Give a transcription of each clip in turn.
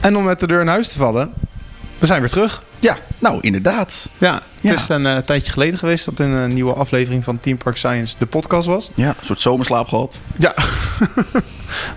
En om met de deur in huis te vallen, we zijn weer terug. Ja, nou inderdaad. Ja, het Ja. is een eh, tijdje geleden geweest dat er een eh, nieuwe aflevering van Team Park Science de podcast was. Ja, een soort zomerslaap gehad. Ja,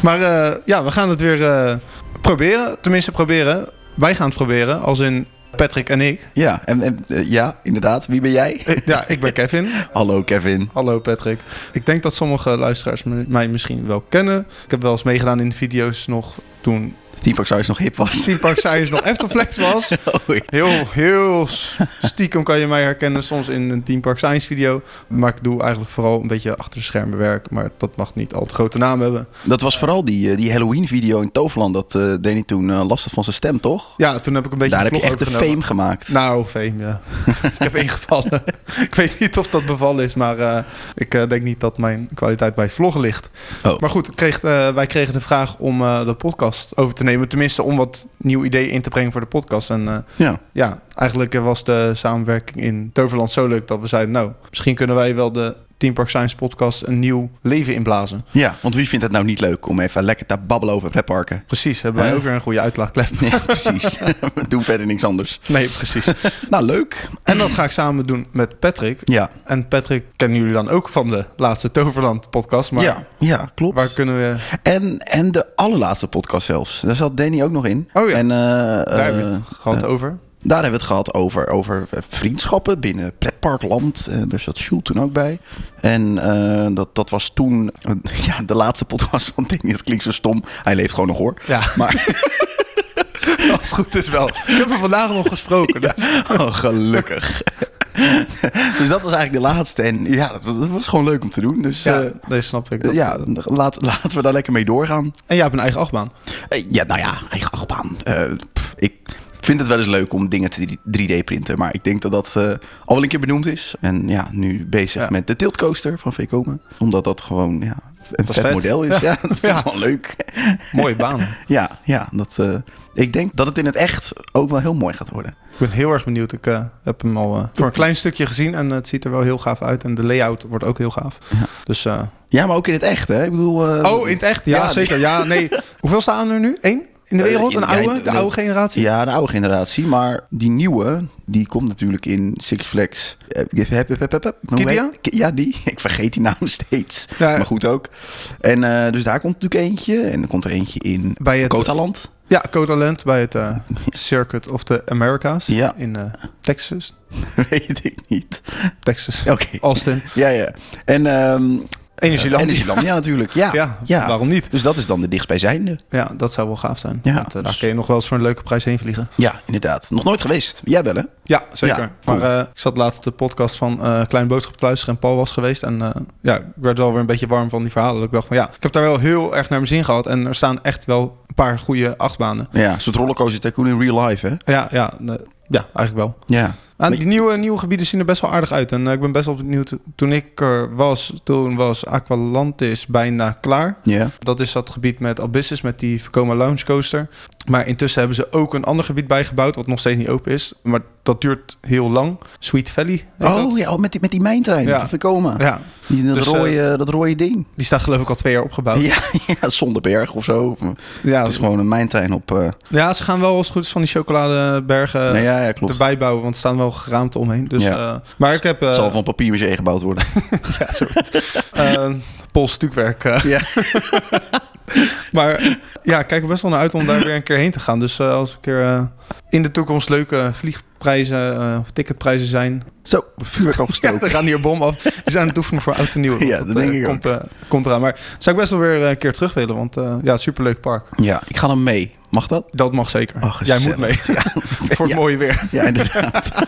maar eh, ja, we gaan het weer eh, proberen. Tenminste, proberen. Wij gaan het proberen, als in Patrick en ik. Ja, en, en, eh, ja, inderdaad. Wie ben jij? Eh, Ja, ik ben Kevin. Hallo Kevin. Hallo Patrick. Ik denk dat sommige luisteraars me- mij misschien wel kennen. Ik heb wel eens meegedaan in de video's nog toen Team Park Science nog hip was. Team Park Science nog Eftelflex was. Oh, ja. Heel, heel s- stiekem kan je mij herkennen soms in een Team Park Science video. Maar ik doe eigenlijk vooral een beetje achter de schermen werk. Maar dat mag niet al te grote naam hebben. dat was vooral die, eh, die Halloween-video in Toverland. Dat eh Danny toen eh, last had van zijn stem, toch? Ja, toen heb ik een beetje Daar een heb je vlog echt de overgenomen. fame gemaakt. Nou, fame, ja. ik heb ingevallen. ik weet niet of dat bevallen is, maar eh, ik eh, denk niet dat mijn kwaliteit bij het vloggen ligt. Oh. Maar goed, ik kreeg, eh, wij kregen de vraag om eh, de podcast over te nemen. Tenminste, om wat nieuw ideeën in te brengen voor de podcast. En eh, ja. ja, eigenlijk eh, was de samenwerking in Toverland zo leuk dat we zeiden... nou, misschien kunnen wij wel de Team Park Science podcast een nieuw leven inblazen. ja, want wie vindt het nou niet leuk om even lekker te babbelen over pretparken? Precies, hebben wij Ja. ook weer een goede uitlaagklep. Ja, precies. We doen verder niks anders. Nee, precies. Nou, leuk. en dat ga ik samen doen met Patrick. Ja, En Patrick kennen jullie dan ook van de laatste Toverland podcast. Maar ja, ja klopt. waar kunnen we... En, en de allerlaatste podcast zelfs. Daar zat Danny ook nog in. Oh ja. En, eh, Daar hebben eh, we het gehad over. Daar hebben we het gehad over, over eh, vriendschappen binnen pretparkland. Eh, daar zat Sjoel toen ook bij. En eh, dat, dat was toen eh, ja, de laatste podcast van Ding. Het klinkt zo stom. Hij leeft gewoon nog hoor. Ja, Maar als het goed is wel. Ik heb hem vandaag nog gesproken. dus- oh, gelukkig. dus dat was eigenlijk de laatste. En ja, dat was, dat was gewoon leuk om te doen. Dus Ja, eh, nee, snap ik. eh, ja, laat, laten we daar lekker mee doorgaan. En jij hebt een eigen achtbaan. Eh, ja, nou ja, eigen achtbaan. Eh, pff, ik vind het wel eens leuk om dingen te 3D-printen. Maar ik denk dat dat eh, al wel een keer benoemd is. En ja, nu bezig Ja. met de tiltcoaster van Vekoma. Omdat dat gewoon ja, een is vet, vet. model is. Ja, dat vind ik Ja. wel leuk. Mooie baan. Ja, ja dat, eh, ik denk dat het in het echt ook wel heel mooi gaat worden. Ik ben heel erg benieuwd. Ik eh, heb hem al eh, voor een klein stukje gezien. En het ziet er wel heel gaaf uit. En de layout wordt ook heel gaaf. Ja. Dus, eh, Ja, maar ook in het echt, hè? Ik bedoel... eh, oh, in het echt? Ja, ja, zeker. Ja, nee. Hoeveel staan er nu? Eén? In de Eh, wereld? Een ja, oude? De ja, oude generatie? Ja, de oude generatie. Maar die nieuwe, die komt natuurlijk in Six Flags. Eh, heb- heb- heb- heb- heb- hoe Kidia? heet- Ki- Ja, die. Ik vergeet die naam steeds. Ja. Maar goed ook. En eh, dus daar komt natuurlijk eentje. En er komt er eentje in Bij het, Kotaland. ja, Coda Land bij het eh, Circuit of the Americas. Ja. In eh, Texas. Weet ik niet. Texas. Oké. Austin. Ja, ja. En ehm Energieland. Energyland, ja natuurlijk. Ja. Ja, Ja. waarom niet? Dus dat is dan de dichtstbijzijnde. Ja, dat zou wel gaaf zijn. Ja, Want, eh, daar dus- kun je nog wel eens voor een leuke prijs heen vliegen. Ja, inderdaad. Nog nooit geweest. Jij wel, hè? Ja, zeker. Ja, cool. Maar eh, ik zat laatst de podcast van eh Klein Boodschap te luisteren en Paul was geweest. En eh, ja, ik werd wel weer een beetje warm van die verhalen. Dat ik dacht van ja, ik heb daar wel heel erg naar mijn zin gehad. En er staan echt wel een paar goede achtbanen. Ja, een soort rollercoaster tycoon in real life, hè? Ja, ja, eh, ja eigenlijk wel. Ja. En Maar- die nieuwe, nieuwe gebieden zien er best wel aardig uit. En eh, ik ben best wel benieuwd. Toen ik er was, toen was Aqualantis bijna klaar. Ja. Dat is dat gebied met Abyssus, met die Vekoma Lounge Coaster. Maar intussen hebben ze ook een ander gebied bijgebouwd, wat nog steeds niet open is. Maar dat duurt heel lang. Sweet Valley. heet dat. Oh ja, oh, met die, met die mijntrein Ja. van Vekoma. Ja, Die, dat, Dus, eh, rode, dat rode ding. die staat geloof ik al twee jaar opgebouwd. Ja, Ja, ja, Zonderberg of zo. ja, Het is gewoon een mijntrein op... eh, ze gaan wel als het goed is van die chocoladebergen nou ja, ja, klopt. Eh, erbij bouwen, want er staan wel geraamte omheen. Dus, Ja. eh, maar ik heb eh Het zal van papier maché gebouwd worden. eh, Pools stukwerk. eh. Ja. maar ja, ik kijk er best wel naar uit om daar weer een keer heen te gaan. Dus eh, als een keer eh, in de toekomst leuke vliegprijzen eh, of ticketprijzen zijn, Zo, vuurwerk Ja, opgestoken. we gaan hier bom af. Die zijn aan het oefenen voor oud en nieuw. Ja, dat denk eh, ik komt, eh, komt eraan. Maar zou ik best wel weer eh, een keer terug willen. Want eh ja, superleuk park. Ja, ik ga dan mee. Mag dat? Dat mag zeker. Ach, Jij gezellig. moet mee. voor het Ja. mooie weer. Ja, inderdaad.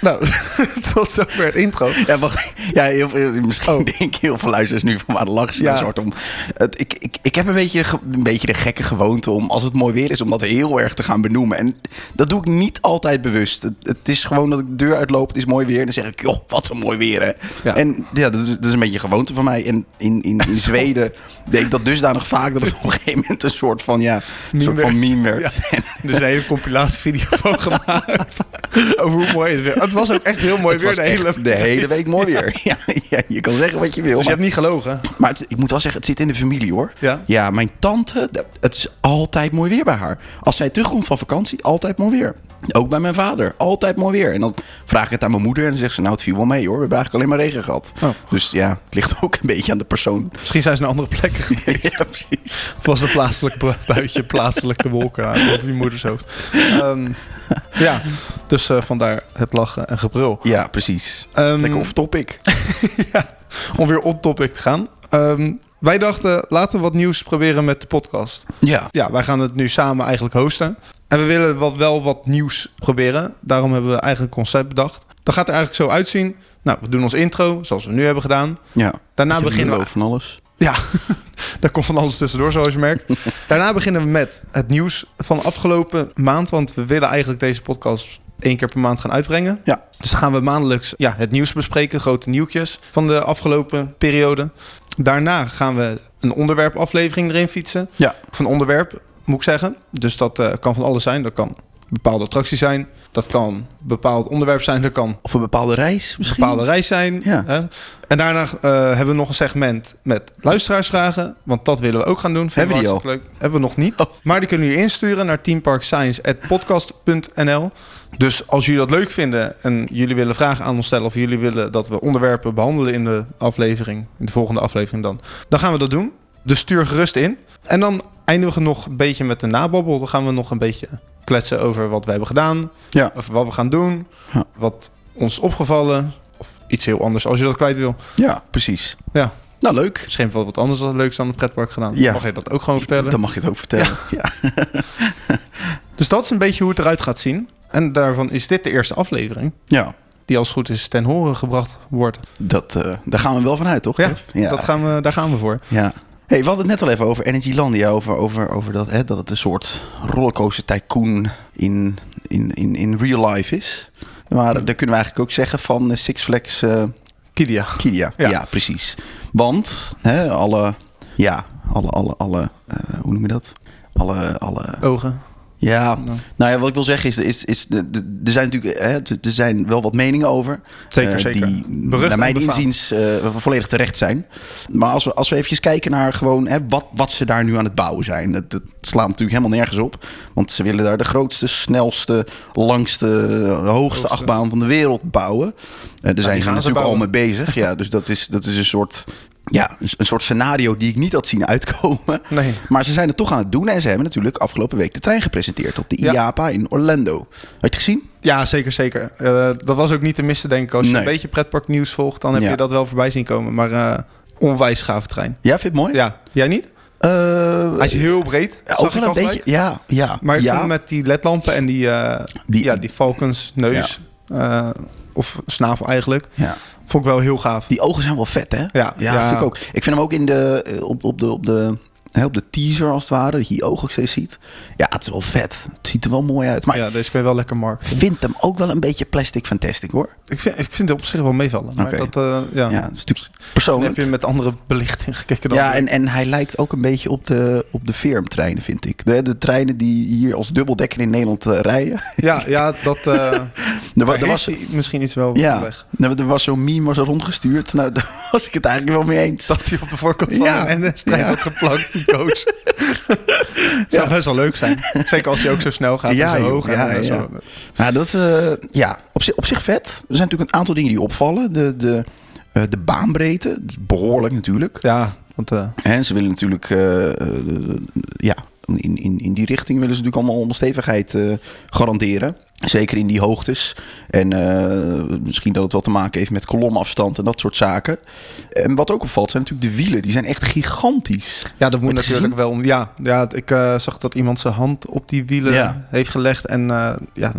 Nou, tot zover het intro. Ja, wacht. Ja, heel veel, misschien denken heel veel luisteraars nu van waar lachen ze Ja. nou soort om. Het, ik, ik, ik heb een beetje, de ge- een beetje de gekke gewoonte om, als het mooi weer is, om dat heel erg te gaan benoemen. En dat doe ik niet altijd bewust. Het, het is gewoon dat ik de deur uitloop, het is mooi weer. En dan zeg ik, joh, wat een mooi weer hè. Ja. En ja, dat is, dat is een beetje een gewoonte van mij. En in, in, in Zweden deed ik dat dusdanig vaak dat het op een gegeven moment een soort van, ja, een Meme soort werd. van meme werd. En Er is een hele compilatievideo van gemaakt. over hoe mooi het weer Het was ook echt heel mooi Het weer was de echt hele... de hele week mooi weer. Ja. ja, je kan zeggen wat je wil. Dus je maar hebt niet gelogen? maar het- ik moet wel zeggen, het zit in de familie hoor. Ja. Ja, mijn tante, d- het is altijd mooi weer bij haar. Als zij terugkomt van vakantie, altijd mooi weer. Ook bij mijn vader, altijd mooi weer. En dan vraag ik het aan mijn moeder en dan zegt ze... nou, het viel wel mee hoor, we hebben eigenlijk alleen maar regen gehad. Oh. Dus ja, het ligt ook een beetje aan de persoon. Misschien zijn ze naar andere plekken geweest. ja, precies. Of was een plaatselijk bu- buitje, plaatselijke wolken eh, over je moeders hoofd. Ehm, ja, dus eh, vandaar het lachen en gebrul. Ja, precies. Ehm, Lekker off-topic. om weer op topic te gaan. Ehm, wij dachten, laten we wat nieuws proberen met de podcast. Ja. Ja, wij gaan het nu samen eigenlijk hosten. En we willen wat, wel wat nieuws proberen. Daarom hebben we eigenlijk een concept bedacht. Dat gaat er eigenlijk zo uitzien. Nou, we doen ons intro, zoals we nu hebben gedaan. ja. Daarna beginnen we... van alles. Ja, daar komt van alles tussendoor, zoals je merkt. Daarna beginnen we met het nieuws van afgelopen maand. Want we willen eigenlijk deze podcast één keer per maand gaan uitbrengen. Ja. Dus dan gaan we maandelijks ja, het nieuws bespreken, grote nieuwtjes van de afgelopen periode. Daarna gaan we een onderwerpaflevering erin fietsen. Ja. Of een onderwerp, moet ik zeggen. Dus dat eh, kan van alles zijn. Dat kan een bepaalde attractie zijn. Dat kan een bepaald onderwerp zijn. Dat kan Of een bepaalde reis een misschien. bepaalde reis zijn. Ja. Hè? En daarna eh, hebben we nog een segment met luisteraarsvragen. Want dat willen we ook gaan doen. Vinden Hebben we die hartstikke leuk. Hebben we nog niet. Oh. Maar die kunnen jullie insturen naar teamparkscience.podcast.nl. Dus als jullie dat leuk vinden en jullie willen vragen aan ons stellen... of jullie willen dat we onderwerpen behandelen in de aflevering... in de volgende aflevering dan... dan gaan we dat doen. Dus stuur gerust in. En dan eindigen we nog een beetje met de nababbel. Dan gaan we nog een beetje kletsen over wat we hebben gedaan... Ja. over wat we gaan doen, Ja. wat ons is opgevallen... of iets heel anders als je dat kwijt wil. Ja, precies. Ja. Nou, leuk. Misschien wel wat anders leuks dan het pretpark gedaan. Ja. Mag je dat ook gewoon vertellen? Dan mag je het ook vertellen. Ja. Dus dat is een beetje hoe het eruit gaat zien. En daarvan is dit de eerste aflevering. Ja. Die als het goed is ten horen gebracht wordt. Dat, eh, daar gaan we wel van uit, toch? Ja, Jeff? ja. Dat gaan we, daar gaan we voor. Ja. Hey, we hadden het net al even over Energylandia, over, over, over dat, hè, dat het een soort rollercoaster tycoon in, in, in, in real life is. Maar daar kunnen we eigenlijk ook zeggen van eh, Six Flags eh, Kidia. Kidia. Ja. Ja, precies. Want hè, alle, ja, alle, alle, alle eh, hoe noem je dat? Alle, alle, Ogen. ja, Nou, nou ja, wat ik wil zeggen is, is, is de, de, er zijn natuurlijk, hè, er zijn wel wat meningen over. Zeker, eh, zeker. Die Berucht naar en mijn befaamd. inziens eh, volledig terecht zijn. Maar als we, als we even kijken naar gewoon, hè, wat, wat ze daar nu aan het bouwen zijn. Dat, dat slaat natuurlijk helemaal nergens op. Want ze willen daar de grootste, snelste, langste, hoogste, Hoogste. achtbaan van de wereld bouwen. Eh, daar gaan zijn ze ze natuurlijk al bouwen. mee bezig. Ja, dus dat is, dat is een, soort, ja, een, een soort scenario die ik niet had zien uitkomen. Nee. Maar ze zijn het toch aan het doen en ze hebben natuurlijk afgelopen week de trein gepresenteerd op de Ja. IAPA in Orlando. Had je het gezien? Ja, zeker, zeker. Eh, dat was ook niet te missen, denk ik. Als je Nee. een beetje pretparknieuws volgt, dan heb Ja. je dat wel voorbij zien komen. Maar eh, onwijs gave trein. Ja, vind je het mooi? Ja, jij niet? Eh, Hij is heel breed. ja, zag ook ik wel een al gelijk. beetje. Ja, ja. Maar ik ja, vind hem met die ledlampen en die, eh, Die- ja, die valkens, neus eh, of snavel eigenlijk, ja. vond ik wel heel gaaf. Die ogen zijn wel vet, hè? Ja, ja, ja. Vind ik ook. Ik vind hem ook in de, eh, op, op, de, op, de, hè, op de teaser als het ware, dat je die ogen ook steeds ziet. Ja, het is wel vet. Het ziet er wel mooi uit. Maar ja, deze kun je wel lekker mark. ik vind hem ook wel een beetje plastic fantastic, hoor. Ik vind, ik vind het op zich wel meevallen. Maar Oké. dat, eh, ja. Ja, dat is natuurlijk Dan heb persoonlijk. je met andere belichting gekeken dan ja, ik. en, en hij lijkt ook een beetje op de, op de firmtreinen, vind ik. De, de treinen die hier als dubbeldekker in Nederland eh, rijden. ja, ja, dat eh Er, wa- daar er, was was, hij misschien iets wel ja, weg. er was zo'n meme was er rondgestuurd. Nou, daar was ik het eigenlijk wel mee eens. Dat hij op de voorkant van Ja. een NS-trein Ja. zat geplakt, die coach. Het zou best wel leuk zijn. Zeker als hij ook zo snel gaat Ja, en zo joh. hoog. en, Ja, eh, ja. zo. Ja, dat, eh, ja op, zich, op zich vet. Er zijn natuurlijk een aantal dingen die opvallen. De, de, eh, de baanbreedte, dat is behoorlijk natuurlijk. ja want eh, En ze willen natuurlijk, eh, eh, ja, in, in, in die richting willen ze natuurlijk allemaal allemaal stevigheid eh, garanderen. Zeker in die hoogtes. En eh, misschien dat het wel te maken heeft met kolomafstand en dat soort zaken. En wat ook opvalt zijn natuurlijk de wielen. Die zijn echt gigantisch. Ja, dat moet Heb je het natuurlijk wel. om- Ja, ja ik eh, zag dat iemand zijn hand op die wielen Ja. heeft gelegd. En eh, ja,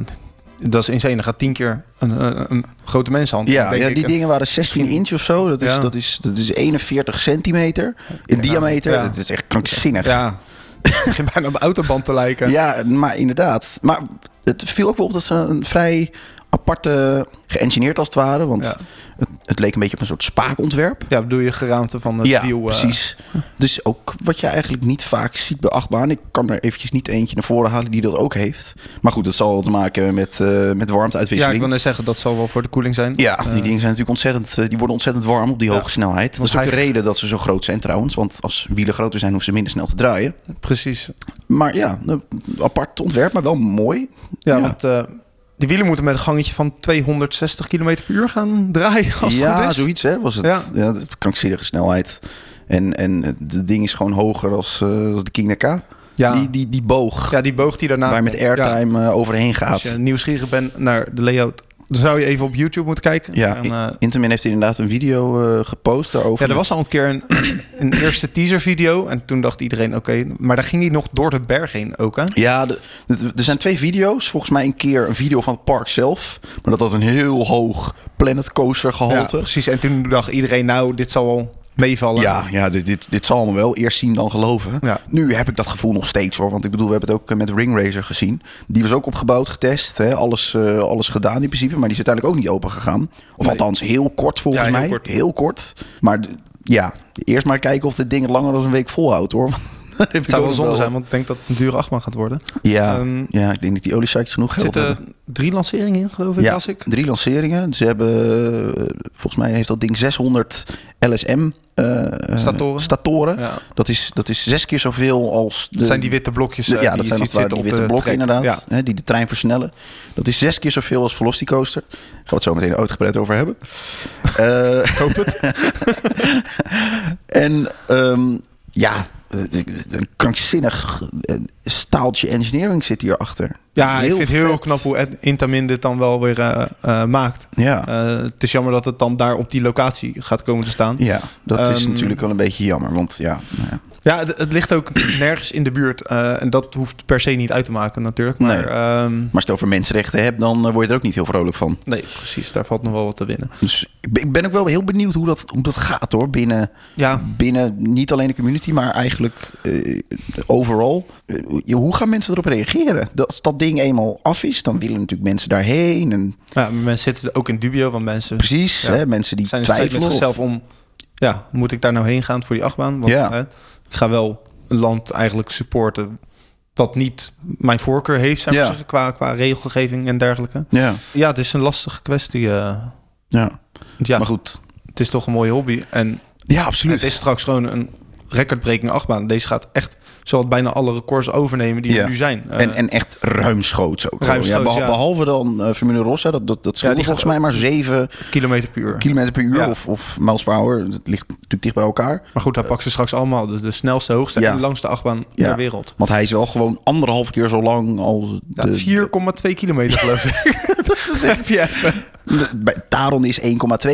dat is insane. Dan gaat tien keer een, een, een grote menshand. Ja, denk ja ik. die En- dingen waren 16 Misschien- inch of zo. Dat is, Ja. dat is, dat is 41 centimeter in Ja, diameter. ja. Dat is echt krankzinnig. Ja, Het begint bijna op de autoband te lijken. Ja, maar inderdaad. Maar het viel ook wel op dat ze een vrij ap- apart eh, geëngineerd als het ware. Want Ja. het, het leek een beetje op een soort spaakontwerp. Ja, bedoel je geraamte van het ja, wiel? eh, precies. Dus ook wat je eigenlijk niet vaak ziet bij achtbaan. Ik kan er eventjes niet eentje naar voren halen die dat ook heeft. Maar goed, dat zal wel te maken hebben met, eh met ja, ik wil warmteuitwisseling. net zeggen, dat zal wel voor de koeling zijn. Ja, Eh, die dingen zijn natuurlijk ontzettend, eh, die worden ontzettend warm op die Ja. hoge snelheid. Dat Want is ook de hij- reden dat ze zo groot zijn trouwens. Want als wielen groter zijn, hoeven ze minder snel te draaien. Precies. Maar ja, een apart ontwerp, maar wel mooi. Ja, Ja. want eh, die wielen moeten met een gangetje van 260 km per uur gaan draaien. Als het ja, goed is. zoiets hè, was het. Ja. Ja. dat- krankzinnige snelheid. En, en het ding is gewoon hoger als, eh, als de King K. Ja. Die, die, die boog ja, die boog die daarna... waar je met komt. Ja, airtime eh, overheen gaat. als je nieuwsgierig bent naar de layout, dan zou je even op YouTube moeten kijken. Ja, en, ik- eh, Intamin heeft inderdaad een video eh, gepost daarover. ja er was al een keer een, een eerste teaservideo. En toen dacht iedereen, oké. maar daar ging hij nog door de berg heen ook, hè? Ja, de- de- er zijn twee video's. Volgens mij een keer een video van het park zelf. Maar dat had een heel hoog Planet Coaster Ja, gehalte. precies. En toen dacht iedereen, nou, dit zal wel meevallen. Ja, ja dit, dit, dit zal allemaal wel. Eerst zien dan geloven. Ja. Nu heb ik dat gevoel nog steeds hoor. Want ik bedoel, we hebben het ook eh, met Ring Racer gezien. Die was ook opgebouwd, getest. Hè. Alles, eh, alles gedaan in principe. Maar die is uiteindelijk ook niet open gegaan. Of Nee. althans, heel kort volgens Ja, heel mij. kort. Heel kort. Maar d- ja, eerst maar kijken of dit ding het langer dan een week volhoudt hoor. Want daar heb Het ik zou ook wel nog zonde zijn, want ik denk dat het een dure achtbaan gaat worden. Ja, Ehm, ja, ik denk dat die oliesykes genoeg Er geld hebben. zitten drie lanceringen in, geloof ik, Ja. las ik. Drie lanceringen. Ze hebben, eh, volgens mij heeft dat ding 600 LSM eh, eh, Statoren. statoren. Ja. Dat, is, dat is zes keer zoveel als... De, Dat zijn die witte blokjes. de- eh, ja, die dat je zijn ziet als het ware zitten die op de witte blokken trek. inderdaad, Ja. hè, die de trein versnellen. Dat is zes keer zoveel als Velocicoaster. Daar gaan we het zo meteen uitgebreid over hebben. Eh, Ik hoop het. en ehm, ja, eh, een krankzinnig eh, staaltje engineering zit hierachter. Ja, ik vind het heel vet. knap hoe Ed- Intamin dit dan wel weer eh, eh, maakt. Ja. Eh, het is jammer dat het dan daar op die locatie gaat komen te staan. Ja, dat is Ehm, natuurlijk wel een beetje jammer. Want ja, nou ja. Ja, het, het ligt ook nergens in de buurt. eh, en dat hoeft per se niet uit te maken natuurlijk. Maar Nee. ehm, maar als je het over mensenrechten hebt, dan eh, word je er ook niet heel vrolijk van. nee, precies. Daar valt nog wel wat te winnen. Dus ik ben- ik ben ook wel heel benieuwd hoe dat, hoe dat gaat hoor. Binnen, Ja, binnen niet alleen de community, maar eigenlijk eh, overal. Eh, hoe- hoe gaan mensen erop reageren? Dat, als dat ding eenmaal af is, dan willen natuurlijk mensen daarheen. En ja mensen zitten ook in dubio. Want mensen precies, Ja. hè, mensen die zijn in strijd met twijfelen. zichzelf om... Ja, moet ik daar nou heen gaan voor die achtbaan? Want Ja. eh, ik ga wel een land eigenlijk supporten... dat niet mijn voorkeur heeft, zou ik Ja. zeggen... Qua, qua regelgeving en dergelijke. Ja, Ja, het is een lastige kwestie. eh. ja. Want ja, maar goed. het het is toch een mooie hobby. En Ja, absoluut. het is straks gewoon een recordbrekende achtbaan. Deze gaat echt zowat bijna alle records overnemen die Ja. er nu zijn. Eh, en, en echt ruimschoots ook. Ruimschoots, ja, beha- ja. Behalve dan eh, Formule Rossa, dat, dat, dat scheelde die volgens gaat- mij maar zeven kilometer per uur. kilometer per uur Ja. of, of miles per hour. Dat ligt natuurlijk dicht bij elkaar. maar goed, hij pakt ze straks allemaal. Dus de snelste, hoogste Eh, Ja. en langste achtbaan Ja. ter wereld. Want hij is wel gewoon anderhalf keer zo lang als Ja, de... 4,2 kilometer geloof ik. dat is echt je even. de- bij Taron is 1,2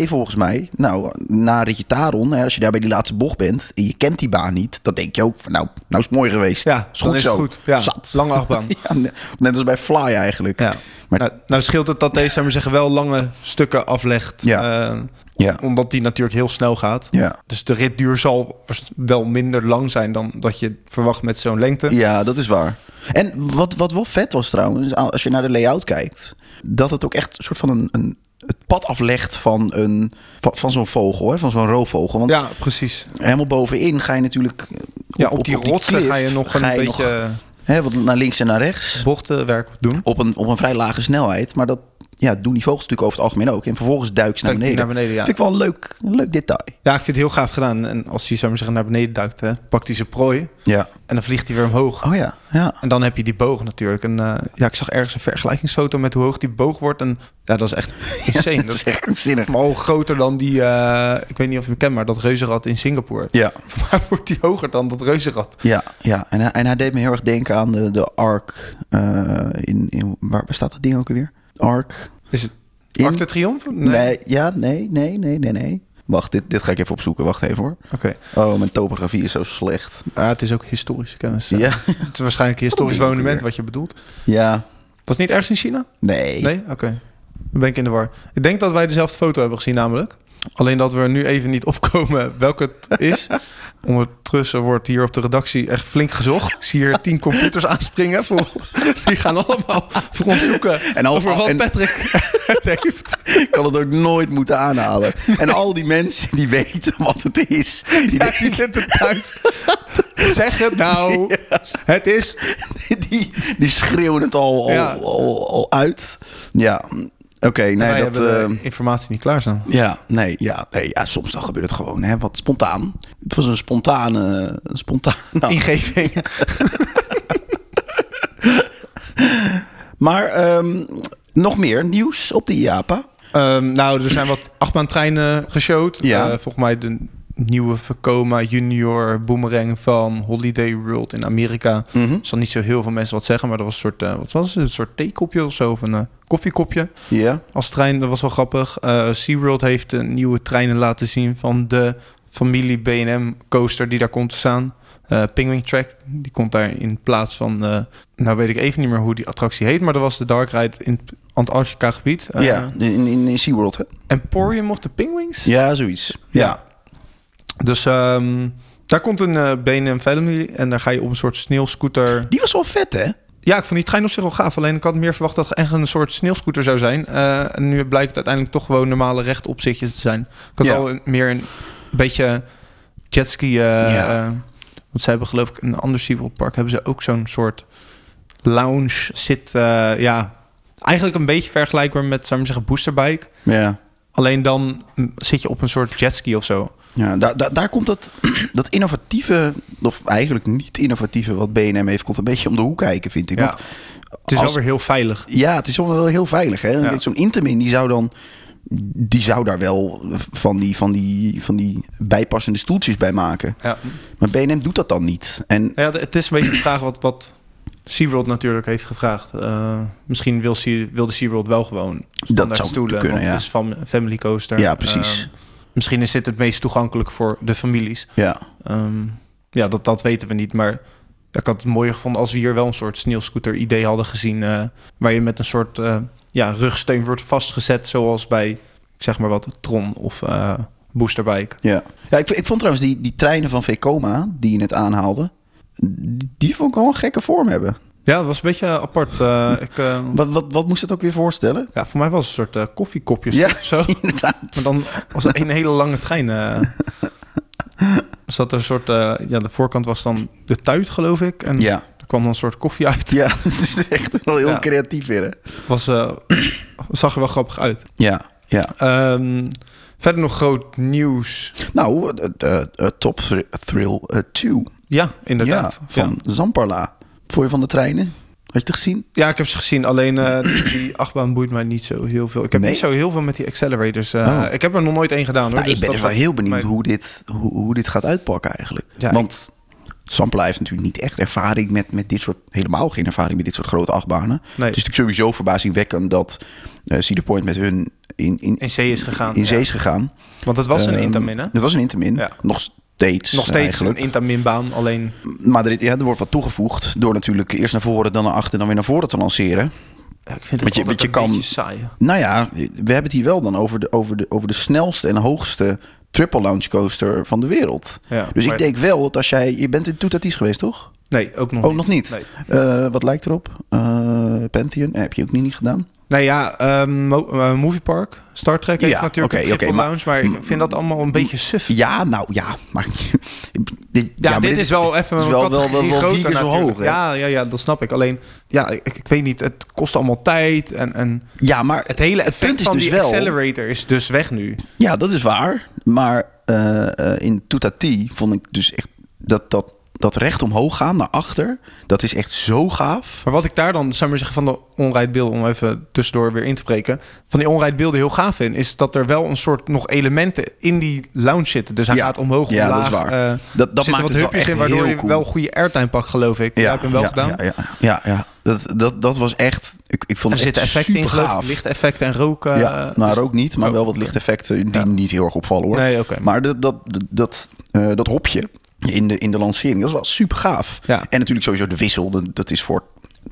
volgens mij. Nou, na ritje Taron, hè, als je daar bij die laatste bocht bent... en je kent die baan niet, dan denk je ook van... nou, nou is het mooi geweest. Ja, is goed dan is het zo. goed. Ja, Zat. lange achtbaan. Ja, ne- net als bij Fly eigenlijk. Ja. Maar- nou, nou scheelt het dat deze, zou ik maar zeggen, wel lange stukken aflegt. Ja. Eh, Ja. omdat die natuurlijk heel snel gaat. Ja. Dus de ritduur zal waarsch- wel minder lang zijn dan dat je verwacht met zo'n lengte. Ja, dat is waar. En wat, wat wel vet was trouwens, a- als je naar de layout kijkt, dat het ook echt een soort van een, een het pad aflegt van, een, van, van zo'n vogel, hè, van zo'n roofvogel. Want Ja, precies. helemaal bovenin ga je natuurlijk. eh, Ja, op, die rotsen klif ga je nog een ga je nog, beetje hè, wat naar links en naar rechts. bochtenwerk doen. Op een, op een vrij lage snelheid. Maar dat ja, doen die vogels natuurlijk over het algemeen ook. En vervolgens duik ze naar Kijk, die beneden. naar beneden, ja. Vind ik wel een leuk, een leuk detail. Ja, ik vind het heel gaaf gedaan. En als hij, zou ik maar zeggen, naar beneden duikt, hè, pakt hij zijn prooi Ja. en dan vliegt hij weer omhoog. Oh ja, ja. En dan heb je die boog natuurlijk. En eh, ja, ik zag ergens een vergelijkingsfoto met hoe hoog die boog wordt. En ja, dat is echt insane. Dat dat is is echt krankzinnig. maar al groter dan die, eh, ik weet niet of je hem kent, maar dat reuzenrad in Singapore. Ja. Maar wordt die hoger dan dat reuzenrad? Ja, ja. En, hij- en hij deed me heel erg denken aan de, de ARC. eh, in, in, waar, waar staat dat ding ook alweer? ARC. Is het In- Arc de Triomphe? Nee. ja, nee, nee, nee, nee, nee. Wacht, dit, dit ga ik even opzoeken. Wacht even hoor. Oké. Oh, mijn topografie is zo slecht. Ah, het is ook historische kennis. eh. Ja. Het is waarschijnlijk een historisch Dat doe ik monument weer. wat je bedoelt. Ja. Was het niet ergens in China? Nee. Nee? Oké. Dan ben ik in de war. Ik denk dat wij dezelfde foto hebben gezien namelijk. Alleen dat we er nu even niet opkomen welke het is. Ondertussen wordt hier op de redactie echt flink gezocht. Ik zie hier tien computers aanspringen. Voor, die gaan allemaal voor ons zoeken En al- over wat en- Patrick het heeft. Ik kan het ook nooit moeten aanhalen. En al die mensen die weten wat het is. Die, Ja, die zit er thuis. Zeg het nou. Het is... die, die schreeuwen het al, al, Ja. al, al uit. Ja, oké. Wij nee, dat... hebben de eh, informatie niet klaarstaan. Ja, nee, ja, nee, ja, soms dan gebeurt het gewoon, hè, wat spontaan. Het was een spontane, een spontane Ingeving. Maar ehm, nog meer nieuws op de IAPA. Ehm, nou, er zijn wat achtbaantreinen geshowd. Ja. Eh, volgens mij de nieuwe Vekoma Junior Boomerang van Holiday World in Amerika. Mhm. Er zal niet zo heel veel mensen wat zeggen, maar er was een soort, eh, wat was het? Een soort theekopje of zo, of een eh, koffiekopje Ja. als trein. Dat was wel grappig. Eh SeaWorld heeft een nieuwe treinen laten zien van de familie B&M coaster die daar komt te staan. Eh Penguin Track, die komt daar in plaats van... eh, nou weet ik even niet meer hoe die attractie heet, maar dat was de dark ride in het Antarctica gebied. Eh, ja, in, in, in SeaWorld, hè? Emporium of the Penguins? Ja, zoiets. Ja. Dus ehm, daar komt een eh B&M Family en daar ga je op een soort sneeuwscooter... Die was wel vet, hè? Ja, ik vond die trein op zich wel gaaf. Alleen ik had meer verwacht dat het echt een soort sneeuwscooter zou zijn. Eh, en nu blijkt het uiteindelijk toch gewoon normale rechtop zitjes te zijn. Ik had Ja. al een- meer een beetje jetski... eh Ja. eh, want ze hebben geloof ik in een ander SeaWorld park... hebben ze ook zo'n soort lounge zit... eh, ja, eigenlijk een beetje vergelijkbaar met, zou ik maar zeggen, boosterbike. Ja. Alleen dan mm, zit je op een soort jetski of zo. Ja, daar daar daar komt dat, dat innovatieve, of eigenlijk niet innovatieve wat BNM heeft, komt een beetje om de hoek kijken, vind ik. Ja. Want Het is als- wel weer heel veilig. Ja, het is wel wel heel veilig. Hè? Ja. Kijk, Zo'n Intamin, die zou dan... Die zou daar wel van die, van die, van die bijpassende stoeltjes bij maken. Ja. Nou Maar BNM doet dat dan niet. En Ja, d- het is een beetje de vraag wat, wat SeaWorld natuurlijk heeft gevraagd. Eh, misschien wil, Sea- wilde SeaWorld wel gewoon standaard zou stoelen. kunnen, want ja. het is van Family Coaster. Ja, precies. Ehm, misschien is dit het meest toegankelijk voor de families. ja, Ehm, ja, dat, dat weten we niet. Maar ik had het mooier gevonden als we hier wel een soort sneeuwscooter idee hadden gezien. eh, waar je met een soort eh, ja, rugsteun wordt vastgezet. Zoals bij, ik zeg maar wat, Tron of eh, Boosterbike. ja. ja ik, v- ik vond trouwens die, die treinen van Vekoma, die je net aanhaalde... Die, die vond ik wel een gekke vorm hebben. Ja, dat was een beetje apart. Eh, ik, eh, Wat, wat, wat moest dat ook weer voorstellen? Ja, voor mij was het een soort eh, koffiekopjes Ja. of zo. Inderdaad. Maar dan was het een hele lange trein. eh zat er een soort... eh, ja, de voorkant was dan de tuit, geloof ik. En Ja. er kwam dan een soort koffie uit. ja, dat is echt wel heel Ja. creatief weer. Hè? Was, eh, zag er wel grappig uit. Ja, ja. Ehm, verder nog groot nieuws. Nou, eh, eh, eh, Top Thri- Thrill eh, 2. Ja, inderdaad. Ja, Ja, van Zamparla. Vond je van de treinen? Had je het gezien? Ja, ik heb ze gezien. Alleen eh, die achtbaan boeit mij niet zo heel veel. Ik heb Nee? niet zo heel veel met die accelerators. eh, Oh. Ik heb er nog nooit één gedaan. Hoor, Nou, ik dus ben dat dus wel heel benieuwd mijn- hoe, dit, hoe, hoe dit gaat uitpakken eigenlijk. Ja, Want Sampla heeft natuurlijk niet echt ervaring met, met dit soort... helemaal geen ervaring met dit soort grote achtbanen. Nee. Het is natuurlijk sowieso verbazingwekkend dat eh Cedar Point met hun in, in, In zee is gegaan. in zee ja. is gegaan. Want het was een Ehm, Intamin, hè? Dat was een Intamin. Ja. Nog steeds Nog steeds eigenlijk. een Intamin-baan, alleen... Maar er, ja, er wordt wat toegevoegd door natuurlijk eerst naar voren, dan naar achter... dan weer naar voren te lanceren. Ja, ik vind Want het altijd je- want je een kan- beetje saai. Nou ja, we hebben het hier wel dan over de, over de, over de snelste en hoogste triple launch coaster van de wereld. Ja, dus maar- ik denk wel dat als jij... Je bent in Toetatis geweest, toch? Nee, ook nog Oh, niet. nog niet? Nee. Eh, wat lijkt erop? Eh, Pantheon? Eh, heb je ook niet, niet gedaan? Nou ja, ehm, Mo- eh, Movie Park, Star Trek heeft Ja, natuurlijk oké, een triple oké, maar- lounge, maar, ik vind dat allemaal een beetje suf. Ja, Ja, nou ja. Maar, dit, maar dit, is wel even is een wel- wel- categorie wel- wel groter vier keer zo natuurlijk. hoog, hè? Ja, ja, ja, dat snap ik. Alleen, ja, ik, ik weet niet, het kost allemaal tijd en, en Ja, maar het hele punt effect is van dus die wel- accelerator is dus weg nu. Ja, dat is waar. Maar eh, eh, in Toetati vond ik dus echt dat, dat, dat recht omhoog gaan naar achter. Dat is echt zo gaaf. Maar wat ik daar dan, zou ik maar zeggen, van de onrijdbeelden, om even tussendoor weer in te breken, van die onrijdbeelden heel gaaf in, is dat er wel een soort nog elementen in die lounge zitten. Dus hij Ja. gaat omhoog, Ja, dat omlaag. is eh, waar. Dat, er dat zitten wat maakt het wel hupjes echt in, waardoor heel je cool. wel goede airtime pak, geloof ik. Ja, ik heb hem wel gedaan. Ja, ja, ja, ja. Dat, dat, dat was echt. Ik, ik vond Er het echt zitten effecten in, super geloof ik. gaaf. Lichteffecten en rook. eh, ja, dus- nou, ook niet, maar Oh, wel wat oké. lichteffecten die Ja. niet heel erg opvallen hoor. Nee, oké. Maar dat, dat, dat, eh, dat hopje in de, in de lancering, dat was super gaaf. Ja. En natuurlijk sowieso de wissel, dat, dat is voor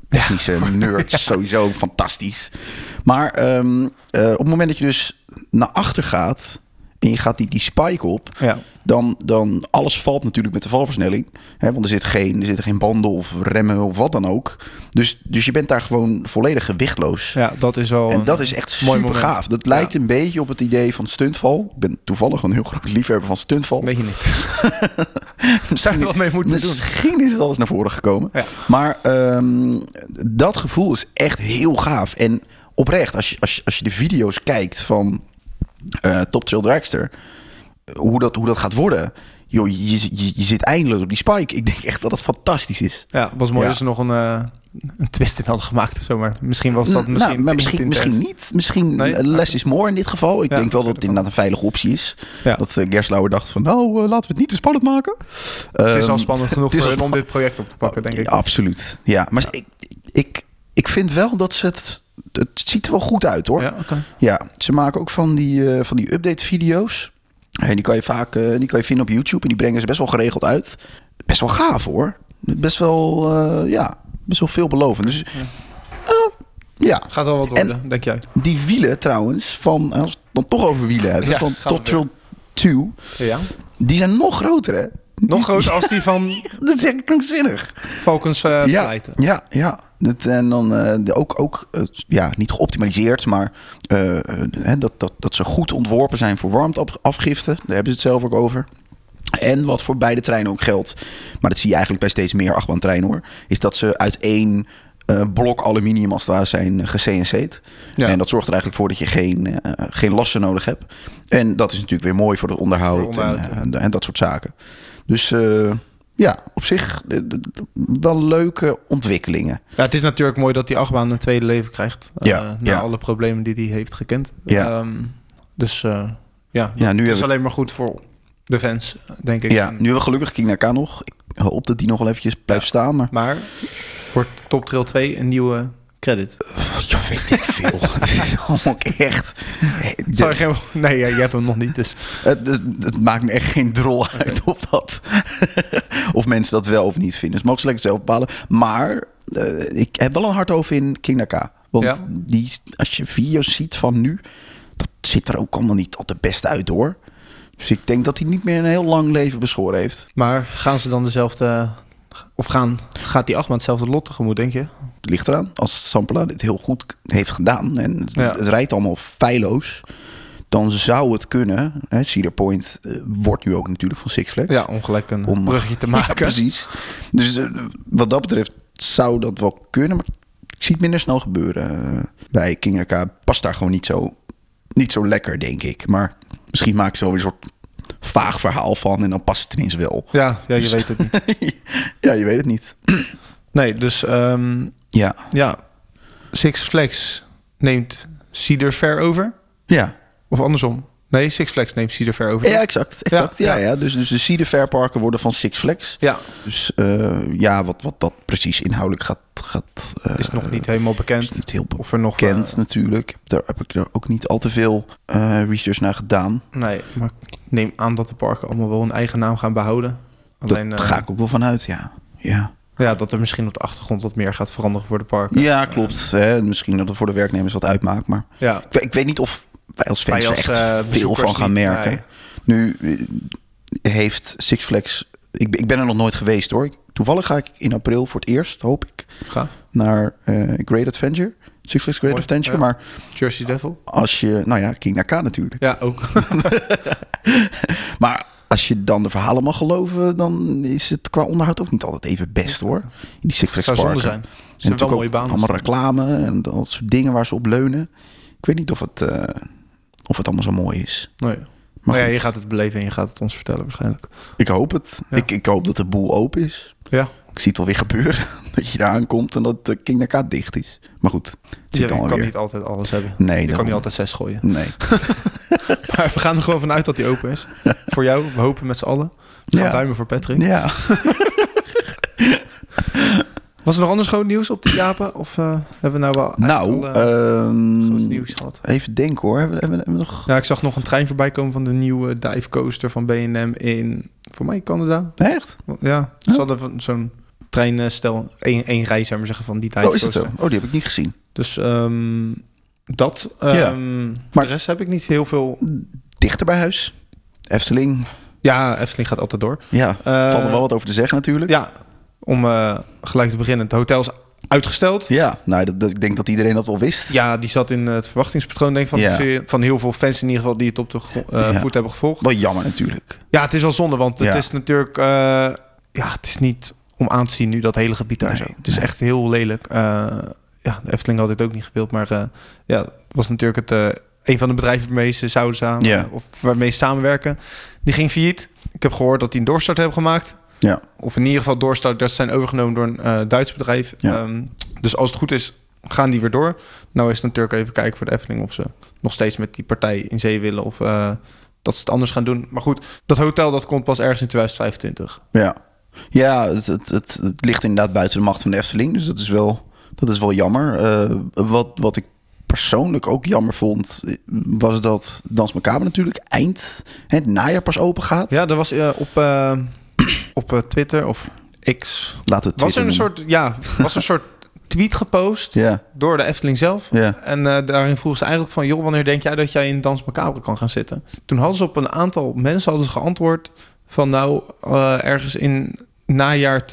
technische nerds sowieso fantastisch. Maar ehm, eh, op het moment dat je dus naar achter gaat en je gaat die, die spike op, Ja. dan, dan alles valt natuurlijk met de valversnelling. Hè, want er, zit geen, er zitten geen banden of remmen of wat dan ook. Dus, dus je bent daar gewoon volledig gewichtloos. ja, dat is wel... En een- dat is echt mooi super moment. gaaf. Dat lijkt Ja. een beetje op het idee van stuntval. Ik ben toevallig een heel groot liefhebber van stuntval. Weet je niet. Misschien, wat mee moeten doen. misschien is het alles naar voren gekomen. Ja. Maar ehm, dat gevoel is echt heel gaaf. En oprecht, als je, als je, als je de video's kijkt van eh, Top Trail Dragster, hoe dat, hoe dat gaat worden. Joh, je, je, je zit eindeloos op die spike. Ik denk echt dat dat fantastisch is. Ja, was mooi Ja. als ze nog een, eh, een twist in hadden gemaakt of zo. Maar misschien was dat Nou, misschien... te maar misschien, intens. misschien niet. Misschien Nee? eh, less is more in dit geval. Ik Ja, denk wel dat het dat kan. inderdaad een veilige optie is. Ja. Dat eh, Gerslauer dacht van nou, eh, laten we het niet te spannend maken. Het is Ehm, al spannend genoeg het is voor al hen om dit project op te pakken, denk ik. Ja, absoluut. Ja, maar Ik, ik, ik vind wel dat ze het... Het ziet er wel goed uit, hoor. Ja, Ja, oké. ze maken ook van die, eh, van die update-video's. En die kan je vaak eh, die kan je vinden op YouTube. En die brengen ze best wel geregeld uit. Best wel gaaf, hoor. Best wel, eh, ja, best wel veelbelovend. Dus, eh, ja. Gaat wel wat En- worden, denk jij? Die wielen, trouwens, van... eh, Als we het dan toch over wielen hebben. Ja, van gaan we Top Trail 2. Ja. Die zijn nog groter, hè? Nog groter als die van Dat is echt krankzinnig. Falcons eh ja, Pleiten. Ja, ja. Dat, en dan eh, de- ook, ook eh, ja, niet geoptimaliseerd, maar eh, eh, hè, dat, dat, dat ze goed ontworpen zijn voor warmteafgifte. Daar hebben ze het zelf ook over. En wat voor beide treinen ook geldt, maar dat zie je eigenlijk bij steeds meer achtbaantreinen hoor, is dat ze uit één eh, blok aluminium als het ware zijn ge-CNC'd. Ja. En dat zorgt er eigenlijk voor dat je geen, eh, geen lasten nodig hebt. En dat is natuurlijk weer mooi voor het onderhoud, Voor onderhoud, en, eh, en, dat soort zaken. Dus eh, ja, op zich eh, d- d- wel leuke ontwikkelingen. Ja, het is natuurlijk mooi dat die achtbaan een tweede leven krijgt. eh, Ja, na ja. alle problemen die die heeft gekend. Ja. Ehm, dus eh, ja, Ja, nu het hebben is we- alleen maar goed voor de fans, denk ik. Ja, nu hebben we gelukkig King K nog. Ik hoop dat die nog wel eventjes blijft staan, maar Maar wordt Top Trail 2 een nieuwe credit? ja, weet ik veel. Het is allemaal echt... Sorry, geen- nee, ja, je hebt hem nog niet. Dus. Het, het- Eh, het maakt me echt geen drol uit of dat. of mensen dat wel of niet vinden. Dus mogen ze lekker zelf bepalen. Maar eh, ik heb wel een hart over in King Naka. Want Ja. die, als je video's ziet van nu, dat ziet er ook allemaal niet al te best uit hoor. Dus ik denk dat hij niet meer een heel lang leven beschoren heeft. Maar gaan ze dan dezelfde... Of gaan, gaat die achtbaan hetzelfde lot tegemoet, denk je? Het ligt eraan. Als Sampala dit heel goed heeft gedaan en het, Ja. het rijdt allemaal feilloos, dan zou het kunnen. Hè, Cedar Point eh, wordt nu ook natuurlijk van Six Flags. Ja, om gelijk een Om- brugje te Ja, maken. precies. Dus eh, wat dat betreft zou dat wel kunnen, maar ik zie het minder snel gebeuren. eh, Bij King AK past daar gewoon niet zo, niet zo lekker, denk ik. Maar misschien maakt ze wel weer een soort vaag verhaal van en dan past het ineens wel. ja, ja, je Dus- weet het niet. ja, je weet het niet. Nee, dus ehm, Ja, ja. Six Flags neemt Cedar Fair over. ja. Of andersom. Nee, Six Flags neemt Cedar Fair over. ja exact. exact ja, Ja, ja. Dus, dus de Cedar Fair parken worden van Six Flags. Ja, Dus eh, ja, wat, wat dat precies inhoudelijk gaat... gaat eh, is nog niet helemaal is bekend. niet heel Of er nog... bekend natuurlijk. Daar heb ik er ook niet al te veel eh, research naar gedaan. eh, nee, maar ik neem aan dat de parken allemaal wel een eigen naam gaan behouden. Alleen, Daar eh, ga ik ook wel van uit, ja. Ja, ja, dat er misschien op de achtergrond wat meer gaat veranderen voor de parken. ja klopt. Hè, misschien dat het voor de werknemers wat uitmaakt, maar Ja, ik, we- ik weet niet of wij als fans Wij als, er eh, echt veel bezoekers van gaan niet, merken. Nu eh, heeft Six Flags... Ik, ben- ik ben er nog nooit geweest, hoor. Ik- Toevallig ga ik in april voor het eerst, hoop ik, Ga. naar eh, Great Adventure. Six Flags Great Mooi, Adventure, ja. maar Jersey Devil. als je... Nou ja, King Naka natuurlijk. Ja, ook. Maar als je dan de verhalen mag geloven, dan is het qua onderhoud ook niet altijd even best hoor. In die Six Flags zou zonde parken. zijn. En Ze hebben natuurlijk wel ook mooie banen. Allemaal reclame en dat soort dingen waar ze op leunen. Ik weet niet of het, eh, of het allemaal zo mooi is. Nee. Maar Maar Nou ja, goed, je gaat het beleven en je gaat het ons vertellen waarschijnlijk. ik hoop het. Ja. Ik, ik hoop dat de boel open is. Ja. Ik zie het alweer gebeuren. Dat je eraan komt en dat de King Naka dicht is. Maar goed, het zit Je dan kan alweer. niet altijd alles hebben. Nee, je kan daarom. niet altijd zes gooien. Nee. Maar we gaan er gewoon vanuit dat die open is. voor jou, we hopen met z'n allen. We gaan Ja. duimen voor Patrick. Ja. Was er nog anders groot nieuws op de Japen? Of eh, hebben we nou wel Nou, eigenlijk al, eh, ehm, groot nieuws gehad? even denken hoor. Hebben we, hebben we- hebben we nog... Ja, ik zag nog een trein voorbij komen van de nieuwe dive coaster van B&M in, voor mij, Canada. Echt? Ja, ze hadden van zo'n treinstel, één, één rij, zou ik maar zeggen, van die dive Oh, is dat coaster. zo? Oh, die heb ik niet gezien. Dus ehm, dat. Ja. maar Maar- de rest heb ik niet heel veel dichter bij huis. Efteling. Ja, Efteling gaat altijd door. Ja, Eh, valt er wel wat over te zeggen natuurlijk. Ja, om eh, gelijk te beginnen. Het hotel is uitgesteld. Ja, nou, dat, dat- ik denk dat iedereen dat wel wist. Ja, die zat in het verwachtingspatroon denk ik, van, Ja. de serie- van heel veel fans in ieder geval die het op de gro- eh, Ja. voet hebben gevolgd. Wel jammer natuurlijk. Ja, het is wel zonde, want het Ja. is natuurlijk... eh, ja, het is niet om aan te zien nu, dat hele gebied daar Nee, zo. Het is echt heel lelijk. Eh, ja, de Efteling had dit ook niet gewild, maar eh, ja, het was natuurlijk het, eh, een van de bedrijven waarmee ze zouden samen... Ja. of waarmee ze samenwerken. Die ging failliet. Ik heb gehoord dat die een doorstart hebben gemaakt. Ja. Of in ieder geval doorstart, dat ze zijn overgenomen door een eh, Duits bedrijf. Ja. Ehm, dus als het goed is, gaan die weer door. Nou is het natuurlijk even kijken voor de Efteling of ze nog steeds met die partij in zee willen of eh, dat ze het anders gaan doen. Maar goed, dat hotel dat komt pas ergens in 2025. Ja, ja het, het, het, het ligt inderdaad buiten de macht van de Efteling. Dus dat is wel, dat is wel jammer. Eh, wat, wat ik persoonlijk ook jammer vond, was dat Dans Macabre natuurlijk eind hè, het najaar pas open gaat. Ja, er was eh, op, eh, op eh, Twitter of X Laat het was er een Twitter soort ja was een soort tweet gepost noemen. Ja, door de Efteling zelf. ja. En eh, daarin vroegen ze eigenlijk van... joh, wanneer denk jij dat jij in Dans Macabre kan gaan zitten? Toen hadden ze op een aantal mensen hadden ze geantwoord... van nou, eh, ergens in najaar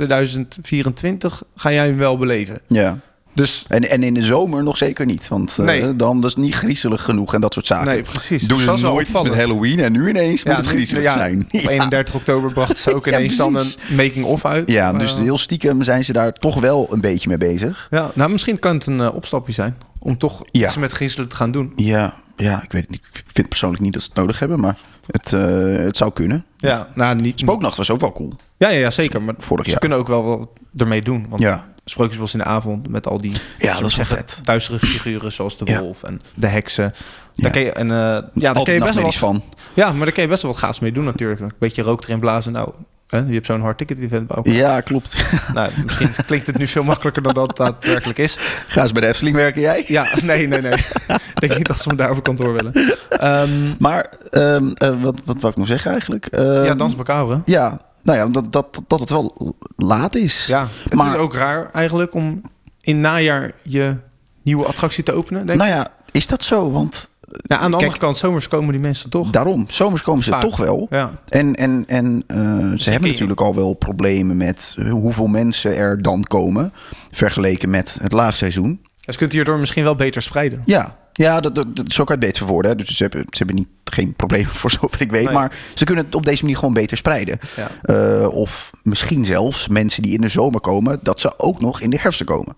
2024 ga jij hem wel beleven. ja. Dus En, en in de zomer nog zeker niet, want eh, Nee. dan dat is niet griezelig genoeg en dat soort zaken. nee, precies. Doen Dus ze dat is wel nooit iets met opvallend. Halloween en nu ineens Ja, moet het nu- griezelig ja, zijn. Op 31 oktober brachten ze ook Ja, ineens dan een precies. making-of uit. Ja, dus Eh, heel stiekem zijn ze daar toch wel een beetje mee bezig. ja, nou, misschien kan het een eh, opstapje zijn... om toch Ja. iets met griezelen te gaan doen. Ja, ja, ik weet het niet. Ik vind persoonlijk niet dat ze het nodig hebben, maar het, eh, het zou kunnen. Ja, nou, niet... Spooknacht was ook wel cool. Ja, ja, ja, zeker. Maar Vorig ze jaar. kunnen ook wel wat ermee doen. Want Ja, Sprookjesbos in de avond met al die ja dat Zullen is wel we vet. zeggen, duistere figuren zoals de Ja. wolf en de heksen. Ja. Daar kun je, en, eh, ja, daar kun je Altijd best wel wat, nachtmerries van. ja, maar daar kun je best wel wat gaas mee doen natuurlijk. Een beetje rook erin blazen. Nou, hè, je hebt zo'n hard ticket event bij elkaar. Ja, klopt. Nou, misschien klinkt het nu veel makkelijker dan dat het daadwerkelijk is. Ga eens bij de Efteling werken, jij. Ja, nee, nee, nee. Ik denk niet dat ze me daar op kantoor willen. Ehm, Maar ehm, eh, wat, wat wou ik nog zeggen eigenlijk? Ehm, ja, Dans Macabre. Ja, nou ja, dat, dat, dat het wel laat is. Ja, het maar- is ook raar eigenlijk om in najaar je nieuwe attractie te openen. Denk ik. Nou ja, is dat zo? Want Nou, aan de kijk- andere kant, zomers komen die mensen toch. daarom, zomers komen ze Vaak. toch wel. Ja, En, en, en eh, ze kun hebben je- natuurlijk al wel problemen met eh, hoeveel mensen er dan komen. Vergeleken met het laagseizoen. dus je kunt hierdoor misschien wel beter spreiden. Ja, ja dat, dat, dat, zo kan je het beter verwoorden. hè. Dus ze hebben, ze hebben niet, geen problemen voor zover ik weet. Nee. Maar ze kunnen het op deze manier gewoon beter spreiden. Ja. Eh, of misschien zelfs mensen die in de zomer komen, dat ze ook nog in de herfst komen.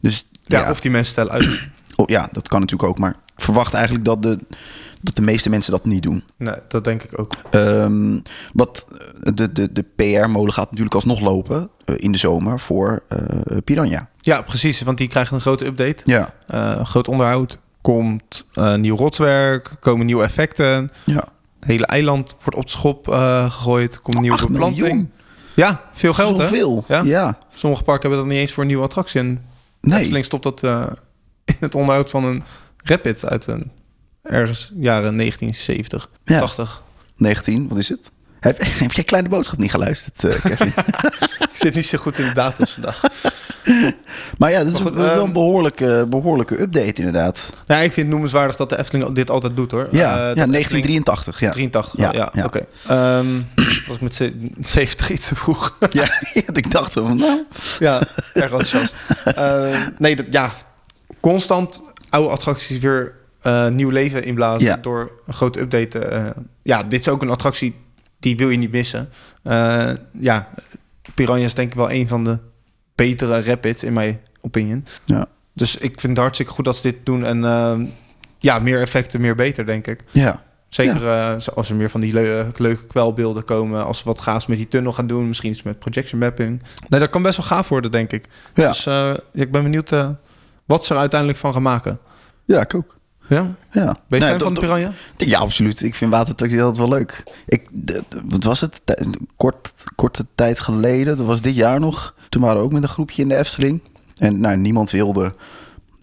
Dus ja, Ja, of die mensen stellen uit. oh, ja, dat kan natuurlijk ook. Maar ik verwacht eigenlijk dat de, dat de meeste mensen dat niet doen. Nee, dat denk ik ook. Ehm, wat eh, de, de, de PR-molen gaat natuurlijk alsnog lopen eh, in de zomer voor eh Piranha. Ja, precies, want die krijgen een grote update. Ja, Eh, groot onderhoud. Komt eh, nieuw rotswerk, komen nieuwe effecten. ja. Het hele eiland wordt op het schop eh, gegooid. Komt nieuwe 8 beplanting. miljoen. Ja, veel geld hè. Zoveel. Ja. ja. Sommige parken hebben dat niet eens voor een nieuwe attractie. En Nee. Efteling stopt dat eh, in het onderhoud van een Rapid uit een, ergens jaren 1970, Ja. 80. 19, wat is het? Heb, heb jij Kleine Boodschap niet geluisterd, eh, Kevin? Ik zit niet zo goed in de data's vandaag. maar ja, dat is Maar goed, wel ehm, een behoorlijke, behoorlijke update inderdaad. Nou, ik vind het noemenswaardig dat de Efteling dit altijd doet hoor. Ja, ja Eh, dat Efteling- 1983, ja. 83, Ja, ja, ja, ja. oké. Ehm, was ik met ze- 70 iets te vroeg. ja, ja, ik dacht van, nou... ja, erg enthousiast. Ehm, nee, dat- ja, constant oude attracties weer eh, nieuw leven inblazen Ja. door een grote update. eh, ja, dit is ook een attractie die wil je niet missen. Eh, ja, Piranha is denk ik wel een van de betere rapids in mijn opinion. Ja. Dus ik vind het hartstikke goed dat ze dit doen en... ehm, ja, meer effecten, meer beter, denk ik. Ja, Zeker eh, als er meer van die leu- leuke kwelbeelden komen. Als we wat gaafs met die tunnel gaan doen. Misschien iets met projection mapping. Nee, dat kan best wel gaaf worden, denk ik. ja, Dus eh, ik ben benieuwd eh, wat ze er uiteindelijk van gaan maken. ja, ik ook. Ja? Ben Ja. je Nee, fan dat- van de dat- Piranha? ja, absoluut. Ik vind watertaxi altijd wel leuk. Ik, de- de- wat was het? Tij- Kort, korte tijd geleden, dat was dit jaar nog. Toen waren we ook met een groepje in de Efteling. En nou, niemand wilde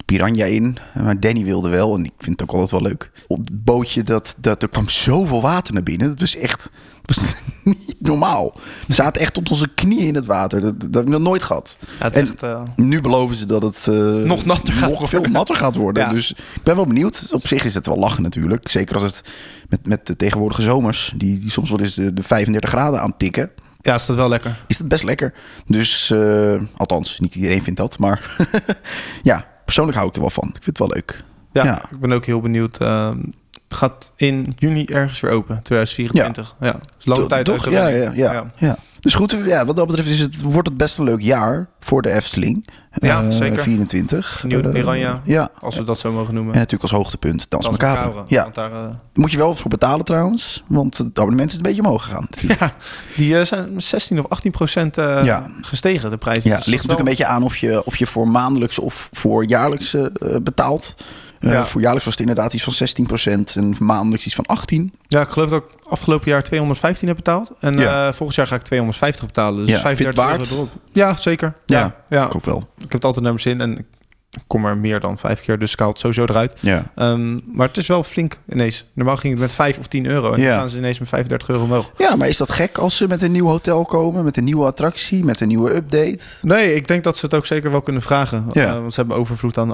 Piranha in. Maar Danny wilde wel. En ik vind het ook altijd wel leuk. Op het bootje, dat, dat, er kwam zoveel water naar binnen. Dat was echt... Dat was niet normaal. We zaten echt tot onze knieën in het water. Dat, dat heb ik nog nooit gehad. Ja, het is En- echt, eh, Nu beloven ze dat het eh, nog natter gaat nog veel natter gaat worden. Ja. Dus ik ben wel benieuwd. Op zich is het wel lachen natuurlijk. Zeker als het met, met de tegenwoordige zomers, die, die soms wel eens de, de 35 graden aantikken, ja, is dat wel lekker. is dat best lekker. Dus, eh, althans, niet iedereen vindt dat. Maar ja, persoonlijk hou ik er wel van. Ik vind het wel leuk. Ja, Ja. ik ben ook heel benieuwd. ehm, het gaat in juni ergens weer open, 2024. Ja, is lange To- tijd toch? uit de ja, running. ja, ja, ja. Dus goed, ja, wat dat betreft is het, wordt het best een leuk jaar voor de Efteling. Ja, Eh, zeker. 24. Nieuwe Eh, Piranha. ja. Als we dat zo mogen noemen. En natuurlijk als hoogtepunt Dans Dans Macabre. Macabre, Ja, want daar, eh, moet je wel voor betalen trouwens. Want het abonnement is een beetje omhoog gegaan. natuurlijk. die eh, zijn 16 of 18 procent eh, Ja. gestegen, de Dus prijs. Ja, het ligt natuurlijk een beetje aan of je, of je voor maandelijks of voor jaarlijks eh, eh, betaalt. Eh, Ja. Voor jaarlijks was het inderdaad iets van 16% en maandelijks iets van 18. Ja, ik geloof dat ik afgelopen jaar 215 heb betaald. En Ja. eh, volgend jaar ga ik 250 betalen. Dus Ja, 35 vind je het euro erop. Ja, zeker. Ja. Ja. Ja. Ik ook wel. Ik heb het altijd naar mijn zin en ik kom er meer dan vijf keer. Dus ik haal het sowieso eruit. Ja. Ehm, maar het is wel flink ineens. Normaal ging het met 5 of 10 euro. En Ja. nu gaan ze ineens met 35 euro omhoog. ja, maar is dat gek als ze met een nieuw hotel komen, met een nieuwe attractie, met een nieuwe update? Nee, ik denk dat ze het ook zeker wel kunnen vragen. Ja. Eh, want ze hebben overvloed aan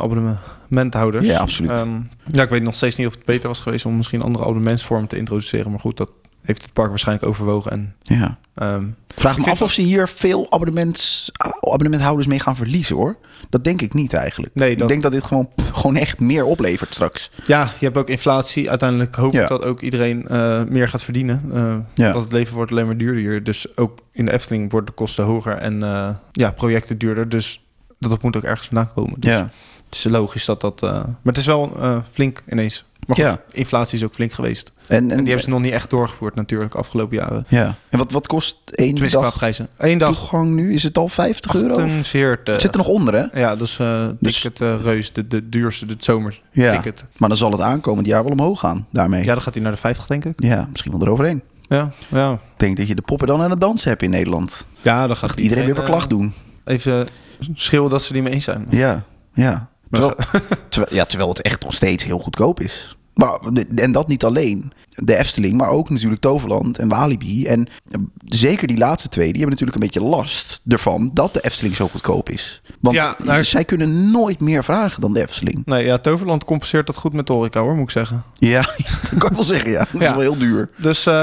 abonnementhouders. Ja, absoluut. Ehm, ja, ik weet nog steeds niet of het beter was geweest om misschien andere abonnementsvormen te introduceren. Maar goed, dat heeft het park waarschijnlijk overwogen. En, ja. ehm, Ik Vraag Ik me vind af of ze hier veel abonnements, eh, abonnementhouders mee gaan verliezen hoor. Dat denk ik niet eigenlijk. nee, Ik dat, denk dat dit gewoon, pff, gewoon echt meer oplevert straks. ja, je hebt ook inflatie. Uiteindelijk hoop ik Ja. dat ook iedereen eh, meer gaat verdienen. Eh, Ja. Want het leven wordt alleen maar duurder. Dus ook in de Efteling worden de kosten hoger en eh, ja, projecten duurder. Dus dat, dat moet ook ergens vandaan komen. Ja. Het is logisch dat dat... eh, maar het is wel eh, flink ineens. Maar goed, Ja. inflatie is ook flink geweest. En, En, en, die hebben ze nog niet echt doorgevoerd natuurlijk afgelopen jaren. ja. en wat, wat kost één Tenminste qua dag prijzen. Eén dag toegang nu? Is het al 50 euro? of- 48. Het zit er nog onder hè? Ja, dat is eh Dus- ticket eh, reus. De, de duurste, het zomers Ja. ticket. Maar dan zal het aankomend jaar wel omhoog gaan daarmee. Ja, dan gaat hij naar de 50 denk ik. Ja, misschien wel eroverheen. Ja, ja. Ik denk dat je de poppen dan aan het dansen hebt in Nederland. Ja, dan gaat Iedereen, weer per klacht doen. eh, even schreeuwen dat ze die mee eens zijn. Ja, ja. Maar Terwijl, terwijl- ja, terwijl het echt nog steeds heel goedkoop is. Maar, de- en dat niet alleen. De Efteling, maar ook natuurlijk Toverland en Walibi. En eh, zeker die laatste twee, die hebben natuurlijk een beetje last ervan dat de Efteling zo goedkoop is. Want eh, Ja, maar- zij kunnen nooit meer vragen dan de Efteling. Nee, ja, Toverland compenseert dat goed met de horeca hoor, moet ik zeggen. Ja, dat kan ik wel zeggen, ja. Dat Ja. is wel heel duur. Dus eh,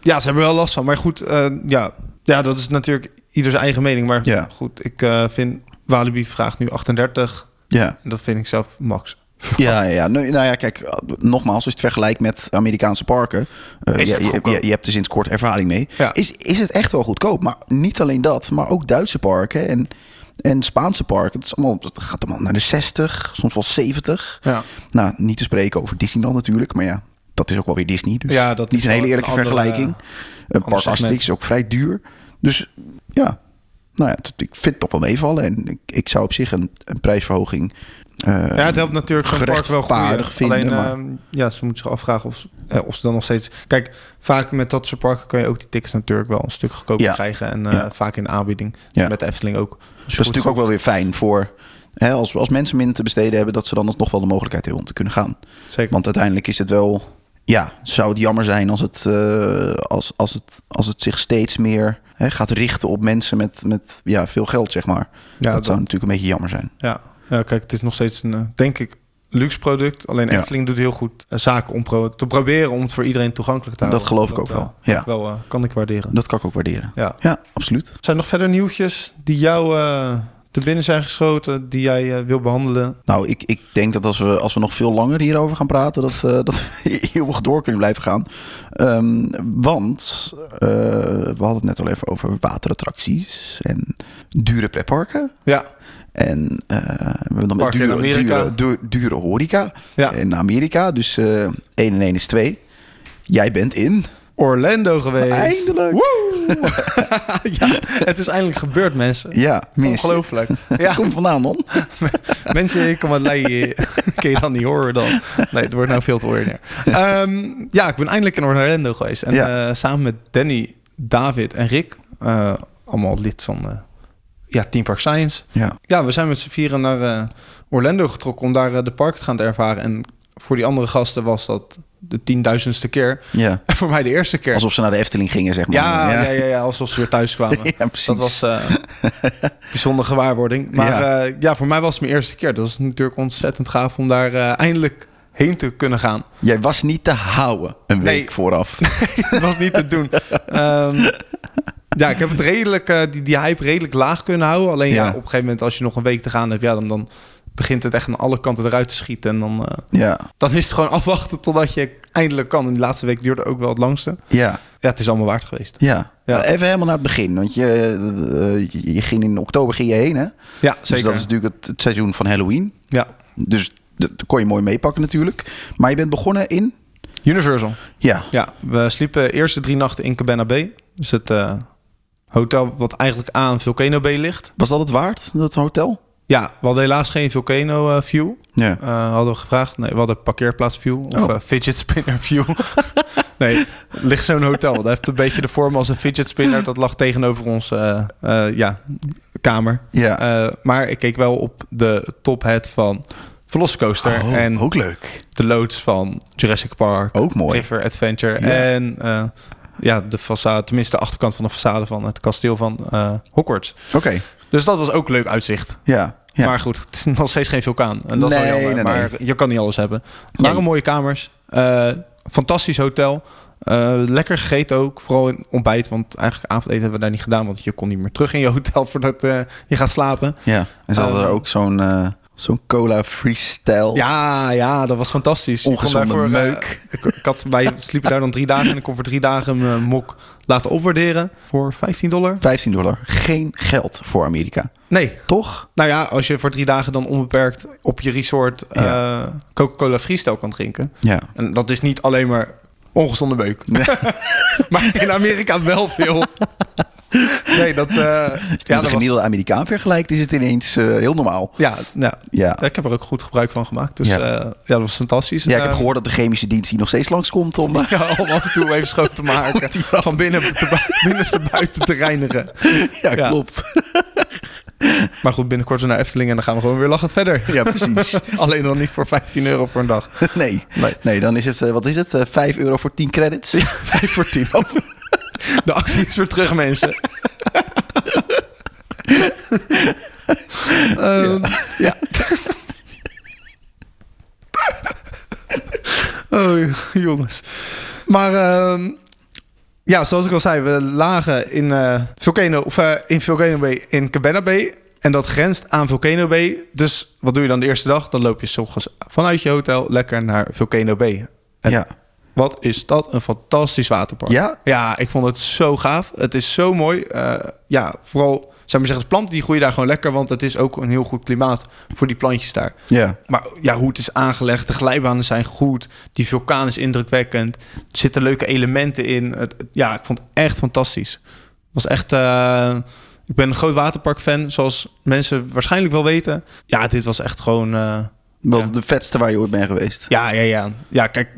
ja, ze hebben er wel last van. Maar goed, eh, ja. ja, dat is natuurlijk ieder zijn eigen mening. Maar Ja. goed, ik eh, vind Walibi vraagt nu 38. Ja, En dat vind ik zelf max. ja, ja. Nou, nou ja, kijk, eh, nogmaals, als je het vergelijkt met Amerikaanse parken. eh, Is je, het je, goedkoop? je- je hebt er sinds kort ervaring mee. Ja. Is, is het echt wel goedkoop? Maar niet alleen dat, maar ook Duitse parken en, en Spaanse parken. Het, is allemaal, het gaat allemaal naar de 60, soms wel 70. Ja, Nou, niet te spreken over Disneyland natuurlijk, maar ja, dat is ook wel weer Disney. Dus ja dat niet een wel hele eerlijke andere- eh, vergelijking. Een ander Park segment. Asterix is ook vrij duur. Dus ja, nou ja, het- ik vind het toch wel meevallen. En ik, ik zou op zich een, een prijsverhoging... eh, Ja, het helpt natuurlijk zo'n park wel gerechtvaardigd goed. vinden, Alleen, maar- ehm, ja, ze moeten zich afvragen of, ze- eh, of ze dan nog steeds... Kijk, vaak met dat soort parken kun je ook die tickets natuurlijk wel een stuk goedkoper Ja. krijgen. En eh, Ja. vaak in de aanbieding. Ja. Met de Efteling ook. Dus dat is natuurlijk ook wel weer fijn voor... Hè, als, als mensen minder te besteden hebben... dat ze dan nog wel de mogelijkheid hebben om te kunnen gaan. Zeker. Want uiteindelijk is het wel... Ja, zou het jammer zijn als het, eh, als, als het, als het zich steeds meer hè, gaat richten op mensen met, met ja, veel geld, zeg maar. ja, dat zou natuurlijk een beetje jammer zijn. Ja. ja, kijk, het is nog steeds een, eh, denk ik, luxe product. Alleen Ja. Efteling doet heel goed eh, zaken om pro- te proberen om het voor iedereen toegankelijk te Dat houden. geloof ik ook wel. Ja, eh, wel eh, kan ik waarderen. dat kan ik ook waarderen. Ja. Ja, absoluut. Zijn er nog verder nieuwtjes die jou eh, te binnen zijn geschoten, die jij eh, wil behandelen? Nou, ik, ik denk dat als we, als we nog veel langer hierover gaan praten, dat, eh, dat we eeuwig door kunnen blijven gaan. Ehm, want eh, we hadden het net al even over waterattracties en dure pretparken. Ja, En eh, we hebben dan met Parken in dure, Amerika. dure, dure, dure horeca Ja. in Amerika. Dus eh 1 en 1 is 2. Jij bent in. Orlando geweest. Eindelijk. Woe! ja, het is eindelijk gebeurd, mensen. Ja, mis. Ongelooflijk. Ja, Kom vandaan, man. mensen, ik kan wat leien. Kun je dan niet horen dan? Nee, het wordt nou veel te ordinair. Ehm, ja, ik ben eindelijk in Orlando geweest. En Ja. eh, samen met Danny, David en Rick, eh, allemaal lid van eh ja, Team Park Science. Ja. Ja, we zijn met z'n vieren naar eh, Orlando getrokken om daar eh, de park te gaan ervaren. En voor die andere gasten was dat de tienduizendste keer. Ja. En voor mij de eerste keer. Alsof ze naar de Efteling gingen, zeg maar. Ja, ja. Ja, ja, alsof ze weer thuis kwamen. Ja, precies. Dat was eh, een bijzondere gewaarwording. Maar Ja. ja. ja, voor mij was het mijn eerste keer. Dat is natuurlijk ontzettend gaaf om daar eh, eindelijk heen te kunnen gaan. Jij was niet te houden een week Nee. vooraf. Dat was niet te doen. Ehm, ja, ik heb het redelijk, eh, die, die hype redelijk laag kunnen houden. Alleen ja. Ja. op een gegeven moment als je nog een week te gaan hebt, ja, dan, dan begint het echt aan alle kanten eruit te schieten. En dan, eh, ja. dan is het gewoon afwachten totdat je eindelijk kan. En die laatste week duurde ook wel het langste. Ja. Ja, het is allemaal waard geweest. Ja. Ja. Even helemaal naar het begin. Want je, eh, je- je ging in oktober ging je heen, hè? Ja, Dus zeker. dat is natuurlijk het, het seizoen van Halloween. Ja, Dus dat dat kon je mooi meepakken natuurlijk. Maar je bent begonnen in... Universal. Ja. Ja, we sliepen eerst de drie nachten in Cabana Bay. Dus het eh, hotel wat eigenlijk aan Volcano Bay ligt. Was dat het waard, dat hotel? Ja, we hadden helaas geen Volcano eh, view. Ja. Eh, hadden we gevraagd. Nee, we hadden parkeerplaats view. Of Oh. eh, fidget spinner view. nee, ligt zo'n hotel. Dat heeft een beetje de vorm als een fidget spinner. Dat lag tegenover ons eh, eh, ja, kamer. Ja. Eh, maar ik keek wel op de tophead van Velocicoaster. Oh, en ook leuk. de loods van Jurassic Park. Ook mooi. River Adventure. Ja. En eh, ja, de façade, tenminste de achterkant van de façade van het kasteel van eh, Hogwarts. Oké. Dus dat was ook leuk uitzicht. Ja. ja. Maar goed, het is nog steeds geen vulkaan. En dat is wel Nee, jammer, nee, maar je kan niet alles hebben. Maar Nee. mooie kamers. eh, fantastisch hotel. eh, lekker gegeten ook, vooral in ontbijt. Want eigenlijk avondeten hebben we daar niet gedaan. Want je kon niet meer terug in je hotel voordat eh, je gaat slapen. ja. En ze hadden Eh, er ook zo'n eh, zo'n cola freestyle. Ja, ja, dat was fantastisch. Je kon Oh. Ongezonde daarvoor, eh, meuk. ik, ik had, wij sliepen daar dan drie dagen en ik kon voor drie dagen mijn mok laten opwaarderen voor 15 dollar. 15 dollar. Geen geld voor Amerika. Nee, Toch? nou ja, als je voor drie dagen dan onbeperkt op je resort eh, Coca-Cola freestyle kan drinken. Ja. En dat is niet alleen maar ongezonde meuk. Nee. maar in Amerika wel veel. nee, dat... eh, Ja, ja, Met de dat was, gemiddelde Amerikaan vergelijkt is het ineens eh, heel normaal. ja, ja, Ja. ik heb er ook goed gebruik van gemaakt. Dus Ja. ja, ja dat was fantastisch. Ja, ik Eh, heb gehoord dat de chemische dienst hier nog steeds langskomt om... eh, Ja, om af en toe even schoon te maken. Van binnen te, bui- binnenste buiten te reinigen. ja, Ja. klopt. Maar goed, binnenkort weer naar Efteling en dan gaan we gewoon weer lachend verder. Ja, precies. Alleen dan niet voor 15 euro voor een dag. Nee. Nee. Nee, dan is het, eh, wat is het? Eh, 5 euro voor 10 credits? 5 voor 10. De actie is weer terug, mensen. Ehm, ja. Oh, jongens. Maar ehm, ja, zoals ik al zei, we lagen in, eh, Volcano, of, eh, in Volcano Bay, in Cabana Bay. En dat grenst aan Volcano Bay. Dus wat doe je dan de eerste dag? Dan loop je 's ochtends vanuit je hotel lekker naar Volcano Bay. En Ja. Wat is dat een fantastisch waterpark. Ja? Ja, ik vond het zo gaaf. Het is zo mooi. Eh, ja, vooral, zou maar zeggen, de planten die groeien daar gewoon lekker. Want het is ook een heel goed klimaat voor die plantjes daar. Ja. Maar ja, hoe het is aangelegd, de glijbanen zijn goed. Die vulkaan is indrukwekkend. Er zitten leuke elementen in. Het, het- ja, ik vond het echt fantastisch. Het was echt... eh, ik ben een groot waterparkfan, zoals mensen waarschijnlijk wel weten. Ja, dit was echt gewoon... eh, Wel Ja. de vetste waar je ooit bent geweest. ja, ja, ja. Ja, kijk,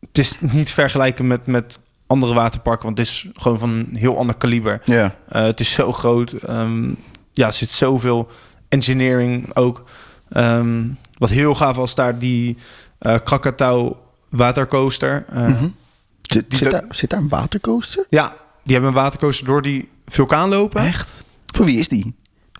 het is niet vergelijken met, met andere waterparken, want het is gewoon van een heel ander kaliber. Ja. Eh, het is zo groot. Ehm, ja, er zit zoveel engineering ook. Ehm, wat heel gaaf was daar die eh Krakatau watercoaster. Eh, Mhm. Zit, Die zit, da- daar, zit daar een watercoaster? Ja, die hebben een watercoaster door die vulkaan lopen. Echt? Voor wie is die?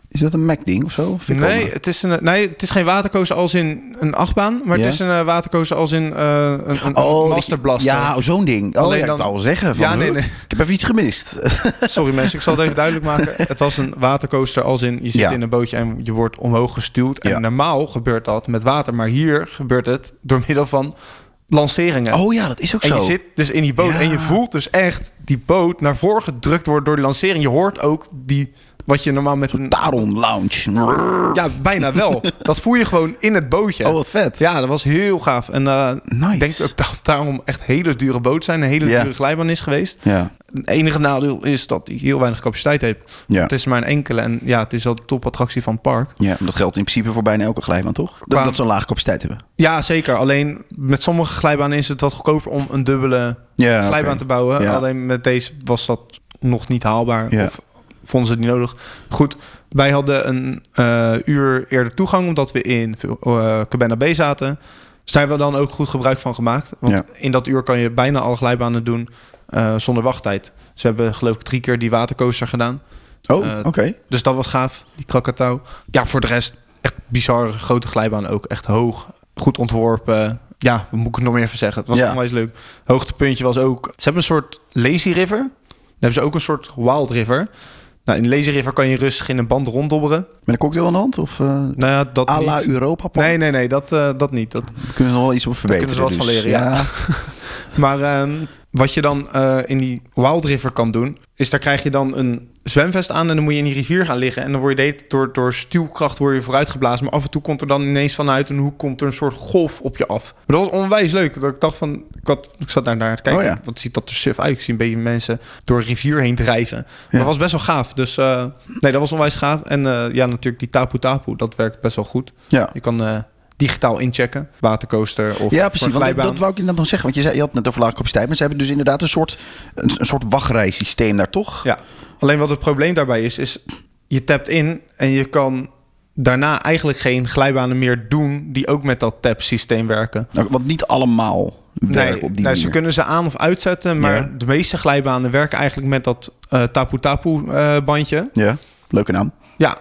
Is dat een Mac-ding of zo? Vind ik Nee wel- het, is een, nee, het is geen watercoaster als in een achtbaan, maar Ja. het is een eh, watercoaster als in eh, een, een Oh, die- masterblaster. Ja, oh, zo'n ding. Oh, Alleen ja, dan- ik wou al zeggen. Van, ja, nee, huh? nee. Ik heb even iets gemist. Sorry mensen, ik zal het even duidelijk maken. Het was een watercoaster als in je zit Ja. in een bootje en je wordt omhoog gestuwd. En Ja. normaal gebeurt dat met water, maar hier gebeurt het door middel van lanceringen. Oh ja, dat is ook en zo. je zit dus in die boot Ja. en je voelt dus echt die boot naar voren gedrukt worden door de lancering. Je hoort ook die wat je normaal met een Taron Lounge. ja, bijna wel. Dat voel je gewoon in het bootje. Oh, wat vet. Ja, dat was heel gaaf. En eh, Nice. ik denk ook dat daarom echt hele dure boot zijn, een hele Ja. dure glijbaan is geweest. Ja. Het enige nadeel is dat die heel weinig capaciteit heeft. Ja. Het is maar een enkele en ja, het is wel de topattractie van het park. Ja, maar dat geldt in principe voor bijna elke glijbaan, toch? Dat, Qua- dat ze een lage capaciteit hebben. Ja, zeker. Alleen met sommige glijbanen is het wat goedkoper om een dubbele Ja, glijbaan te bouwen. Ja. Alleen met deze was dat nog niet haalbaar. Ja. Of vonden ze het niet nodig. Goed, wij hadden een eh, uur eerder toegang omdat we in eh, Cabana Bay zaten. Dus daar hebben we dan ook goed gebruik van gemaakt. Want Ja. in dat uur kan je bijna alle glijbanen doen eh, zonder wachttijd. Ze hebben geloof ik drie keer die watercoaster gedaan. Oh, Eh, oké. Dus dat was gaaf, die Krakatau. Ja, voor de rest echt bizar grote glijbaan ook. Echt hoog, goed ontworpen. Ja, wat moet ik er nog meer van zeggen? Het was Ja. onwijs leuk. Hoogtepuntje was ook... Ze hebben een soort lazy river. Dan hebben ze ook een soort wild river. Nou, in lazy river kan je rustig in een band ronddobberen. Met een cocktail in de hand? Of eh Nou ja, dat à la niet. Europa? Park? Nee, nee, nee, dat, eh, dat niet. Dat, Daar kunnen ze nog wel iets op verbeteren. kunnen ze wel wat van dus, leren, ja. Maar ehm, wat je dan eh, in die Wild River kan doen, is daar krijg je dan een zwemvest aan en dan moet je in die rivier gaan liggen. En dan word je de hele tijd door, door stuwkracht word je vooruitgeblazen. Maar af en toe komt er dan ineens vanuit een hoek komt er een soort golf op je af. Maar dat was onwijs leuk. Dat ik dacht van, ik, had, ik zat daar naar te kijken. Oh ja. Wat ziet dat er suf uit? Ik zie een beetje mensen door een rivier heen drijven. Maar dat was best wel gaaf. Dus eh, nee, dat was onwijs gaaf. En eh, ja, natuurlijk die Tapu Tapu, dat werkt best wel goed. Ja. Je kan eh, digitaal inchecken, watercoaster of Ja, precies. Want dat, glijbaan. dat wou ik inderdaad nog zeggen. Want je, zei, je had het net over lage capaciteit. Maar ze hebben dus inderdaad een soort, een, een soort wachtrijsysteem daar, toch? Ja, alleen wat het probleem daarbij is, is je tapt in en je kan daarna eigenlijk geen glijbanen meer doen die ook met dat tap systeem werken. Nou, Want niet allemaal werken Nee, op die nou, ze manier. kunnen ze aan of uitzetten, maar Ja. de meeste glijbanen werken eigenlijk met dat eh, tapu-tapu-bandje. Ja, leuke naam. ja,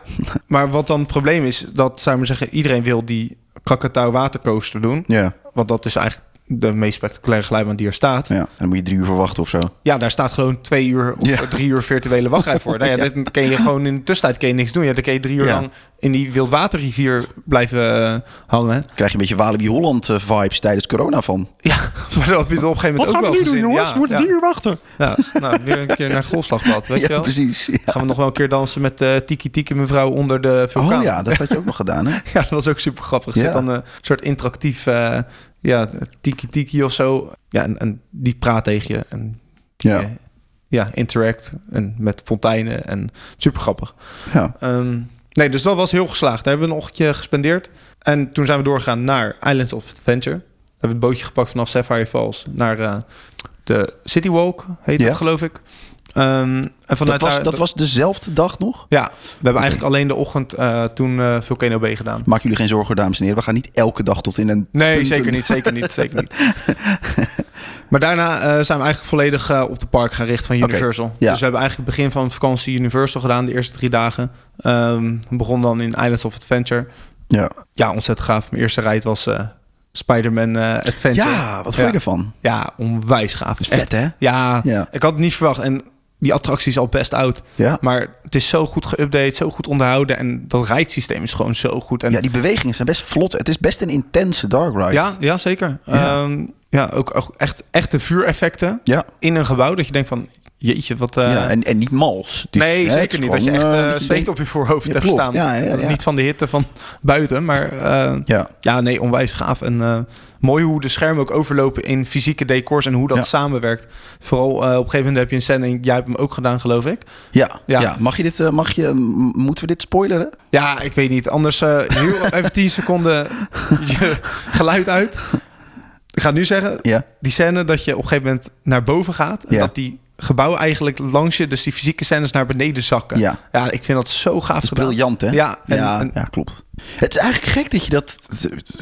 maar wat dan het probleem is, dat zou ik maar zeggen, iedereen wil die Krakatau watercoaster doen, Ja. want dat is eigenlijk de meest spectaculaire glijbaan die er staat. ja. En dan moet je drie uur voor wachten of zo. Ja, daar staat gewoon twee uur of Ja. drie uur virtuele wachtrij voor. Nou ja, dit kun je gewoon in de tussentijd kun je niks doen. Ja, dan kun je drie uur Ja. lang in die wildwaterrivier blijven eh, hangen. hè. Dan krijg je een beetje Walibi Holland eh, vibes tijdens corona van. Ja, maar dat heb je het op een gegeven moment ook wel gezien. ja, ja. wachten. Ja, nou, weer een keer naar het golfslagpad, weet ja, je wel. precies. Ja. Gaan we nog wel een keer dansen met eh Tiki Tiki mevrouw onder de vulkaan. Oh ja, dat had je ook nog gedaan, hè? Ja, dat was ook super grappig. Er zit Ja. dan een soort interactief eh, ja, Tiki Tiki of zo. Ja, en, en die praat tegen je en Ja. Eh, ja, interact en met fonteinen en super grappig. ja. Ehm, nee, dus dat was heel geslaagd. Daar hebben we een ochtendje gespendeerd. En toen zijn we doorgegaan naar Islands of Adventure. We hebben het bootje gepakt vanaf Sapphire Falls naar eh, de City Walk, heet Ja. dat geloof ik. Ehm, en vanuit Dat, was, daar- dat was dezelfde dag nog? Ja, we hebben eigenlijk alleen de ochtend eh, toen eh, Volcano B gedaan. Maak jullie geen zorgen, dames en heren. We gaan niet elke dag tot in een... Nee, punten. zeker niet, zeker niet, zeker niet. maar daarna eh, zijn we eigenlijk volledig eh, op de park gaan richten van Oké, Universal. ja. Dus we hebben eigenlijk het begin van de vakantie Universal gedaan, de eerste drie dagen. Ehm begon dan in Islands of Adventure. Ja, Ja, ontzettend gaaf. Mijn eerste ride was eh Spider-Man eh, Adventure. ja wat vond je Ja. ervan? Ja, onwijs gaaf. Dat is Echt, vet, hè? ja, Ja. ik had het niet verwacht. En die attractie is al best oud. Ja. Maar het is zo goed geüpdate, zo goed onderhouden. En dat rijdsysteem is gewoon zo goed. En ja, die bewegingen zijn best vlot. Het is best een intense dark ride. Ja, ja zeker. Ja. Ja, ja ook, ook echt, echt de vuureffecten Ja. in een gebouw. Dat je denkt van, jeetje, wat... eh, ja en, en niet mals. Het is- nee, hè, het zeker is niet. Dat je echt gewoon, eh, eh dat je steekt denkt- op je voorhoofd Ja, hebt klopt. staan. Ja, ja, dat is ja. niet van de hitte van buiten, maar... eh, Ja. ja, nee, onwijs gaaf. En eh, mooi hoe de schermen ook overlopen in fysieke decors en hoe dat Ja. samenwerkt. Vooral eh, op een gegeven moment heb je een scène, en jij hebt hem ook gedaan, geloof ik. Ja, ja. Ja. Mag je dit, eh, mag je, m- moeten we dit spoileren? Ja, ik weet niet. Anders eh heel even 10 seconden je geluid uit. Ik ga het nu zeggen, Ja. die scène dat je op een gegeven moment naar boven gaat. En Ja. dat die gebouwen eigenlijk langs je, dus die fysieke scènes naar beneden zakken. Ja. ja ik vind dat zo gaaf Dat is gedaan. briljant, hè? Ja, en- ja, en- ja, klopt. Het is eigenlijk gek dat je dat...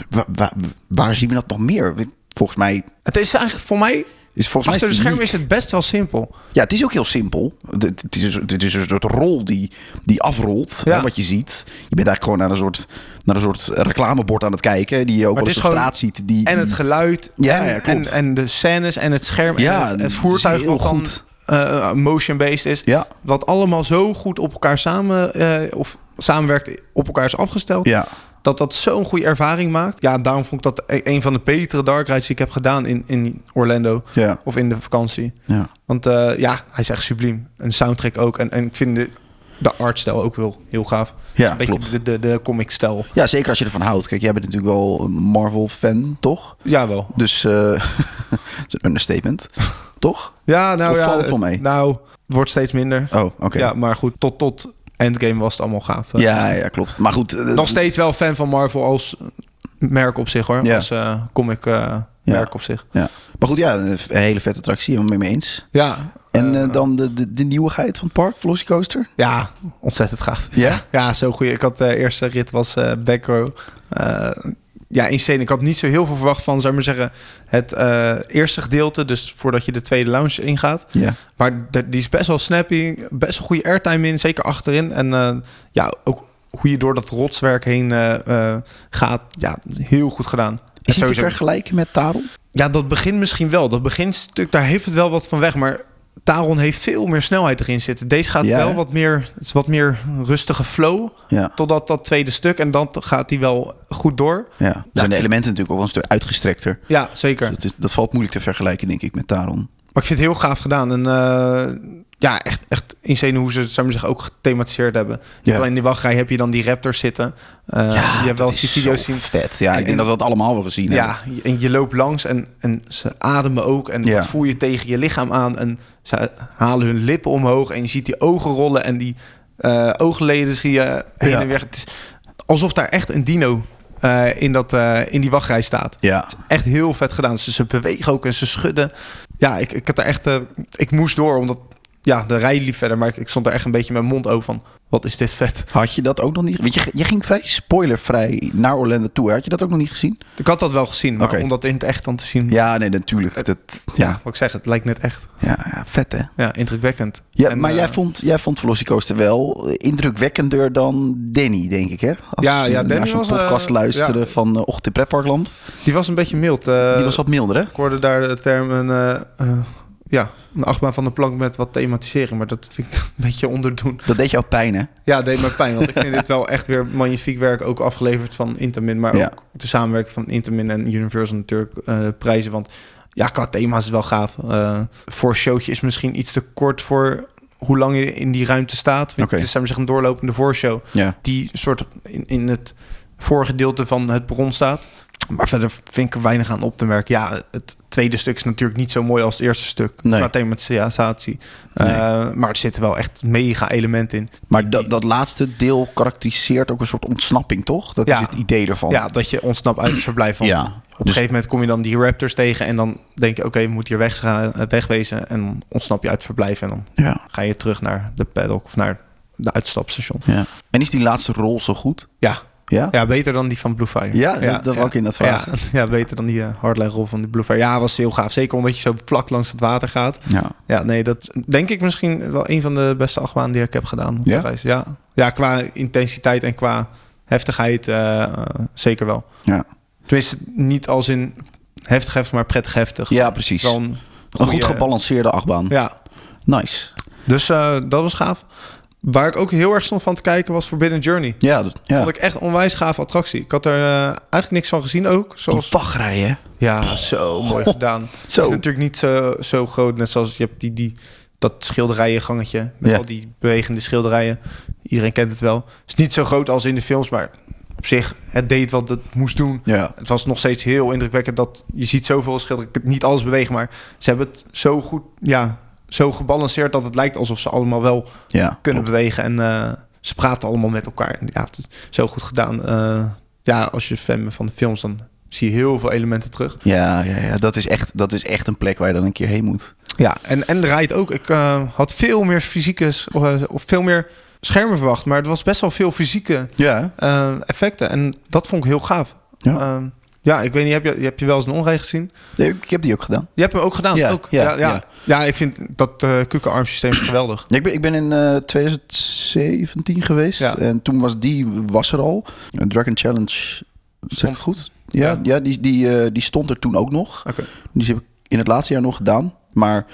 Waar, waar, waar zien we dat nog meer? Volgens mij Het is eigenlijk voor mij, is volgens mij is achter de het schermen uniek. is het best wel simpel. Ja, het is ook heel simpel. Het- Het is, het is een soort rol die, die afrolt, Ja. hè, wat je ziet. Je bent eigenlijk gewoon naar een soort, naar een soort reclamebord aan het kijken... die je ook Maar wel het eens is op gewoon- straat ziet. Die, En het die- geluid Ja, en, ja, en, klopt. en de scènes en het scherm Ja, en het, het het is voertuig heel wat dan goed. eh, motion-based is. Ja, Wat allemaal zo goed op elkaar samen, eh, of samenwerkt, op elkaar is afgesteld. ja. dat dat zo'n goede ervaring maakt. Ja, daarom vond ik dat e- een van de betere dark rides die ik heb gedaan in, in Orlando ja, of in de vakantie. ja. Want eh, ja, hij is echt subliem. En de soundtrack ook. En, en ik vind de, de artstijl ook wel heel gaaf. ja Een beetje klopt. de, de, de comic-stijl. Ja, zeker als je ervan houdt. Kijk, jij bent natuurlijk wel een Marvel-fan, toch? Jawel. Dus eh dat is een understatement, toch? Ja, nou Of ja. valt het wel mee? Nou, het wordt steeds minder. Oh, oké. Ja, maar goed, tot, tot Endgame was het allemaal gaaf. Ja, ja, klopt. Maar goed, eh, Nog steeds wel fan van Marvel als merk op zich hoor. Ja. Als eh, comic eh, merk op zich. maar goed, ja, een hele vette attractie, helemaal mee eens. Ja. En eh, eh, dan de, de, de nieuwigheid van het park, Velocicoaster. Ja, ontzettend gaaf. Ja? Ja, zo goed. Ik had de eerste rit was eh back row. Eh, ja, insane. Ik had niet zo heel veel verwacht van, zou ik maar zeggen, het eh, eerste gedeelte. Dus voordat je de tweede lounge ingaat. Ja. Maar d- die is best wel snappy, best wel goede airtime in, zeker achterin. En eh, ja, ook hoe je door dat rotswerk heen eh, eh, gaat, ja, heel goed gedaan. En Is het te sowieso- vergelijken met Taron? Ja, dat begin misschien wel. Dat beginstuk, daar heeft het wel wat van weg. Maar Taron heeft veel meer snelheid erin zitten. Deze gaat Ja, hè? wel wat meer, het is wat meer rustige flow. Ja. Totdat dat tweede stuk. En dan gaat die wel goed door. ja. ik Dan zijn de vind- elementen natuurlijk ook wel een stuk uitgestrekter. Ja, zeker. Dat, is- dat valt moeilijk te vergelijken, denk ik, met Taron. Maar ik vind het heel gaaf gedaan. En eh, ja, echt, echt insane hoe ze het zou ik maar zeggen, ook gethematiseerd hebben. Ja. Alleen in die wachtrij heb je dan die raptors zitten. Eh, je hebt wel dat is CTO's zo zien. vet. Ja, ik En- denk dat we dat allemaal wel gezien hebben. Ja, je- en je loopt langs en, en ze ademen ook. En Ja. dat voel je tegen je lichaam aan. En ze halen hun lippen omhoog. En je ziet die ogen rollen. En die eh, oogleden zie je heen Ja. en weer. Het is alsof daar echt een dino eh, in, dat, eh, in die wachtrij staat. Ja. Echt heel vet gedaan. Ze, ze bewegen ook en ze schudden. Ja, ik, ik had er echt... eh, ik moest door, omdat... Ja, de rij liep verder. Maar ik, ik stond er echt een beetje met mijn mond open van... Wat is dit vet? Had je dat ook nog niet? Want je, je ging vrij spoilervrij naar Orlando toe. hè? Had je dat ook nog niet gezien? Ik had dat wel gezien. Maar Oké. om dat in het echt dan te zien... Ja, nee, natuurlijk. Dat, ja, ja. wat ik zeg, het lijkt net echt. Ja, ja, vet hè. Ja, indrukwekkend. Ja, En, maar eh, jij vond, jij vond Velocicoaster wel indrukwekkender dan Danny, denk ik hè? Als Ja, ja, we naar Danny zo'n was, eh, podcast luisteren ja. van uh, Ochtend in Pretparkland. Die was een beetje mild. eh, Die was wat milder hè? Ik hoorde daar de term een, eh, eh, ja, een achtbaan van de plank met wat thematisering. Maar dat vind ik een beetje onderdoen. Dat deed jou pijn hè? Ja, het deed mij pijn. Want ik vind dit wel echt weer magnifiek werk. Ook afgeleverd van Intamin. Maar Ja. ook de samenwerking van Intamin en Universal natuurlijk eh, prijzen. Want ja, qua thema is het wel gaaf. Eh, voor een showtje is misschien iets te kort voor hoe lang je in die ruimte staat. Want Oké. Het is zou ik maar zeggen, een doorlopende voorshow. Ja. die soort in, in het voorgedeelte van het bron staat. Maar verder vind ik er weinig aan op te merken. Ja, het tweede stuk is natuurlijk niet zo mooi als het eerste stuk. Nee. Qua thematisatie. Eh, maar er zitten wel echt mega elementen in. Maar dat, dat laatste deel karakteriseert ook een soort ontsnapping toch? Dat Ja. is het idee ervan. Ja, dat je ontsnapt uit het verblijf. Want Ja. op een Dus- gegeven moment kom je dan die raptors tegen... en dan denk je, oké, we moeten hier weg, eh, wegwezen. En dan ontsnap je uit het verblijf. En dan ja. ga je terug naar de paddock of naar de uitstapstation. Ja. En is die laatste rol zo goed? Ja, Ja? Ja, beter dan die van Blue Fire. Ja, dat- dat wou ik inderdaad vragen. Ja, ja, beter dan die eh, hardline rol van die Blue Fire. Ja, was heel gaaf. Zeker omdat je zo vlak langs het water gaat. Ja. Ja, nee, dat is denk ik misschien wel een van de beste achtbanen die ik heb gedaan. op de Ja? reis. Ja. ja, qua intensiteit en qua heftigheid eh, eh, zeker wel. Ja. Tenminste, niet als in heftig heftig, maar prettig heftig. Ja, precies. Wel een Een goed goeie- gebalanceerde achtbaan. Ja, Nice. dus eh, dat was gaaf. Waar ik ook heel erg stond van te kijken was Forbidden Journey. Ja, dat, ja. Vond ik echt een onwijs gave attractie. Ik had er eh, eigenlijk niks van gezien ook. Die Zoals wachtrij, hè? Ja, zo mooi gedaan. Het is Zo. natuurlijk niet zo, zo groot, net zoals je hebt die, die, dat schilderijengangetje met Ja. al die bewegende schilderijen. Iedereen kent het wel. Het is niet zo groot als in de films, maar op zich, het deed wat het moest doen. Ja. Het was nog steeds heel indrukwekkend dat je ziet zoveel schilderijen, niet alles bewegen, maar ze hebben het zo goed, ja, zo gebalanceerd dat het lijkt alsof ze allemaal wel ja. kunnen bewegen en eh, ze praten allemaal met elkaar. Ja, het is zo goed gedaan. Eh, ja, als je fan bent van de films, dan zie je heel veel elementen terug. Ja, ja, ja. Dat, is echt, dat is echt een plek waar je dan een keer heen moet. Ja, en, en de ride ook. Ik eh, had veel meer fysieke, s- of, eh, of veel meer schermen verwacht. Maar het was best wel veel fysieke Ja. eh, effecten. En dat vond ik heel gaaf. Ja. Ehm, ja ik weet niet, heb je, heb je wel eens een onrij gezien? ik heb die ook gedaan. Je hebt hem ook gedaan, Ja, ook. ja, ja, ja. ja. Ja, ik vind dat eh kukenarmsysteem geweldig. Ja, ik, ben, ik ben in eh, 2017 geweest. Ja. En toen was die was er al. Een Dragon Challenge. Zeg Stond- ik het goed? Ja, ja. Ja. die, die, eh, die stond er toen ook nog. Oké. Dus die heb ik in het laatste jaar nog gedaan. Maar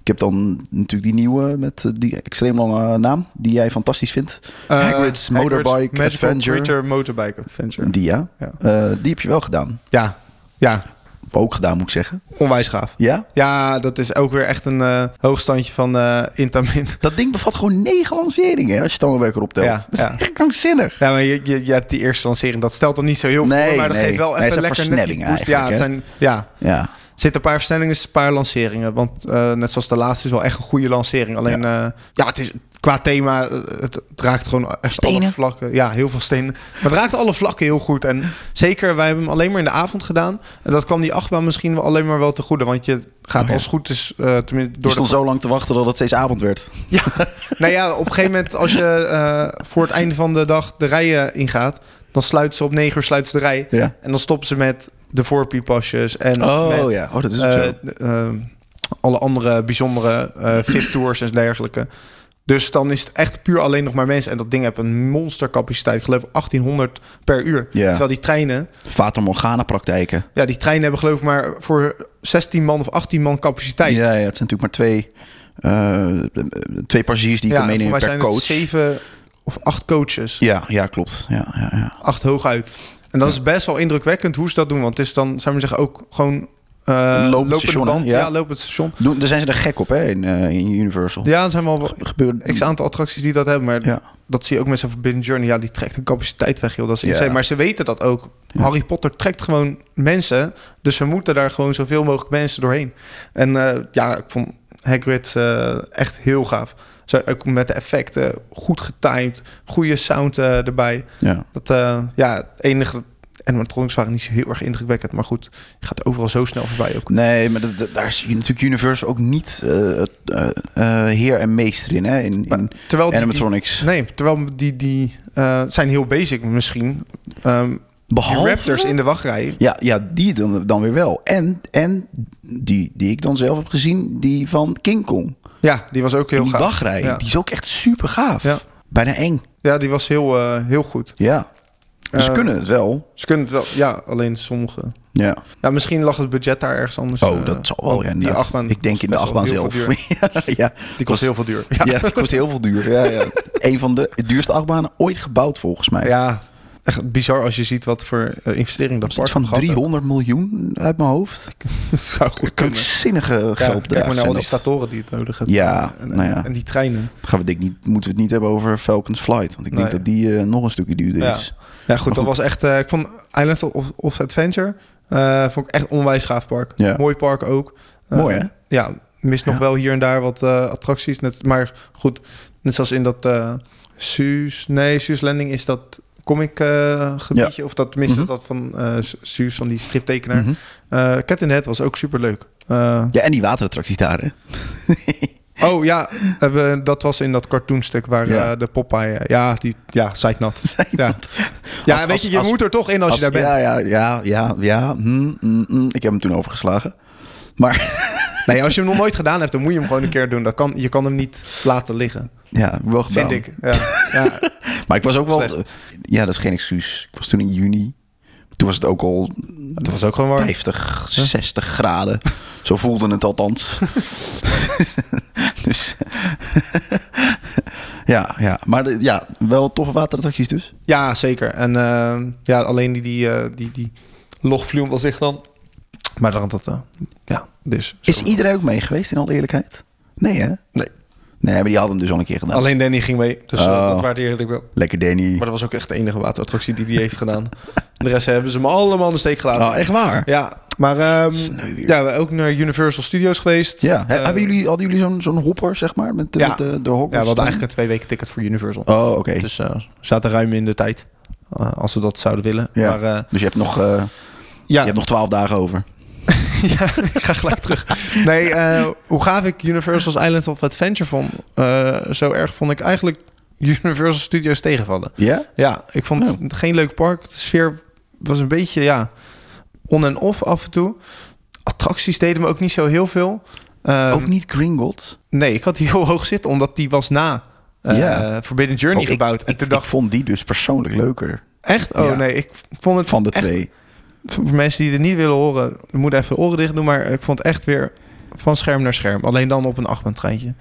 ik heb dan natuurlijk die nieuwe met eh, die extreem lange naam. Die jij fantastisch vindt. Eh, Hagrid's Motorbike Magical Adventure. Creature Motorbike Adventure. Die ja. Ja. Eh, die heb je wel gedaan. Ja, ja, Of ook gedaan moet ik zeggen. onwijs gaaf. Ja? Ja, dat is ook weer echt een eh, hoogstandje van eh, Intamin. Dat ding bevat gewoon negen lanceringen. hè, Als je het allemaal bij elkaar optelt. Ja, dat is ja. echt krankzinnig. Ja, maar je, je, je hebt die eerste lancering. Dat stelt dan niet zo heel Nee, veel, maar dat nee. geeft wel Nee, even het zijn lekker net die versnellingen boost. Ja, het zijn, eigenlijk, ja, Ja. er zitten een paar versnellingen, een paar lanceringen. Want eh, net zoals de laatste is wel echt een goede lancering. Alleen, ja, ja het is qua thema, eh, het, het raakt gewoon echt alle Stenen. vlakken. Ja, heel veel stenen. Maar het raakt alle vlakken heel goed. En zeker, wij hebben hem alleen maar in de avond gedaan. En dat kwam die achtbaan misschien wel alleen maar wel te goede. Want je gaat Oh ja. als het goed is, eh, tenminste Je door stond zo lang te wachten dat het steeds avond werd. Nou ja, op een gegeven moment als je eh, voor het einde van de dag de rijen ingaat, dan sluiten ze op 9 uur sluiten ze de rij. Ja. En dan stoppen ze met de voorpiepasjes en Oh met, ja, oh, dat is ook eh, zo. de- ehm, alle andere bijzondere eh VIP-tours en dergelijke. Dus dan is het echt puur alleen nog maar mensen. En dat ding heeft een monstercapaciteit. Ik geloof 1800 per uur. Ja. Terwijl die treinen... Fata Morgana praktijken. Ja, die treinen hebben geloof ik maar voor 16 man of 18 man Ja, capaciteit. ja, het zijn natuurlijk maar twee, eh, twee passagiers die je kan en voor meenemen mij per zijn coach. het zeven of acht coaches. Ja, ja, klopt. Ja, ja, ja. acht hooguit. En dat is best wel indrukwekkend hoe ze dat doen. Want het is dan, zou je zeggen, ook gewoon eh lopend station, hè? band. Ja, Ja. lopend station. Doen, daar zijn ze er gek op, hè, in, eh, in Universal. Ja, er zijn wel Gebeurt... x aantal attracties die dat hebben. Maar Ja. dat zie je ook met zo'n Forbidden Journey. Ja, die trekt een capaciteit weg, joh. Dat is Ja. insane. Maar ze weten dat ook. Ja. Harry Potter trekt gewoon mensen. Dus ze moeten daar gewoon zoveel mogelijk mensen doorheen. En eh, ja, ik vond Hagrid eh, echt heel gaaf. Zo, ook met de effecten. Goed getimed. Goede sound eh, erbij. Ja. Dat, eh, ja, het enige... animatronics waren niet zo heel erg indrukwekkend. Maar goed, je gaat overal zo snel voorbij ook. Nee, maar dat, dat- daar is natuurlijk Universal ook niet eh, eh, eh, heer en meester in, hè, in, Maar in terwijl die, die- animatronics. nee, terwijl die... die eh, het zijn heel basic misschien. Ehm, die Behalve... raptors in de wachtrij. Ja, ja die dan, dan weer wel. En, en die, die ik dan zelf heb gezien, die van King Kong. Ja, die was ook heel die gaaf. wachtrij, Ja. die is ook echt super gaaf. Ja. Bijna eng. Ja, die was heel, eh, heel goed. Ja. Dus ze Eh, kunnen het wel. Ze kunnen het wel... Ja, alleen sommige... Ja. Ja, misschien lag het budget daar ergens anders. Oh, dus, eh, dat zal wel. want Ja, die inderdaad. achtbaan ik denk was in de best wel achtbaan heel zelf. veel duur. ja. Die kost heel veel duur. Ja, ja, die kost heel veel duur. Ja, ja. Een van de duurste achtbanen ooit gebouwd volgens mij. ja, echt bizar als je ziet wat voor eh, investering dat Dat is park van gehad heeft. 300 miljoen uit mijn hoofd. Dat zou goed kunnen. Krankzinnige Ja, geldbedrag. Kijk maar naar zijn al die dat. statoren die het nodig hebben. Ja, en, nou ja. en die treinen. Dan gaan we denk ik niet, moeten we het niet hebben over Falcon's Flight. Want ik denk Nee. dat die eh, nog een stukje duurder Ja. is. Ja, goed, dat goed. was echt... eh, ik vond Island of, of Adventure eh, vond ik echt een onwijs gaaf park. Ja. Mooi park ook. Eh, Mooi, hè? Ja, mist nog Ja. wel hier en daar wat eh, attracties. Net, maar goed, net zoals in dat eh Suus... Nee, Suus Landing is dat comic eh, gebiedje. Of dat tenminste Mhm. dat van eh Suus, van die striptekenaar. Mhm. Eh, Cat in the Hat was ook superleuk. Eh Ja, en die waterattracties daar, hè? Nou, Oh ja, eh, we- dat was in dat cartoonstuk waar Ja. eh, de Popeye... eh, ja, die, ja, zeiknat. Ja, ja Als- weet als- je, je als- moet er toch in als, je daar bent. Ja, ja, ja, ja, ja. hm, hm, hm. Ik heb hem toen overgeslagen. Maar Nee, als je hem nog nooit gedaan hebt, dan moet je hem gewoon een keer doen. Dat kan, je kan hem niet laten liggen, ja, wel gedaan. vind ik. Ja, ja. Maar ik was ook wel... Slecht. Ja, dat is geen excuus. Ik was toen in juni. Toen was het ook al Het was ook gewoon warm. 50, 60 graden. Zo voelde het althans. dus ja, ja. Maar de- ja, wel toffe waterattracties dus. Ja, zeker. En eh, ja, alleen die, die, eh, die, die logvloem was zich dan. Maar dan dat, eh, ja, dus. Is iedereen ook mee geweest in alle eerlijkheid? Nee hè? Nee. Nee, maar die hadden hem dus al een keer gedaan. Alleen Danny ging mee, dus eh, Oh. dat waardeerde ik wel. Lekker Danny. Maar dat was ook echt de enige waterattractie die hij heeft gedaan. De rest hebben ze hem allemaal in de steek gelaten. Oh, echt waar? Ja, maar ehm, Sneu weer. ja, we zijn ook naar Universal Studios geweest. Ja, he- Eh, hebben jullie, hadden jullie zo'n zo'n hopper, zeg maar, met, de- Ja. met de, de Hogwarts? Ja, we hadden stand? eigenlijk een twee weken ticket voor Universal. Oh, oké. Dus, Dus eh, we zaten ruim in de tijd, eh, als we dat zouden willen. Ja. Maar eh, je, hebt nog, eh, ja, je hebt nog twaalf dagen over. ja, ik ga gelijk terug. Nee, eh, hoe gaaf ik Universal's Island of Adventure vond, eh, zo erg vond ik eigenlijk Universal Studios tegenvallen. Ja? Ja, ik vond het Nou. geen leuk park. De sfeer was een beetje ja, on en off af en toe. Attracties deden me ook niet zo heel veel. Ehm, ook niet Gringotts. Nee, ik had die heel hoog zitten, omdat die was na eh Ja. Forbidden Journey Oh, ik- gebouwd. en Ik, toen dacht ik vond die dus persoonlijk leuker echt, oh ja. nee, ik vond het van de echt- twee. Voor mensen die het niet willen horen, we moeten even de oren dicht doen. Maar ik vond het echt weer van scherm naar scherm. Alleen dan op een achtbaantreintje.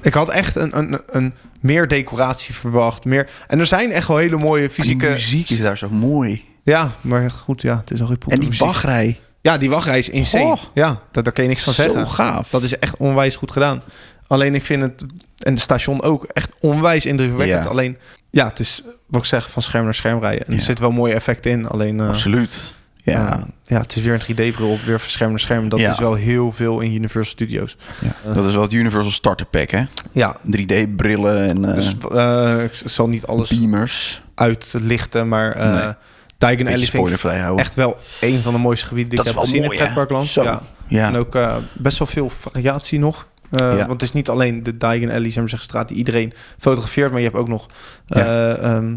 Ik had echt een, een, een meer decoratie verwacht. Meer... En er zijn echt wel hele mooie Maar Ah, die fysieke... muziek is daar zo mooi. Ja, maar goed, ja, het is al Harry Potter En die muziek. wachtrij. Ja, die wachtrij is insane. Oh. Ja, daar, daar kan je niks van Zo zeggen. gaaf. Dat is echt onwijs goed gedaan. Alleen ik vind het, en het station ook, echt onwijs indrukwekkend. Ja. Alleen, ja, het is wat ik zeg, van scherm naar scherm rijden. En Ja. er zitten wel mooie effecten in. Alleen, eh, Absoluut. Ja. Eh, ja, het is weer een 3D-bril op, weer verscherm naar scherm. Dat Ja. is wel heel veel in Universal Studios. Ja. Dat is wel het Universal Starter Pack, hè? Ja, 3D-brillen en eh, dus eh, ik zal niet alles beamers. uitlichten, maar eh Nee. Diagon Alley Beetje vind ik spoilervrij houden. echt wel een van de mooiste gebieden die Dat ik is heb wel gezien mooi, in het hè? pretparkland. Zo. Ja. Ja. En ook eh, best wel veel variatie nog. Eh, Ja. Want het is niet alleen de Diagon Alley, zeg maar, zeg, straat die iedereen fotografeert, maar je hebt ook nog Ja. eh, ehm,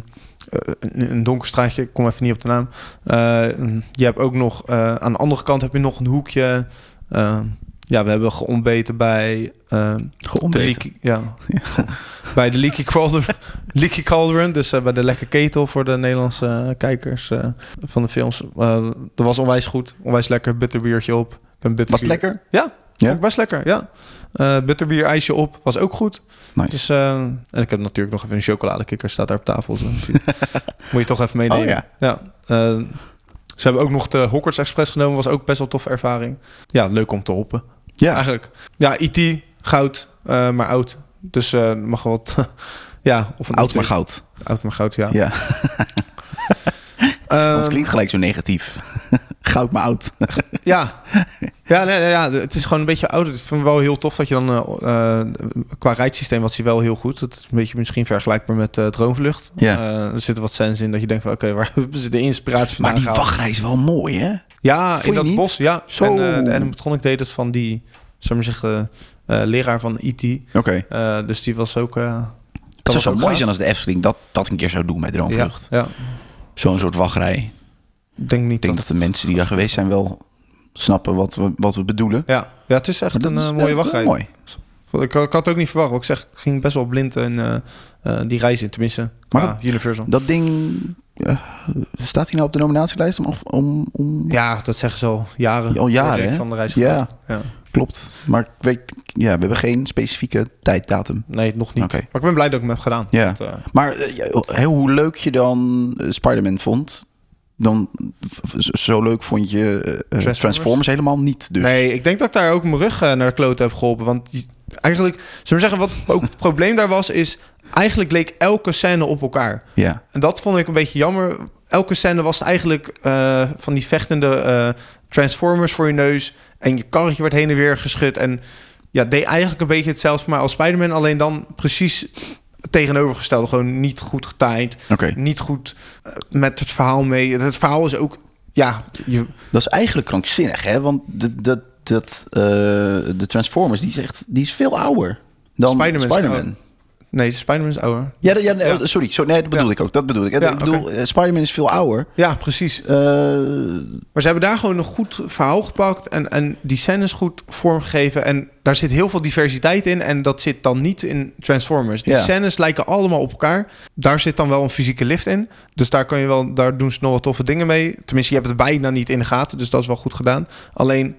eh, een, een donker straatje, ik kom even niet op de naam. Eh, je hebt ook nog, eh, aan de andere kant heb je nog een hoekje. Eh, ja, we hebben geontbeten bij eh, de Geontbeten. Leaky, ja, bij de Leaky Cauldron, Leaky Cauldron dus eh, bij de Lekker Ketel voor de Nederlandse eh, kijkers eh, van de films. Eh, dat was onwijs goed, onwijs lekker, bitterbiertje op. Ik ben Was bitterbier- het lekker? Ja? ja? Vond ik best lekker, ja. Eh butterbier ijsje op, was ook goed. Nice. Dus, eh, en ik heb natuurlijk nog even een chocoladekikker, staat daar op tafel. Zo. Dus die Moet je toch even meenemen. Oh, ja. eh, ze hebben ook nog de Hogwarts Express genomen, was ook best wel toffe ervaring. Ja, leuk om te hoppen. Ja. Eigenlijk. Ja, IT, goud, eh, maar oud. Dus eh, mag wel wat... ja, of een Oud avontuur. maar goud. Oud maar goud, ja. Ja. Ehm, Dat klinkt gelijk zo negatief. goud maar oud. Ja, ja, nee, nee, ja het is gewoon een beetje ouder. Ik vind het wel heel tof dat je dan... eh, eh, qua rijdsysteem was hij wel heel goed. Dat is een beetje misschien vergelijkbaar met eh Droomvlucht. Ja. Eh, er zitten wat sens in dat je denkt van... Oké, waar hebben ze de inspiratie Maar vandaan die gehaald? wachtrij is wel mooi, hè? Ja, Vond in je dat niet? bos. Ja. Zo. En eh, de animatronic deed het van die... Zou maar zeggen, eh, leraar van E.T. Oké. Eh, dus die was ook... eh, kan Het zou was zo ook mooi gaaf. zijn als de Efteling dat, dat een keer zou doen bij Ja, Droomvlucht. ja, Zo'n soort wachtrij. ik denk niet Ik denk dat de mensen die daar geweest zijn wel snappen wat we, wat we bedoelen. Ja. ja, het is echt Maar een dat is eh, wel mooie wachtrij. Mooi. Ik, ik had het ook niet verwacht. want Ik zeg, ik ging best wel blind in eh, eh, die reis in. Tenminste, maar Maar Universal. Dat ding, eh, staat hij nou op de nominatielijst? Om, om, om... Ja, dat zeggen ze al jaren. Al jaren, Project hè? Van de reis Ja, Ja. klopt. Maar ik weet, ja, we hebben geen specifieke tijddatum. Nee, nog niet. Oké. Maar ik ben blij dat ik hem heb gedaan. Ja. Want, eh, Maar eh, ja, hè, hoe leuk je dan eh, Spider-Man vond, dan v- zo leuk vond je eh, eh, Transformers. helemaal niet. Dus. Nee, ik denk dat ik daar ook mijn rug eh, naar de klote heb geholpen. Want je- eigenlijk, zullen we zeggen, wat ook het probleem daar was, is eigenlijk leek elke scène op elkaar. Ja. En dat vond ik een beetje jammer. Elke scène was eigenlijk eh, van die vechtende eh, Transformers voor je neus. En je karretje werd heen en weer geschud. En ja, deed eigenlijk een beetje hetzelfde voor mij als Spider-Man. Alleen dan precies het tegenovergestelde. Gewoon niet goed getimed. Oké, Niet goed eh, met het verhaal mee. Het verhaal is ook... Ja, je, dat is eigenlijk krankzinnig, hè? Want de, dat dat eh, de Transformers, die is, echt, die is veel ouder dan Spider-Man Spider-Man. is ouder. nee, Spider-Man is ouder. Ja, ja, nee, oh, Ja. sorry, sorry, nee, dat bedoel Ja. ik ook. Dat bedoel ik. Ja, ik bedoel, eh, Spider-Man is veel ouder. Ja, precies. Eh, Maar ze hebben daar gewoon een goed verhaal gepakt en, en die scènes goed vormgegeven. En daar zit heel veel diversiteit in en dat zit dan niet in Transformers. Die Ja. scènes lijken allemaal op elkaar. Daar zit dan wel een fysieke lift in. Dus daar, kan je wel, daar doen ze nog wat toffe dingen mee. Tenminste, je hebt het bijna niet in de gaten, dus dat is wel goed gedaan. Alleen,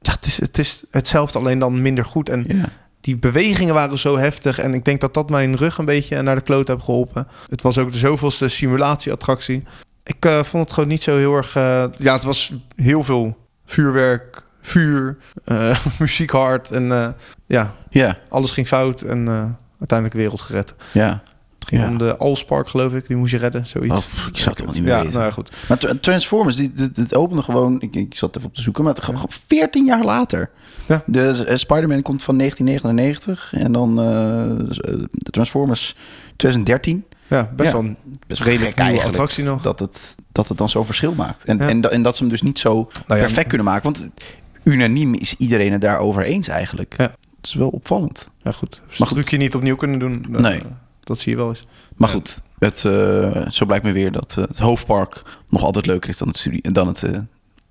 ja, het, is, het is hetzelfde, alleen dan minder goed. En ja. die bewegingen waren zo heftig. En ik denk dat dat mijn rug een beetje naar de kloot heb geholpen. Het was ook de zoveelste simulatieattractie. Ik eh, vond het gewoon niet zo heel erg... eh, ja, het was heel veel vuurwerk, vuur, eh, muziek hard. En eh, ja, ja, alles ging fout. En eh, uiteindelijk de wereld gered. ja. Het ging Ja. om de Allspark, geloof ik. Die moest je redden, zoiets. Oh, pff, ik zou het al niet meer ja, weten. nou ja, goed. Maar Tra- Transformers, die, die- het opende gewoon... Ik, ik zat even op te zoeken, maar het gewoon 14 jaar later. Ja. De eh, Spider-Man komt van 1999 en dan eh, de Transformers 2013. Ja, best Ja. wel een Best redelijk wel redelijk nieuwe eigenlijk attractie nog. dat het, dat het dan zo'n verschil maakt. En, Ja. en, da- en dat ze hem dus niet zo ja, perfect kunnen maken. Want unaniem is iedereen het daarover eens eigenlijk. Ja. Het is wel opvallend. Ja, goed. Maar Mag goed. het je niet opnieuw kunnen doen. Dat- Nee. Dat zie je wel eens. Maar Ja. goed, het, eh, zo blijkt me weer dat eh, het hoofdpark nog altijd leuker is dan het, studie dan het, eh,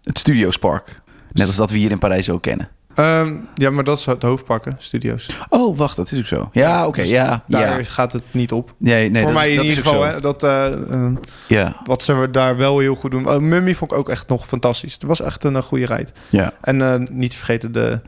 het studiospark. Net als dat we hier in Parijs ook kennen. Ehm, ja, maar dat is het hoofdpakken, studio's. Oh, wacht, dat is ook zo. Ja, oké, Dus ja, Daar ja. gaat het niet op. Nee, nee, Voor dat- mij in dat is ieder ook geval. zo. Hè, dat, eh, eh, Ja, wat ze daar wel heel goed doen. Eh, Mummy vond ik ook echt nog fantastisch. Het was echt een eh, goede rijd. ja. En eh, niet te vergeten de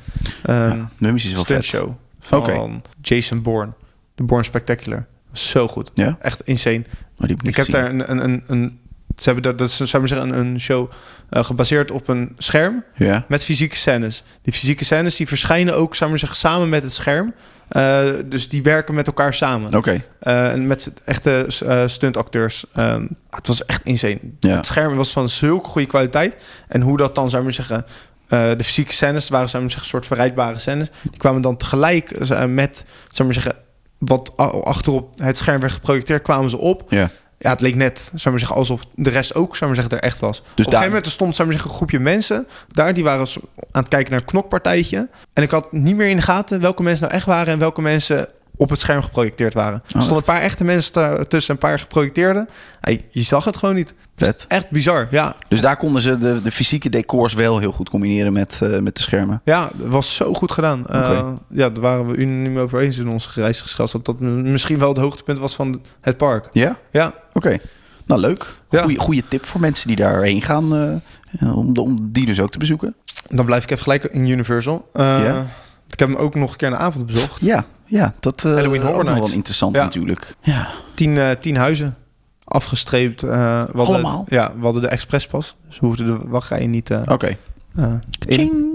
ehm ja. Mummies is wel vet. stuntshow van Oké. Oh, Jason Bourne. De Bourne Spectacular. Zo goed. Ja? Echt insane. Maar die heb ik, niet Ik heb gezien. daar een... een, een, een ze hebben daar, dat is zou ik maar zeggen, een, een show eh, gebaseerd op een scherm Ja, met fysieke scènes. Die fysieke scènes die verschijnen ook zou ik maar zeggen, samen met het scherm. Eh, dus die werken met elkaar samen. Oké. Eh, en met echte eh, stuntacteurs. Eh, het was echt insane. Ja. Het scherm was van zulke goede kwaliteit. En hoe dat dan, zou ik maar zeggen... eh, de fysieke scènes waren, zou ik maar zeggen, soort verrijdbare scènes. Die kwamen dan tegelijk eh, met, zou ik maar zeggen... wat a- achterop het scherm werd geprojecteerd, kwamen ze op. Ja. Ja, het leek net, zou ik maar zeggen, alsof de rest ook, zou ik maar zeggen, er echt was. Op Dus een gegeven daar... moment er stond, zou ik maar zeggen, een groepje mensen daar. Die waren zo- aan het kijken naar een knokpartijtje. En ik had niet meer in de gaten welke mensen nou echt waren... en welke mensen op het scherm geprojecteerd Oh. waren. er stonden een paar echte mensen ta- tussen, een paar geprojecteerden. Ja, je- je zag het gewoon niet. Vet. Echt bizar, ja. Dus daar konden ze de, de fysieke decors wel heel goed combineren met, eh, met de schermen. Ja, het was zo goed gedaan. Eh, Oké. ja, daar waren we unaniem over eens in onze reisgezelschap... dat dat m- misschien wel het hoogtepunt was van het park. Ja? Ja, Oké. Nou, leuk. Ja. Goeie, goeie tip voor mensen die daarheen gaan. eh, ja, om, de- om die dus ook te bezoeken. dan blijf ik even gelijk in Universal. Eh, Ja. Ik heb hem ook nog een keer in de avond bezocht. Ja, ja dat eh Halloween Horror ook nog wel Nights. interessant Ja. natuurlijk. Ja. tien, eh, tien huizen afgestreept. eh, we hadden, Allemaal? Ja, we hadden de expresspas. Dus we hoefden de wachtrijen niet eh Oké. eh, in.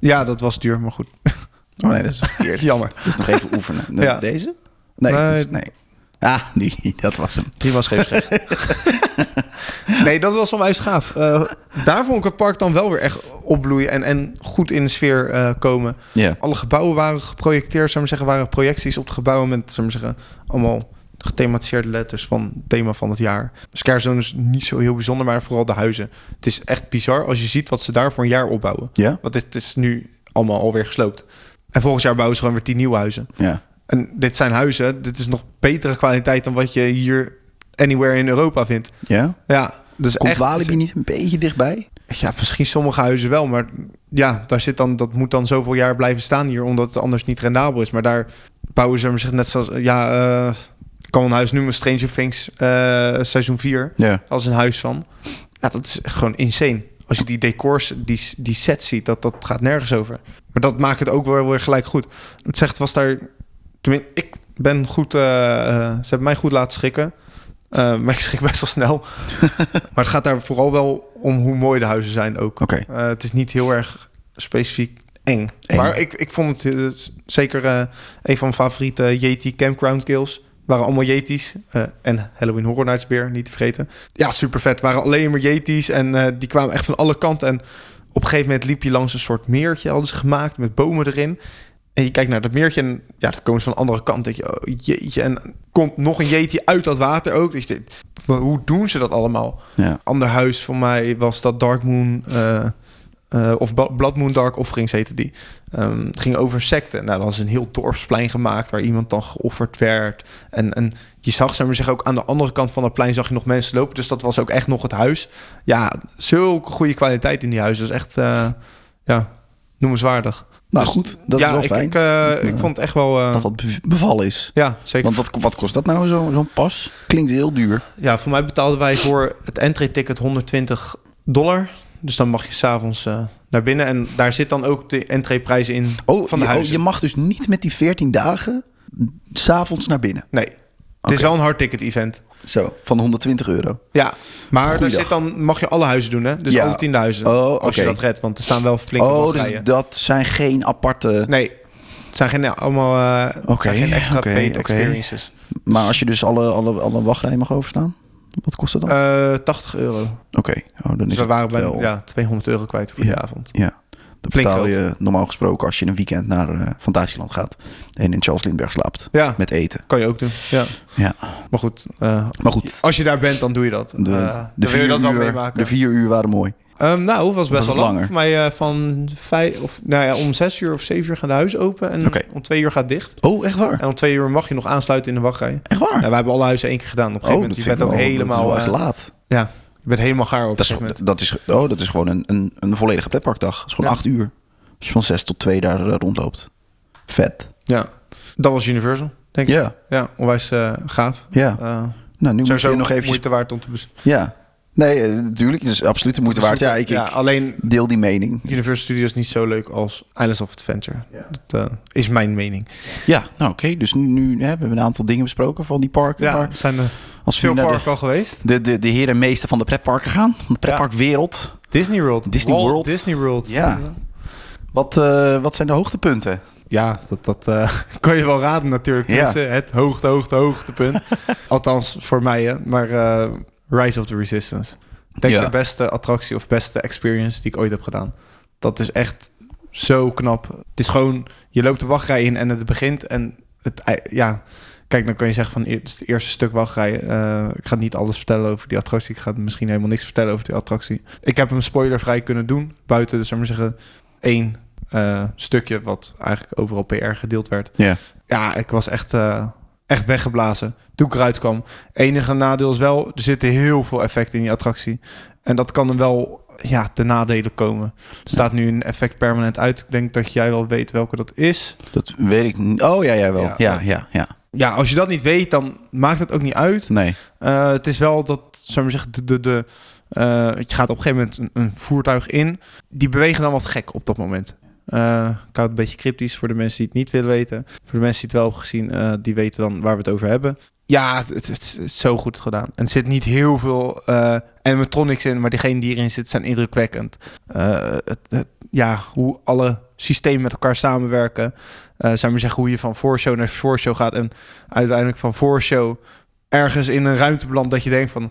Ja, dat was duur, maar goed. Oh nee, dat is verkeerd. Jammer. Dat is nog even oefenen. Nee, Ja. Deze? Nee, dat Nee. is, nee. Ah, die, dat was hem. Die was geen Nee, dat was onwijs gaaf. Eh, daar vond ik het park dan wel weer echt opbloeien en, en goed in de sfeer eh, komen. Ja. Alle gebouwen waren geprojecteerd, zou ik maar zeggen, waren projecties op de gebouwen met, zou ik maar zeggen, allemaal gethematiseerde letters van het thema van het jaar. Scarzone is niet zo heel bijzonder, maar vooral de huizen. Het is echt bizar als je ziet wat ze daar voor een jaar opbouwen. Ja? Want dit is nu allemaal alweer gesloopt. En volgend jaar bouwen ze gewoon weer tien nieuwe huizen. Ja. En dit zijn huizen, dit is nog betere kwaliteit dan wat je hier anywhere in Europa vindt. Ja? Ja, dus Komt echt, Walibi niet een beetje dichtbij? Ja, misschien sommige huizen wel, maar ja, daar zit dan, dat moet dan zoveel jaar blijven staan hier, omdat het anders niet rendabel is. Maar daar bouwen ze zich net zoals, ja, eh, kan een huis noemen, Stranger Things eh, seizoen 4, Ja. als een huis van. Ja, dat is echt gewoon insane. Als je die decors, die, die sets ziet, dat, dat gaat nergens over. Maar dat maakt het ook wel weer gelijk goed. Het zegt, was daar... Tenminste, ik ben goed... eh, eh, ze hebben mij goed laten schikken. Eh, maar ik schrik best wel snel. maar het gaat daar vooral wel om hoe mooi de huizen zijn ook. Oké. Eh, het is niet heel erg specifiek eng. Eng. Maar ik, ik vond het eh, zeker eh, een van mijn favoriete Yeti Campground Kills. Waren allemaal Yetis. eh, en Halloween Horror Nights Beer, niet te vergeten. Ja, super vet. Waren alleen maar Yetis. En eh, die kwamen echt van alle kanten. En op een gegeven moment liep je langs een soort meertje, hadden ze gemaakt, met bomen erin. En je kijkt naar dat meertje en ja, dan komen ze van de andere kant. Denk je, oh, jeetje. En komt nog een jeetje uit dat water ook. Dus je denkt, wa- hoe doen ze dat allemaal? Ja. Ander huis voor mij was dat Dark Moon... eh, eh, of Ba- Blood Moon Dark Offerings heette die. Ehm, het ging over secten. Nou, dan is een heel dorpsplein gemaakt... waar iemand dan geofferd werd. En, en je zag, zeg maar zeggen, ook aan de andere kant van het plein... zag je nog mensen lopen. Dus dat was ook echt nog het huis. Ja, zulke goede kwaliteit in die huizen. Dat is echt, eh, ja, noemenswaardig. Nou Dus- goed, dat ja, is wel ik, fijn. Ik, eh, ik vond het echt wel... eh, dat dat bev- bevallen is. ja, zeker. Want wat, wat kost dat nou, zo- zo'n pas? Klinkt heel duur. Ja, voor mij betaalden wij voor het entry-ticket 120 dollar. Dus dan mag je s'avonds eh naar binnen. En daar zit dan ook de entreeprijs in Oh, van de je, oh, huizen. je mag dus niet met die 14 dagen s'avonds naar binnen. Nee, het is Oké. wel een hardticket-event. Zo, van 120 euro. Ja, maar daar Goeiedag. zit dan, mag je alle huizen doen, hè? Dus Ja. alle 10.000, Oh, als je oké. dat redt. Want er staan wel flinke Oh, dus wachtrijen. dat zijn geen aparte... Nee, het zijn geen, allemaal eh, het Oké, zijn geen extra oké, paid oké. experiences. Maar als je dus alle, alle, alle wachtrijen mag overstaan, wat kost dat dan? Eh, 80 euro. Oké, oh, Nou. dan is Dus we het waren bij wel- ja, 200 euro kwijt voor Ja. de avond. Ja, dat Flink betaal geld. je normaal gesproken als je een weekend naar eh, Fantasieland gaat en in Charles Lindbergh slaapt Ja, met eten. kan je ook doen. Ja. Ja. Maar goed, eh, Maar goed, Als je daar bent, dan doe je dat. de, Eh, de, dan wil je vier, dat wel uur, meemaken. de vier uur waren mooi. Ehm, nou, het was best wel was het lang. langer? Voor mij eh, van vijf, of, nou ja, om zes uur of zeven uur gaan de huizen open. En Oké. om twee uur gaat het dicht. Oh, echt waar? En om twee uur mag je nog aansluiten in de wachtrij. Echt waar? Oh, Ja, we hebben alle huizen één keer gedaan. Op een gegeven dat moment, je vind bent ook ik wel- helemaal... Dat is wel eh, echt laat. ja, je bent helemaal gaar op Dat een is, gegeven moment. dat, is, oh, dat is gewoon een, een, een volledige pretparkdag. Dat is gewoon Ja. acht uur. Als je van zes tot twee daar eh, rondloopt. Vet. Ja, dat was Universal, denk ik. Ja, Ja, onwijs eh, gaaf. ja. Eh, Nou, nu moet sowieso je nog eventjes... moeite waard om te bes- Ja. Nee, eh, natuurlijk. Het is absoluut de moeite waard. Ja, ik, ja, ik alleen deel die mening. Universal Studios is niet zo leuk als Islands of Adventure. Dat eh, is mijn mening. Ja, nou oké. Dus nu, nu hè, we hebben een aantal dingen besproken van die parken. Ja, Maar er zijn er als we veel nu naar de- parken al geweest. de, de, de heer en meester van de pretparken gaan. Van de pretparkwereld. Disney World. Disney Walt World. Disney World. Ja. Wat, eh, wat zijn de hoogtepunten? Ja, dat, dat eh, kan je wel raden natuurlijk. Ja. Tenminste, Het hoogte, hoogte, hoogtepunt. Althans, voor mij. Hè. Maar eh, Rise of the Resistance. Denk Ja. de beste attractie of beste experience die ik ooit heb gedaan. Dat is echt zo knap. Het is gewoon, je loopt de wachtrij in en het begint. En het, ei- ja, kijk, dan kan je zeggen van het is het eerste stuk wachtrij. Eh, ik ga niet alles vertellen over die attractie. Ik ga misschien helemaal niks vertellen over die attractie. Ik heb hem spoilervrij kunnen doen. Buiten, dus zullen we zeggen, één eh, stukje wat eigenlijk overal PR gedeeld werd. Ja. Ja, ik was echt, eh, echt weggeblazen toen ik eruit kwam. Enige nadeel is wel, er zitten heel veel effecten in die attractie. En dat kan hem wel ja, ten nadelen komen. Er staat nu een effect permanent uit. Ik denk dat jij wel weet welke dat is. Dat weet ik niet. Oh ja, jij wel. Ja. Ja, ja, ja. Ja, als je dat niet weet, dan maakt het ook niet uit. Nee. Eh, het is wel dat, zou ik maar zeggen, de, de, de, eh, je gaat op een gegeven moment een, een voertuig in. Die bewegen dan wat gek op dat moment. Eh, ik hou het een beetje cryptisch voor de mensen die het niet willen weten. Voor de mensen die het wel hebben gezien, eh, die weten dan waar we het over hebben. Ja, het, het, het is zo goed gedaan. En er zit niet heel veel eh animatronics in, maar diegenen die erin zitten zijn indrukwekkend. Eh, het, het- ja, hoe alle systemen met elkaar samenwerken. Eh zou maar zeggen hoe je van voorshow naar voorshow gaat. En uiteindelijk van voorshow ergens in een ruimte belandt dat je denkt van...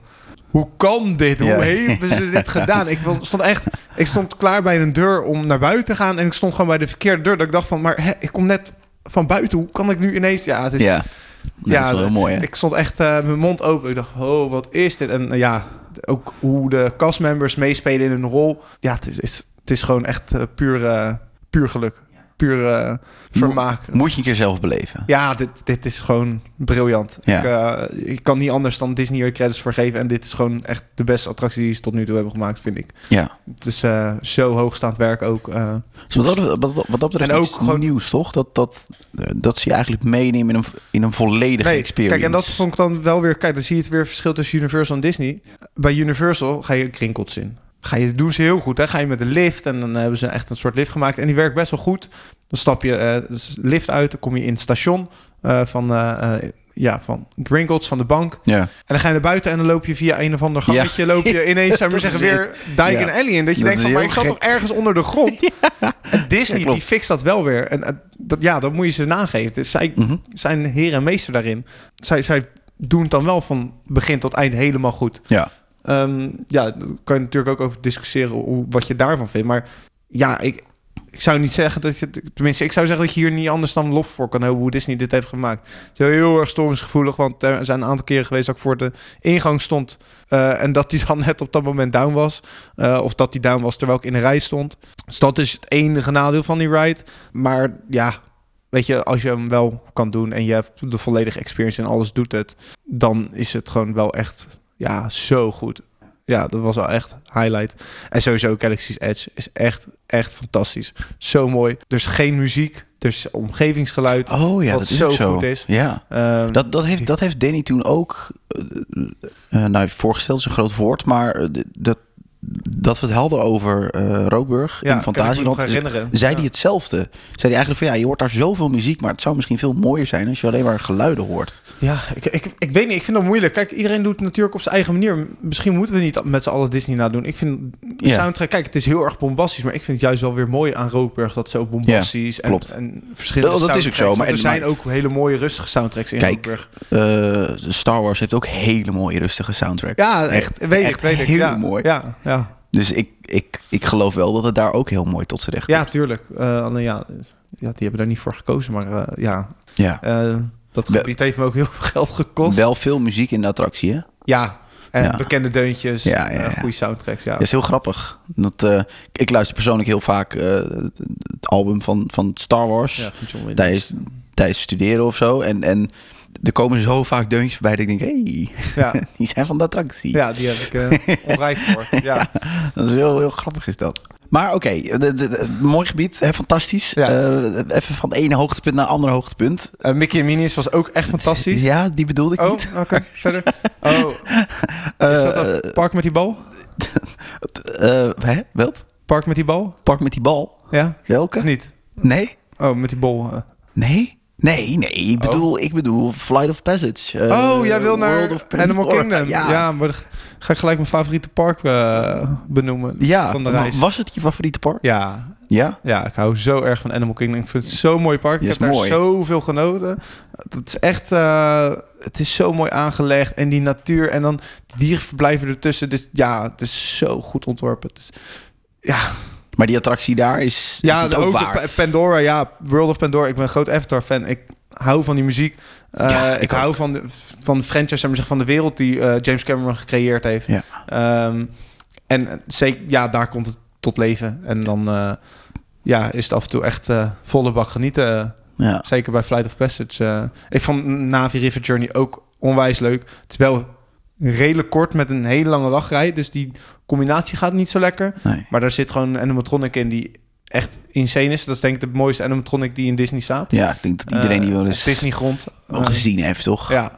Hoe kan dit? Hoe Ja. hebben ze dit gedaan? Ik wil- stond echt... Ik stond klaar bij een deur om naar buiten te gaan. En ik stond gewoon bij de verkeerde deur. Dat ik dacht van, maar hè, ik kom net van buiten. Hoe kan ik nu ineens... Ja, het is ja. Nou, dat is wel heel dat- mooi, hè? Ik stond echt eh, mijn mond open. Ik dacht, oh, wat is dit? En eh, ja, d- ook hoe de castmembers meespelen in hun rol. Ja, het is, is- het is gewoon echt eh, puur, eh, puur geluk. Puur eh, vermaak. Moet je een keer zelf beleven. Ja, dit, dit is gewoon briljant. Ja. Ik, eh, ik kan niet anders dan Disney hier credits voor geven. En dit is gewoon echt de beste attractie die ze tot nu toe hebben gemaakt, vind ik. Ja. Het is eh, zo hoogstaand werk ook. eh. Dus wat, dat, wat, dat- wat dat betreft En ook iets gewoon- nieuws, toch? Dat, dat, eh, dat ze je eigenlijk meenemen in een, in een volledige experience. Kijk, en dat vond ik dan wel weer... Kijk, dan zie je het weer verschil tussen Universal en Disney. Bij Universal ga je krinkels in. Ga je, doen ze heel goed, hè? Ga je met een lift en dan hebben ze echt een soort lift gemaakt. En die werkt best wel goed. Dan stap je eh, dus lift uit, dan kom je in het station eh, van... eh eh, ja, van Gringotts, van de bank. En Ja. dan ga je naar buiten en dan loop je via een of ander Ja. gangetje... loop je ineens, zou ik maar Dat zeggen, is- weer Dijk ja. en Ellie in. Dat je Dat denkt is van, maar heel ik zat gek. toch ergens onder de grond? En Disney, Ja, klopt. die fixt dat wel weer. En eh, dat, ja, dat moet je ze nageven. Het is- zij Mhm. zijn heer en meester daarin. Zij, zij doen het dan wel van begin tot eind helemaal goed. Ja. Ehm, ja, daar kan je natuurlijk ook over discussiëren hoe, wat je daarvan vindt. Maar ja, ik, ik zou niet zeggen dat je... Tenminste, ik zou zeggen dat je hier niet anders dan lof voor kan hebben... hoe Disney dit heeft gemaakt. Het is heel erg storingsgevoelig, want er zijn een aantal keren geweest... dat ik voor de ingang stond eh, en dat die dan net op dat moment down was. Eh, of dat die down was terwijl ik in de rij stond. Dus dat is het enige nadeel van die ride. Maar ja, weet je, als je hem wel kan doen en je hebt de volledige experience en alles doet het, dan is het gewoon wel echt, ja, zo goed. Ja, dat was wel echt highlight. En sowieso Galaxy's Edge is echt, echt fantastisch. Zo mooi. Er is geen muziek, er is omgevingsgeluid. Oh ja, Wat dat is zo ook zo. goed is. Ja. Ehm, Dat, dat, heeft, dat heeft Danny toen ook eh, eh, nou, voorgesteld, is een groot woord, maar eh, d- dat, dat we het hadden over eh Rookburg kan ik in me nog Fantasieland, herinneren. zei Ja. hij hetzelfde. Zei hij eigenlijk van ja, je hoort daar zoveel muziek, maar het zou misschien veel mooier zijn als je alleen maar geluiden hoort. Ja, ik, ik, ik weet niet. Ik vind dat moeilijk. Kijk, iedereen doet het natuurlijk op zijn eigen manier. Misschien moeten we niet met z'n allen Disney nadoen. Ik vind de Ja. soundtrack... Kijk, het is heel erg bombastisch. Maar ik vind het juist wel weer mooi aan Rookburg... dat zo bombastisch en, klopt. en verschillende Oh, dat is ook zo, soundtracks. maar- Want er maar- zijn ook hele mooie rustige soundtracks in Kijk, Rookburg. Eh, Star Wars heeft ook hele mooie rustige soundtrack. Ja, echt. echt- Weet ik, echt weet ik. heel ja, mooi. Ja, ja. Dus ik, ik, ik geloof wel dat het daar ook heel mooi tot z'n recht ja komt. tuurlijk. Eh, alleen ja, ja, die hebben daar niet voor gekozen. Maar eh, ja, Ja. eh, dat Wel- gebied heeft me ook heel veel geld gekost. Wel veel muziek in de attractie, hè? ja, en Ja. bekende deuntjes. Ja, ja, eh, ja. goede soundtracks, ja. Dat is heel grappig. Dat, eh, ik luister persoonlijk heel vaak eh, het album van, van Star Wars. Ja, van John Williams. tijdens, tijdens studeren of zo. En, en er komen zo vaak deuntjes voorbij dat ik denk, hey, Ja. die zijn van de attractie. Ja, die heb ik eh onrijk voor. Ja. Dat is heel, heel grappig is dat. Maar oké, eh, de- de- de- mooi gebied, hè, fantastisch. Ja. Eh, even van het ene hoogtepunt naar het andere hoogtepunt. Eh, Mickey en Minnie's was ook echt fantastisch. Ja, die bedoelde ik Oh, niet. oké. Verder. Oh, is dat Eh, dat park met die bal? eh, hè, wat? Park met die bal? Park met die bal. Ja? Of Welke? niet? Nee? Oh, met die bal. eh. Nee? Nee, nee. Ik bedoel, ik bedoel Flight of Passage. eh, oh, jij wil naar World of Animal Pandora. Kingdom. Ja. maar dan ga ik gelijk mijn favoriete park eh, benoemen Ja, van de wa- reis. was het je favoriete park? Ja, Ja. Ja, ik hou zo erg van Animal Kingdom. Ik vind het zo'n mooi park. Ik Ja, heb is daar mooi. zoveel genoten. Het is echt... eh, het is zo mooi aangelegd. En die natuur. En dan die dierenverblijven ertussen. Dus ja, het is zo goed ontworpen. Het is, Maar die attractie daar is, is ja, het de ook, ook waard. Pa- Pandora. Ja, World of Pandora. Ik ben een groot Avatar-fan. Ik hou van die muziek. Eh, Ja, ik ik hou van de, van de franchise, zeg maar zeggen, van de wereld die eh, James Cameron gecreëerd heeft. Ja. Ehm, en zeker, ja, daar komt het tot leven. En dan eh, ja, is het af en toe echt eh, volle bak genieten. Eh, Ja. Zeker bij Flight of Passage. eh. ik vond Navi River Journey ook onwijs leuk. Het is wel redelijk kort met een hele lange wachtrij. Dus die combinatie gaat niet zo lekker. Nee. Maar daar zit gewoon een animatronic in die echt insane is. Dat is denk ik de mooiste animatronic die in Disney staat. ja, ik denk dat iedereen Eh, die wel op eens Disney grond. Eh, wel gezien heeft, toch? ja.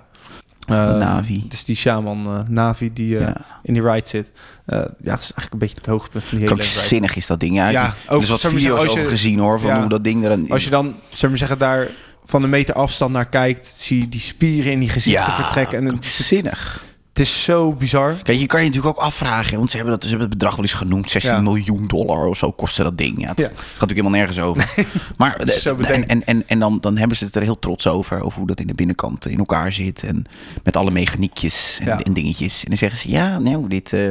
De Eh, Navi. Het is die shaman eh, Navi die eh, ja. in die ride zit. Eh, ja, het is eigenlijk een beetje het hoogtepunt van die hele ride. Krankzinnig is dat ding. Ja, Ja, ja ook, ook, dus wat zou ik zeggen, video's als je- over gezien hoor, van ja. hoe dat ding er aan... Als je dan, zou ik maar zeggen, daar van een meter afstand naar kijkt... zie je die spieren in die gezichten ja, vertrekken. En het is krankzinnig. Het is zo bizar. Kijk, je kan je natuurlijk ook afvragen, want ze hebben, dat, ze hebben het bedrag wel eens genoemd, 16 Ja. miljoen dollar of zo kostte dat ding. Ja, het Ja. gaat natuurlijk helemaal nergens over. Maar de- Zo bedenkt. en, en, en, en dan, dan hebben ze het er heel trots over, over hoe dat in de binnenkant in elkaar zit en met alle mechaniekjes en, Ja. en dingetjes. En dan zeggen ze, ja, nou, dit, eh,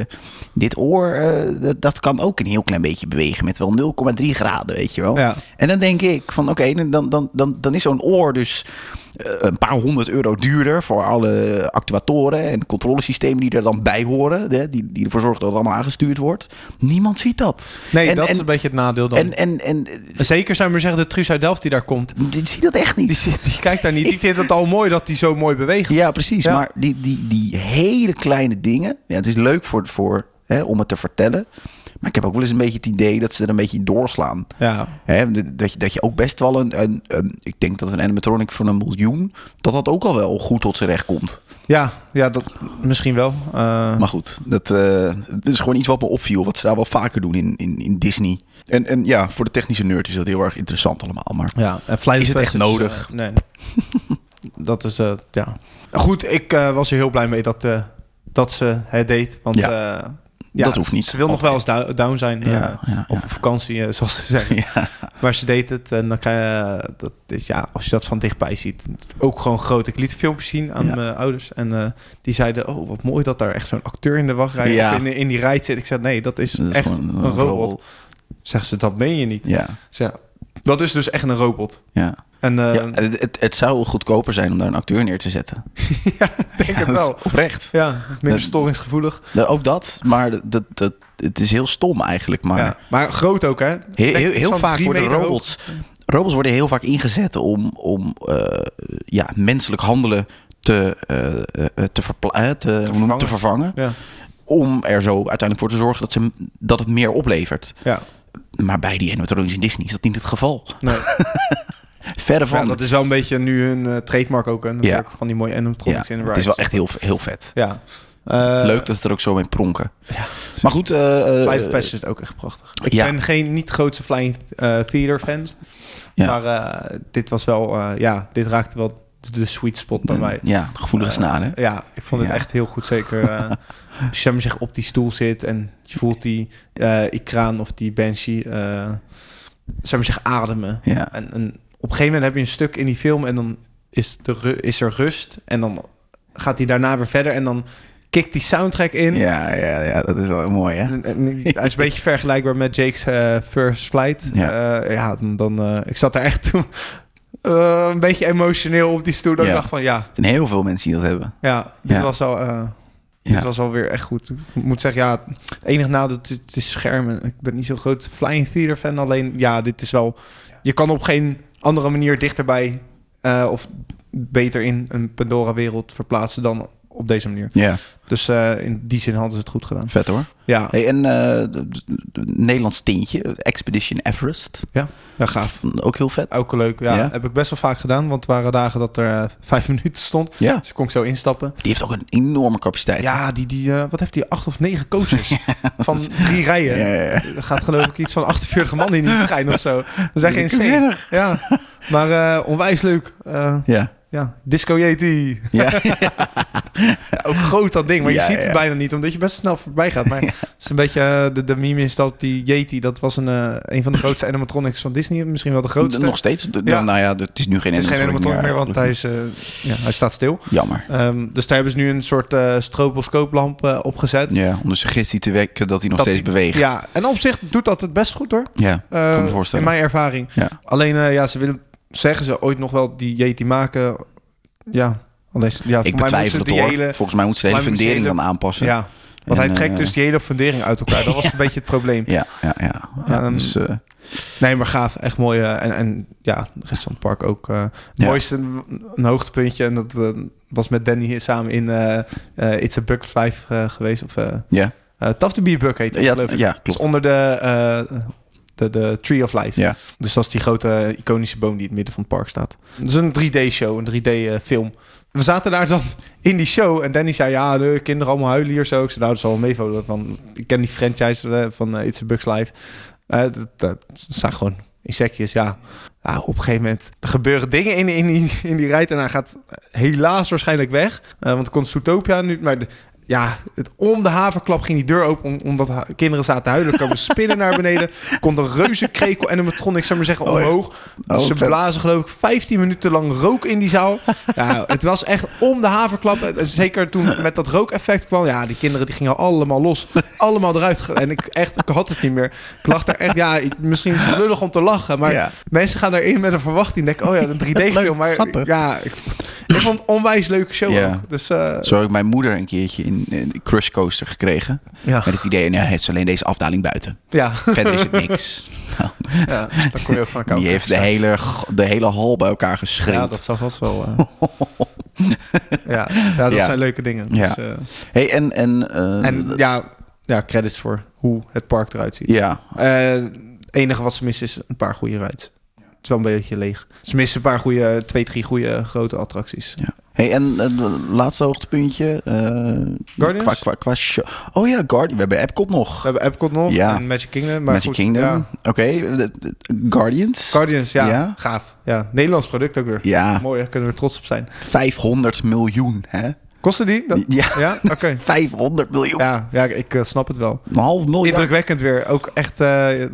dit oor, eh, dat, dat kan ook een heel klein beetje bewegen met wel 0,3 graden, weet je wel. Ja. En dan denk ik van oké, dan, dan, dan, dan is zo'n oor dus eh, een paar honderd euro duurder voor alle actuatoren en controlesystemen die er dan bij horen. Hè, die, die ervoor zorgen dat het allemaal aangestuurd wordt. Niemand ziet dat. Nee, en, dat en, is een beetje het nadeel dan. en, en, en, eh, Zeker zou je maar zeggen de Truus uit Delft die daar komt. die ziet dat echt niet. Die kijkt daar niet. Die vindt het al mooi dat die zo mooi beweegt. Ja, precies. Ja. Maar die, die, die hele kleine dingen. Ja, het is leuk voor, voor, hè, om het te vertellen. Maar ik heb ook wel eens een beetje het idee dat ze er een beetje in doorslaan. Ja. Hè, d- dat, je, dat je ook best wel een, een, een- Ik denk dat een animatronic van een miljoen. dat dat ook al wel goed tot zijn recht komt. Ja, ja dat misschien wel. Eh, Maar goed, dat, eh, het is gewoon iets wat me opviel. wat ze daar wel vaker doen in, in, in Disney. En, en ja, voor de technische nerd is dat heel erg interessant allemaal. Maar ja, en Flight Is of het echt Passage, nodig? eh, nee. dat is, eh, ja. Goed, ik eh, was er heel blij mee dat, eh, dat ze het deed. Want Ja. eh, ja, Dat hoeft niet. Ze wil nog wel eens dou- down zijn. eh, ja, ja, Of op vakantie, eh, zoals ze zeggen. ja. Maar ze deed het en dan kan je, eh, dat is, ja, als je dat van dichtbij ziet, ook gewoon groot. Ik liet filmpjes zien aan Ja. mijn ouders en eh, die zeiden, oh wat mooi dat daar echt zo'n acteur in de wachtrij Ja. of in, in die rij zit. Ik zei, nee, dat is, Dat is echt gewoon een, robot. Zeggen ze, dat meen je niet. Ja, Ik zei, Dus dat is dus echt een robot. ja. En eh, Ja, het, het, het zou goedkoper zijn om daar een acteur neer te zetten. denk Ja, het dat wel. is Oprecht. Ja, minder Dat- storingsgevoelig. Nou, Ook dat, maar dat, dat, dat- het is heel stom eigenlijk. Maar ja. maar groot ook, hè? heel, heel, Zo'n heel vaak drie worden meter hoog. robots... Mm. Robots worden heel vaak ingezet om, om eh, ja, menselijk handelen te, eh, eh, te, verpla- eh, te, hoe noem je vervangen. het? te vervangen. Ja. Om er zo uiteindelijk voor te zorgen dat, ze, dat het meer oplevert. Ja, Maar bij die animatronics in Disney is dat niet het geval. nee. Verre Ja, van. dat is wel een beetje nu hun eh, trademark ook. En Ja. van die mooie Ja, animatronics in de het is wel echt heel, heel vet. Ja. Eh, Leuk dat ze er ook zo mee pronken. Ja. Maar goed, eh, eh, Flight of Passage is ook echt prachtig. Ik Ja. ben geen niet grootste Flying eh, Theater fans. Ja. Maar eh, dit was wel, eh, ja, dit raakte wel de sweet spot Mm. bij mij. eh, Ja, gevoelige Eh, snaar, hè? Ja, ik vond het Ja. echt heel goed. Zeker eh, als je zich op die stoel zit en je voelt die eh ikraan of die banshee, eh zou zich ademen. Ja. En, en op een gegeven moment heb je een stuk in die film en dan is, de ru- is er rust. En dan gaat hij daarna weer verder en dan kikt die soundtrack in. Ja, ja, ja, dat is wel mooi, hè? En- en Hij is een beetje vergelijkbaar met Jake's eh, First Flight. Ja, ja dan, dan, eh, ik zat daar echt toen eh, een beetje emotioneel op die stoel. Dat Ja. ik dacht van ja, Er zijn heel veel mensen die dat hebben. ja dit, Ja. Was al, eh, Ja. dit was alweer echt goed. Ik moet zeggen, ja, het enige nadeel, het is- het is schermen. Ik ben niet zo'n groot Flying Theater fan. Alleen, ja, dit is wel... Je kan op geen andere manier dichterbij eh, of beter in een Pandora-wereld verplaatsen dan op deze manier. Ja, Dus eh, in die zin hadden ze het goed gedaan. vet hoor. Ja, Hey, en eh, d- d- d- Nederlands tintje, Expedition Everest. ja gaaf. Ook heel vet. Ook leuk. Ja, Ja. heb ik best wel vaak gedaan. Want het waren dagen dat er eh, vijf minuten stond. Ja. Dus kon ik zo instappen. Die heeft ook een enorme capaciteit. Ja, die, die, eh, wat heb je? Acht of negen coaches van drie rijen. Ja, ja, ja. Er gaat geloof ik iets van 48 man in die trein of zo. We zijn geen insane. Ja, maar eh, onwijs leuk. Eh, Ja. ja, Disco Yeti. Ja. Ja, ook groot dat ding, maar Ja, je ziet het ja. bijna niet, omdat je best snel voorbij gaat. Maar het is een beetje, eh, de, de meme is dat die Yeti, dat was een, eh, een van de grootste animatronics van Disney. Misschien wel de grootste. Nog steeds. D- Ja. Nou ja, d- het is nu geen het is geen animatronic meer, want hij, eigenlijk. is, eh, ja, hij staat stil. Jammer. Ehm, dus daar hebben ze nu een soort eh stroboscooplamp eh, opgezet. Ja, om de suggestie te wekken dat hij nog Dat steeds hij- beweegt. Ja, en op zich doet dat het best goed hoor. Ja. Eh, Kan me voorstellen. In mijn ervaring. Ja. Alleen, eh, ja, ze willen, zeggen ze ooit nog wel die Yeti maken. Ja, alleen, ja, Ik voor mij moeten ze betwijfel het die hoor. hele- Volgens mij moet ze de hele voor mij moet ze fundering hele- dan aanpassen. ja, want En, hij trekt eh, dus die hele fundering uit elkaar. Dat was een beetje het probleem. Ja, ja, ja. Ja, Ehm, dus, eh, Nee, maar gaaf. Echt mooi. eh, en, en ja, de rest van het park ook. eh het Ja. mooiste, een, een hoogtepuntje. En dat eh, was met Danny hier samen in eh, eh, It's a Buck 5 eh, geweest. Of, eh ja. eh, Tough to be a Buck heet het, Ja, geloof ik. ja, Dat is klopt. Dus onder de, eh, de, de Tree of Life. Ja. Dus dat is die grote iconische boom die in het midden van het park staat. Dat is een 3D-show, een 3D-film. we zaten daar dan in die show en Danny zei... ja, de kinderen allemaal huilen hier zo. Ik zei, nou, dat zal wel meevallen. Van, ik ken die franchise eh, van eh, It's a Bugs Life. Eh, dat, dat zijn gewoon insectjes, ja. Ja, op een gegeven moment gebeuren dingen in, in, die, in die rijt... en hij gaat helaas waarschijnlijk weg. Eh, want er komt Zootopia nu... Maar de- ja, het, om de haverklap ging die deur open... om- omdat ha- kinderen zaten te huilen. Er komen spinnen naar beneden. Komt een reuze krekel animatronic, zou ik maar zeggen, Oh, echt? omhoog. Dus Oh, ze vet. blazen geloof ik 15 minuten lang rook in die zaal. Ja, het was echt om de haverklap. En Zeker toen met dat rookeffect kwam. Ja, die kinderen die gingen allemaal los. Allemaal eruit. ge- En ik, echt, ik had het niet meer. Ik lag daar echt... Ja, ik- misschien is het lullig om te lachen. Maar Ja. mensen gaan daarin met een verwachting. Denken, oh ja, een 3D-film. Maar schattig. ja, ik, ik vond het een onwijs leuke show Ja. ook. Dus eh, Zo heb ik mijn moeder een keertje in, een Crush Coaster gekregen. ja. Met het idee, nou, het is alleen deze afdaling buiten. Ja. Verder is het niks. Nou, ja, daar kon je ook van elkaar die heeft de hele, g- de hele hal bij elkaar geschreeuwd. Ja, dat zal vast wel... eh. ja, ja, dat Ja. zijn leuke dingen. Dus, Ja. eh, hey, en, en, eh, En ja, ja, credits voor hoe het park eruit ziet. ja, Eh, Het enige wat ze missen is een paar goede rides. Het is wel een beetje leeg. Ze missen een paar goede, twee, drie goede grote attracties. Hey, en het laatste hoogtepuntje. eh, Guardians? Qua, qua, qua show. Oh ja, Guardian. We hebben Epcot nog. We hebben Epcot nog Ja. en Magic Kingdom. Maar Magic goed, Kingdom. ja. Oké, de- de- Guardians. Guardians, ja, Ja? Gaaf. Ja, Nederlands product ook weer. ja, Mooi, daar kunnen we trots op zijn. 500 miljoen. Hè? Kosten die? Dat- Ja, Ja? Oké. 500 miljoen. Ja, ja, ik eh, snap het wel. Een half miljard. Indrukwekkend weer. Ook echt... eh,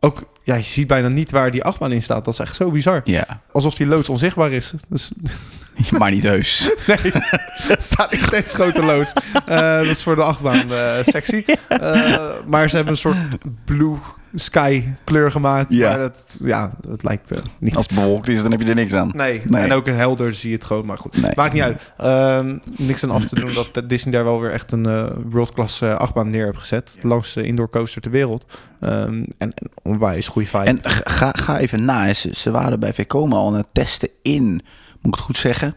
ook, ja, je ziet bijna niet waar die achtbaan in staat. Dat is echt zo bizar. Ja, Alsof die loods onzichtbaar is. Dus maar niet heus. Nee, het staat niet eens grote loods. Eh, dat is voor de achtbaan eh sectie. Eh, maar ze hebben een soort blue sky kleur gemaakt. Ja. Maar dat, ja, dat lijkt eh, niet. Als het bewolkt is, dan heb je er niks aan. Nee. Nee. en ook een helder zie je het gewoon. Maar goed, Nee. maakt niet uit. Ehm, niks aan af te doen dat Disney daar wel weer echt een eh world-class eh, achtbaan neer heeft gezet. Langs de indoor coaster ter wereld. Ehm, en, en onwijs goede vibe. En g- ga, ga even na. Ze, ze waren bij Vekoma al aan het testen in, moet ik het goed zeggen,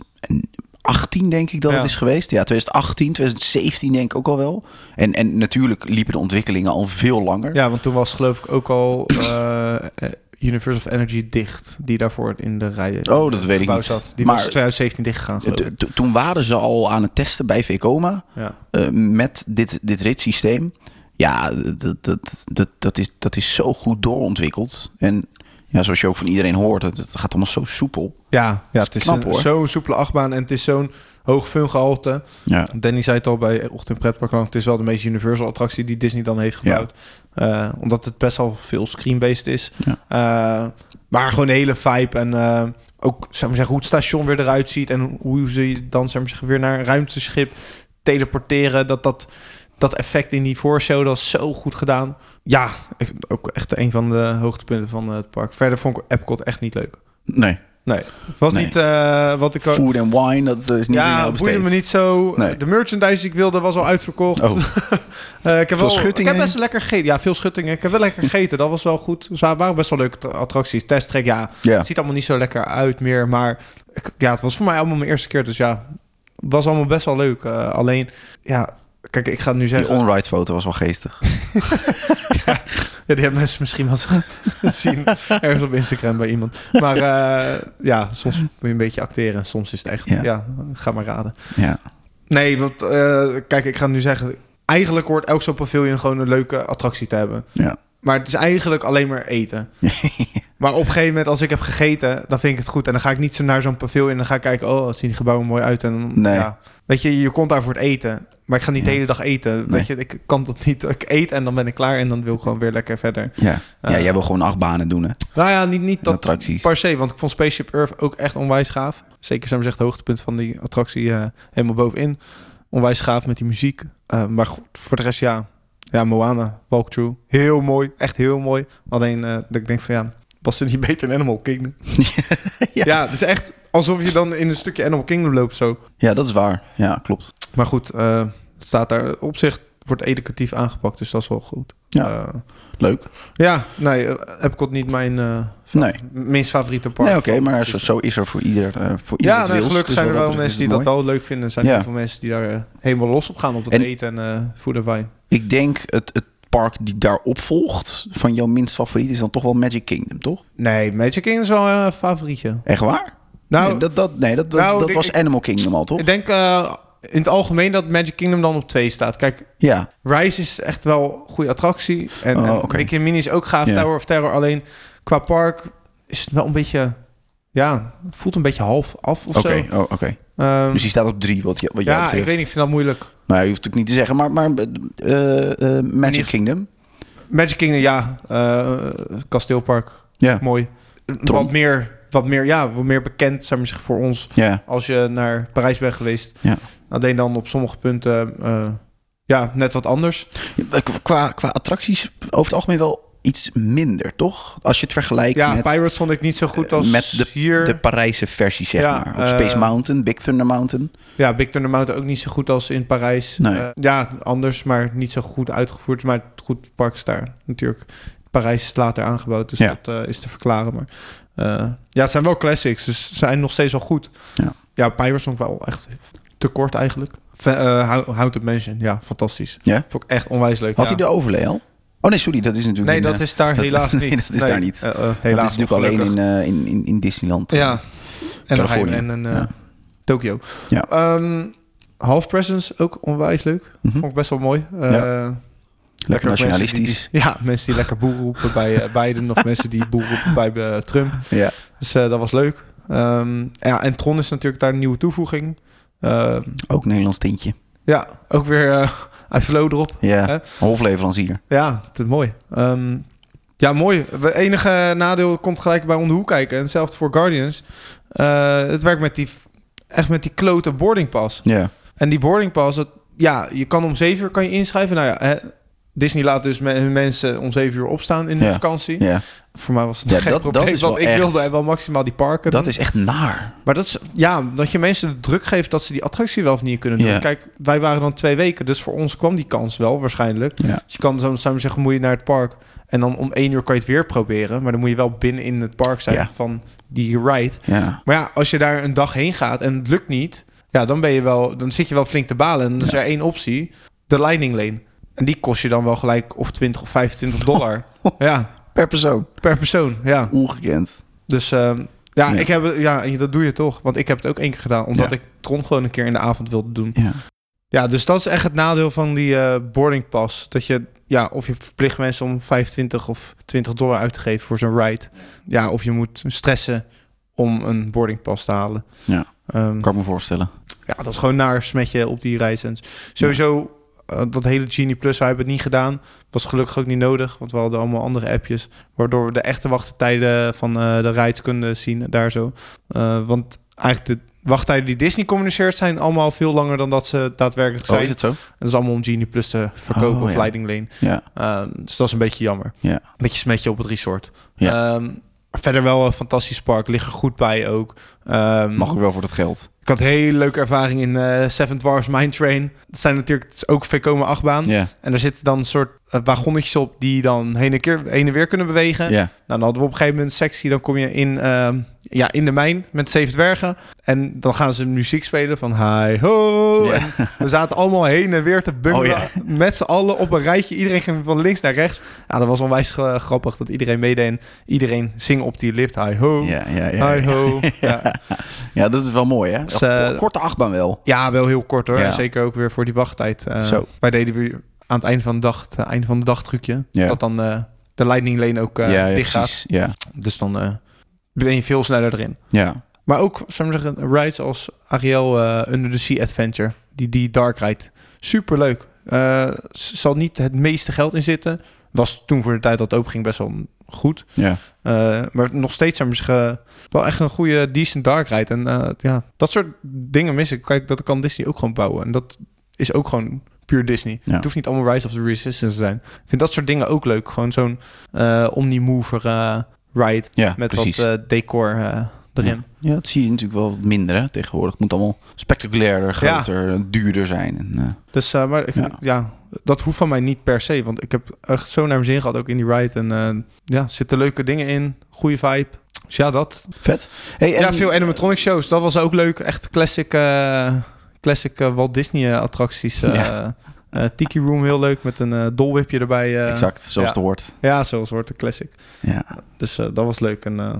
2018 denk ik dat Ja. het is geweest. Ja, 2018, 2017 denk ik ook al wel. En, en natuurlijk liepen de ontwikkelingen al veel langer. Ja, want toen was geloof ik ook al eh, eh, Universe of Energy dicht, die daarvoor in de rij Oh, dat weet ik gebouw niet. zat. Die Maar- was in 2017 dichtgegaan, geloof ik. Eh, T- t- Toen waren ze al aan het testen bij Vekoma Ja. eh, met dit, dit ritssysteem. Ja, dat, dat, dat, dat, is, dat is zo goed doorontwikkeld. En ja, zoals je ook van iedereen hoort, het, het gaat allemaal zo soepel. Ja, ja, het is knap, een- hoor. zo'n soepele achtbaan en het is zo'n hoog fungehalte. Ja, Danny zei het al bij Ochtend Pretparkland, het is wel de meest universal attractie die Disney dan heeft gebouwd. Eh, omdat het best wel veel screen-based is. Ja. Eh, maar gewoon de hele vibe en eh, ook zou ik maar zeggen, hoe het station weer eruit ziet en hoe ze je dan zou ik maar zeggen, weer naar een ruimteschip teleporteren. Dat, dat, dat effect in die voorshow, dat is zo goed gedaan. Ja, ik- ook echt een van de hoogtepunten van eh, het park. Verder vond ik Epcot echt niet leuk. nee. Het was Nee. niet eh, wat ik... Food and wine, dat is niet in ja, heel het besteed. boeide me niet zo. Nee. De merchandise die ik wilde was al uitverkocht. Oh, Eh, ik heb Veel wel, schuttingen? Ik heb best lekker gegeten. Ja, veel schuttingen. Ik heb wel lekker gegeten. Dat was wel goed. Ze waren best wel leuke tra- attracties. Testtrek, ja. ja. Het ziet allemaal niet zo lekker uit meer. Maar ik- ja, het was voor mij allemaal mijn eerste keer. Dus ja, was allemaal best wel leuk. Eh, alleen, ja, kijk, ik ga het nu Die zeggen. onride foto was wel geestig. Ja, die hebben mensen misschien wel gezien ergens op Instagram bij iemand. Maar eh, ja, soms moet je een beetje acteren en soms is het echt, Ja. ja, ga maar raden. Ja. Nee, want eh, kijk, ik ga het nu zeggen. Eigenlijk hoort elk zo'n paviljoen gewoon een leuke attractie te hebben. Ja. Maar het is eigenlijk alleen maar eten. maar op een gegeven moment, als ik heb gegeten, dan vind ik het goed. En dan ga ik niet zo naar zo'n paviljoen en dan ga ik kijken... oh, het zien die gebouwen mooi uit. En, dan- Nee. ja. Weet je, je komt daar voor het eten. Maar ik ga niet de Ja. hele dag eten. Weet je, ik kan dat niet. Ik eet en dan ben ik klaar en dan wil ik gewoon weer lekker verder. Ja. ja, Eh, jij wil gewoon acht banen doen, hè? En Nou ja, niet, niet dat attracties. per se. Want ik vond Spaceship Earth ook echt onwijs gaaf. Zeker zijn we echt het hoogtepunt van die attractie eh, helemaal bovenin. Onwijs gaaf met die muziek. Eh, maar goed, voor de rest ja. Ja, Moana, walkthrough. Heel mooi. Echt heel mooi. Alleen eh, dat ik denk van ja, was er niet beter in Animal Kingdom? ja. Ja. het is echt alsof je dan in een stukje Animal Kingdom loopt zo. Ja, dat is waar. Ja, klopt. Maar goed, eh, het staat daar op zich, wordt educatief aangepakt. Dus dat is wel goed. Ja. Eh, Leuk. ja nee, eh, Epcot niet mijn eh, fa- Nee. minst favoriete park. Nee, oké, van- maar dus zo, zo is er voor ieder. eh, voor ieder Ja, het nee, wils. gelukkig Dus zijn er wat wel betreft mensen is die dat het mooi. wel leuk vinden. Er zijn Ja. heel veel mensen die daar eh, helemaal los op gaan op dat En- eten en eh voer en wijn. Ik denk het, het park die daarop volgt van jouw minst favoriet is dan toch wel Magic Kingdom, toch? Nee, Magic Kingdom is wel eh, een favorietje. Echt waar? Nou, nee, dat, dat, nee, dat, dat, nou, dat ik- was Animal Kingdom al, toch? ik denk eh, in het algemeen dat Magic Kingdom dan op twee staat. Kijk, Ja, Rise is echt wel een goede attractie. En, Oh, en oké. Mickey Mini is ook gaaf, Ja. Tower of Terror. Alleen qua park is het wel een beetje... Ja, voelt een beetje half af of oké. zo. oh, oké. Ehm, Dus die staat op drie, wat, je- wat jou ja, betreft. ik weet niet, ik vind dat moeilijk. Nou, je hoeft het ook niet te zeggen, maar, maar eh, eh, Magic Niet- Kingdom. Magic Kingdom, ja. eh, kasteelpark, Ja. mooi. Tron. Wat meer, wat meer, ja, wat meer bekend zou ik maar zeggen, voor ons Ja, als je naar Parijs bent geweest. Ja. Alleen dan op sommige punten, eh, ja, net wat anders. Eh, qua, qua attracties over het algemeen wel iets minder, toch? Als je het vergelijkt ja, met eh, Pirates vond ik niet zo goed als met hier. de Parijse versie, zeg Ja, maar. Op Space eh, Mountain, Big Thunder Mountain. Ja, Big Thunder Mountain ook niet zo goed als in Parijs. Nee. Eh, ja, anders, maar niet zo goed uitgevoerd. Maar het goed park is daar natuurlijk. Parijs is later aangebouwd, dus Ja. dat eh, is te verklaren. Maar eh, ja, het zijn wel classics, dus ze zijn nog steeds wel goed. Ja. ja Pirates vond ik wel echt te kort eigenlijk. Ve- eh, How- How to Mansion, ja, fantastisch. Ja? Vond ik echt onwijs leuk. Had ja. hij de overlay al? Oh nee, sorry, dat is natuurlijk Nee, in, dat eh, is daar dat- helaas niet. nee, dat is daar niet. Eh, eh, dat helaas is natuurlijk alleen in, eh, in, in, in Disneyland. Ja, en nog Californië. een- en een, eh, Ja. Tokio. Ja. Ehm, Half Presence, ook onwijs leuk. Mhm. Vond ik best wel mooi. Eh, Ja. ook mensen Lekker nationalistisch. die- ja, mensen die lekker boer roepen bij eh, Biden... of mensen die boer roepen bij eh, Trump. Ja. Dus eh, dat was leuk. Ehm, ja, en Tron is natuurlijk daar een nieuwe toevoeging. Ehm, Ook Nederlands tintje. ja, ook weer eh, uit Flow erop. Hè? Ja, hofleverancier. Ja, het is mooi. Ehm, ja, mooi. Het enige nadeel komt gelijk bij om de hoek kijken. En hetzelfde voor Guardians. Eh, het werkt met die, echt met die klote boarding pass. Ja. En die boarding pass, dat, ja, je kan om 7 uur kan je inschrijven. Nou ja, hè, Disney laat dus me- hun mensen om 7 uur opstaan in hun Ja. vakantie. ja. Voor mij was het Ja, geen dat- dat probleem, is want wel ik wilde echt- wel maximaal die parken. Dat doen. is echt naar. Maar dat is, ja, dat je mensen de druk geeft dat ze die attractie wel of niet kunnen doen. Ja. Kijk, wij waren dan twee weken, dus voor ons kwam die kans wel waarschijnlijk. Ja. Dus je kan zo zou ik zeggen, moet je naar het park. En dan om één uur kan je het weer proberen. Maar dan moet je wel binnen in het park zijn Ja. van die ride. Ja. Maar ja, als je daar een dag heen gaat en het lukt niet, ja, dan ben je wel, dan zit je wel flink te balen. En dan is er één optie, de Lightning Lane. En die kost je dan wel gelijk of 20 of 25 dollar. ja, Per persoon. per persoon. Ja. Ongekend. Dus ehm, ja, Ja. Ik heb, het- ja, en dat doe je toch. Want ik heb het ook één keer gedaan, omdat Ja. ik Tron gewoon een keer in de avond wilde doen. Ja. Ja, dus dat is echt het nadeel van die eh boarding pass. Dat je, ja, of je verplicht mensen om 25 of 20 dollar uit te geven voor zo'n ride. Ja, of je moet stressen om een boarding pass te halen. Ja. Ehm, Kan ik me voorstellen. ja, dat is gewoon naar smetje op die reis. En sowieso, eh, dat hele Genie Plus, wij hebben het niet gedaan. Was gelukkig ook niet nodig, want we hadden allemaal andere appjes. Waardoor we de echte wachttijden van eh, de rides kunnen zien daar zo. Eh, want eigenlijk de wachttijden die Disney communiceert zijn allemaal veel langer dan dat ze daadwerkelijk zijn. Oh, is het zo? En dat is allemaal om Genie Plus te verkopen Oh, of ja. Lightning Lane. Ja. Ehm, dus dat is een beetje jammer. Ja. Beetje smetje op het resort. Ja. Ehm, verder wel een fantastisch park. Ligt er goed bij ook. Ehm, Mag ook wel voor dat geld. Ik had hele leuke ervaring in eh Seven Dwarfs Mine Train. Dat zijn natuurlijk het is ook Vekoma achtbaan. Ja, En daar zitten dan een soort eh, wagonnetjes op die dan heen en, keer, heen en weer kunnen bewegen. ja. Nou, dan hadden we op een gegeven moment een sectie. Dan kom je in, ehm, ja, in de mijn met zeven dwergen. En dan gaan ze muziek spelen van hi ho. Ja. En we zaten allemaal heen en weer te bungelen. Oh, ja. Met z'n allen op een rijtje. Iedereen ging van links naar rechts. Ja, dat was onwijs eh, grappig dat iedereen meedeed. En Iedereen zing op die lift hi ho. Ja, ja, ja, Hi ja. ho. Ja. Ja, dat is wel mooi, hè? Dus, eh, Korte achtbaan wel. ja, wel heel kort hoor. Ja. En Zeker ook weer voor die wachttijd. Eh, Zo. Wij deden weer aan het eind van de dag, het eh, einde van de dag trucje. Ja. Dat dan eh, de lightning lane ook eh ja, ja, dicht gaat. precies. Ja, Dus dan eh, ben je veel sneller erin. ja. Maar ook, zou ik maar zeggen, rides als Ariel eh, Under the Sea Adventure. Die, die dark ride. Superleuk. Eh, s- zal niet het meeste geld in zitten. Was toen voor de tijd dat het openging best wel goed. ja. Eh, maar nog steeds zijn we zeggen, wel echt een goede, decent dark ride. En eh, ja, dat soort dingen mis ik. Kijk, dat kan Disney ook gewoon bouwen. En dat is ook gewoon puur Disney. Ja. Het hoeft niet allemaal Rise of the Resistance te zijn. Ik vind dat soort dingen ook leuk. Gewoon zo'n eh omnimover eh, ride ja met precies. wat eh, decor eh, erin. Ja, dat zie je natuurlijk wel wat minder hè, tegenwoordig. Het moet allemaal spectaculairder, Ja. groter, eh, duurder zijn. En, eh, Dus, eh, maar ik, Ja. ja. dat hoeft van mij niet per se. Want ik heb echt zo naar mijn zin gehad, ook in die ride. En eh, ja, zitten leuke dingen in. Goede vibe. Dus ja, dat. Vet. Hey, en- ja, veel animatronic shows. Dat was ook leuk. Echt classic, eh, classic eh, Walt Disney eh, attracties. eh, Ja. eh, Tiki Room heel leuk, met een eh dolwipje erbij. eh. Exact, zoals ja. het hoort. Ja, zoals hoort, een classic. Ja. Dus eh, dat was leuk. En eh,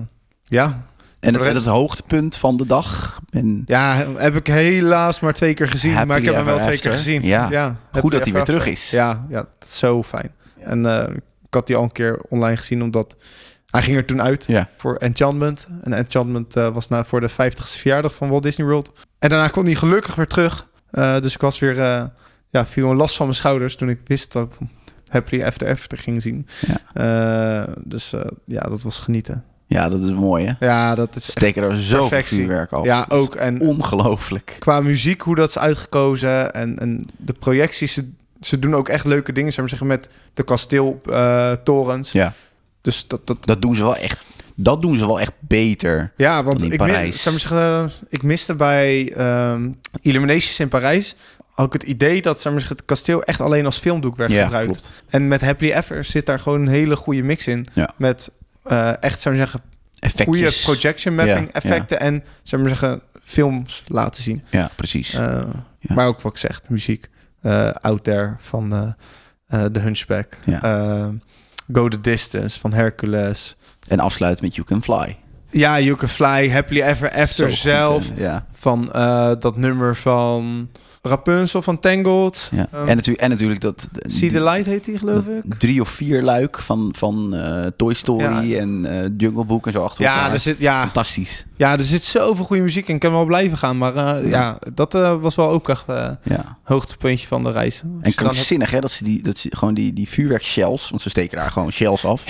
ja. En Voor het, de en rest- het hoogtepunt van de dag. En ja, heb ik helaas maar twee keer gezien. maar Happily ik heb hem wel ever twee keer after. gezien. Ja. heb goed dat ik hij weer even terug is. eh, Ja, ja, dat is zo fijn. Ja. En eh, ik had die al een keer online gezien, omdat hij ging er toen uit Ja. voor Enchantment. En Enchantment eh, was na, voor de 50ste verjaardag van Walt Disney World. En daarna kwam hij gelukkig weer terug. Eh, dus ik was weer, eh, ja, viel een last van mijn schouders toen ik wist dat ik Happily After After ging zien. Eh, dus eh, ja, dat was genieten. Ja, dat is mooi, hè? Ja, dat is Ze steken er zo perfectie. vuurwerk af. ja, Dat is ook. En Ongelooflijk. qua muziek, hoe dat is uitgekozen en, en de projecties. Ze, ze doen ook echt leuke dingen, zou ik maar zeggen, met de kasteeltorens. Ja. Dus dat, dat, Dat doen ze wel echt, dat doen ze wel echt beter. ja, want Dan in ik, Parijs. mis, zou ik, maar zeggen, ik miste bij ehm, Illuminations in Parijs ook het idee dat zou ik maar zeggen, het kasteel echt alleen als filmdoek werd ja, gebruikt. klopt. En met Happily Ever zit daar gewoon een hele goede mix in. Ja. Met eh, echt, zou ik maar zeggen, Effectjes. goede projection mapping Ja, effecten en, zou ik maar zeggen, films laten zien. Ja, precies. Eh, Ja. Maar ook wat ik zeg, de muziek. eh Out There van eh, eh, The Hunchback. Ja. Eh, Go the Distance van Hercules. en afsluiten met You Can Fly. Ja, You Can Fly, Happily Ever Zo After goed, zelf. hè? ja. van eh, dat nummer van Rapunzel van Tangled. Ja. Ehm, en, natuurlijk, en natuurlijk dat... See the Light heet die, geloof ik. dat Drie of vier luik van, van eh, Toy Story en eh, Jungle Book en zo achter Ja elkaar. er, zit, ja, Fantastisch. ja, er zit zoveel goede muziek in. Ik kan wel blijven gaan. Maar eh, ja, dat eh, was wel ook echt eh Ja. hoogtepuntje van de reis. Als En je dan hebt- krankzinnig hè, dat ze, die, dat ze gewoon die, die vuurwerkshells, want ze steken daar gewoon shells af.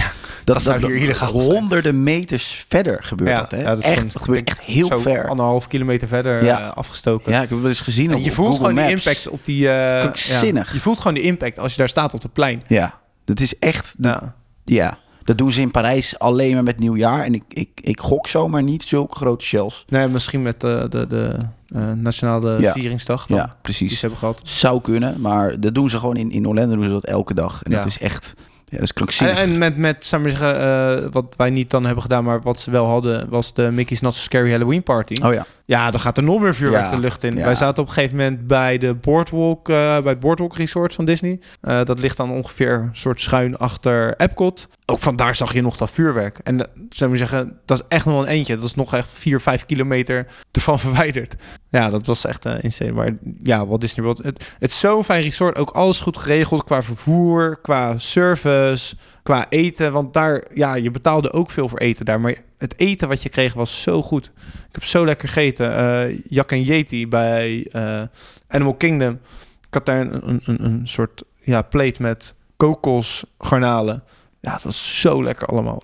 dat, zou hier illegaal zijn. Honderden meters verder gebeurt Ja, dat hè. ja, dat is echt, gewoon- dat gebeurt echt heel zo ver. anderhalf kilometer verder Ja. eh, afgestoken. Ja, ik heb wel eens gezien En op- je op voelt Google gewoon die Maps. impact op die... eh, is krankzinnig. ja. Je voelt gewoon die impact als je daar staat op het plein. Ja, dat is echt... Ja. Ja, dat doen ze in Parijs alleen maar met nieuwjaar. En ik, ik, ik gok zomaar niet zulke grote shells. Nee, misschien met de, de, de eh, nationale Ja. vieringsdag dan, Ja, die ze precies. hebben gehad. Zou kunnen, maar dat doen ze gewoon in, in Orlando doen ze dat elke dag. En Ja. dat is echt... Ja, dat En, is krankzinnig. en met, met zou ik maar zeggen, eh, wat wij niet dan hebben gedaan, maar wat ze wel hadden, was de Mickey's Not So Scary Halloween Party. Oh ja, Ja, dan gaat er nog meer vuurwerk Ja, de lucht in. ja. Wij zaten op een gegeven moment bij, de boardwalk, eh, bij het Boardwalk Resort van Disney. Eh, dat ligt dan ongeveer een soort schuin achter Epcot. Ook vandaar zag je nog dat vuurwerk. En dat- zou ik maar zeggen, dat is echt nog wel een eentje. Dat is nog echt 4, 5 kilometer ervan verwijderd. Ja, dat was echt eh, insane. Maar ja, Walt Disney World. Het, het is zo'n fijn resort. Ook alles goed geregeld qua vervoer, qua service, qua eten. Want daar, ja, je betaalde ook veel voor eten daar. Maar het eten wat je kreeg was zo goed. Ik heb zo lekker gegeten. Eh Jak en Yeti bij eh, Animal Kingdom. Ik had daar een, een, een, een soort ja, plate met kokosgarnalen. Ja, dat is zo lekker allemaal.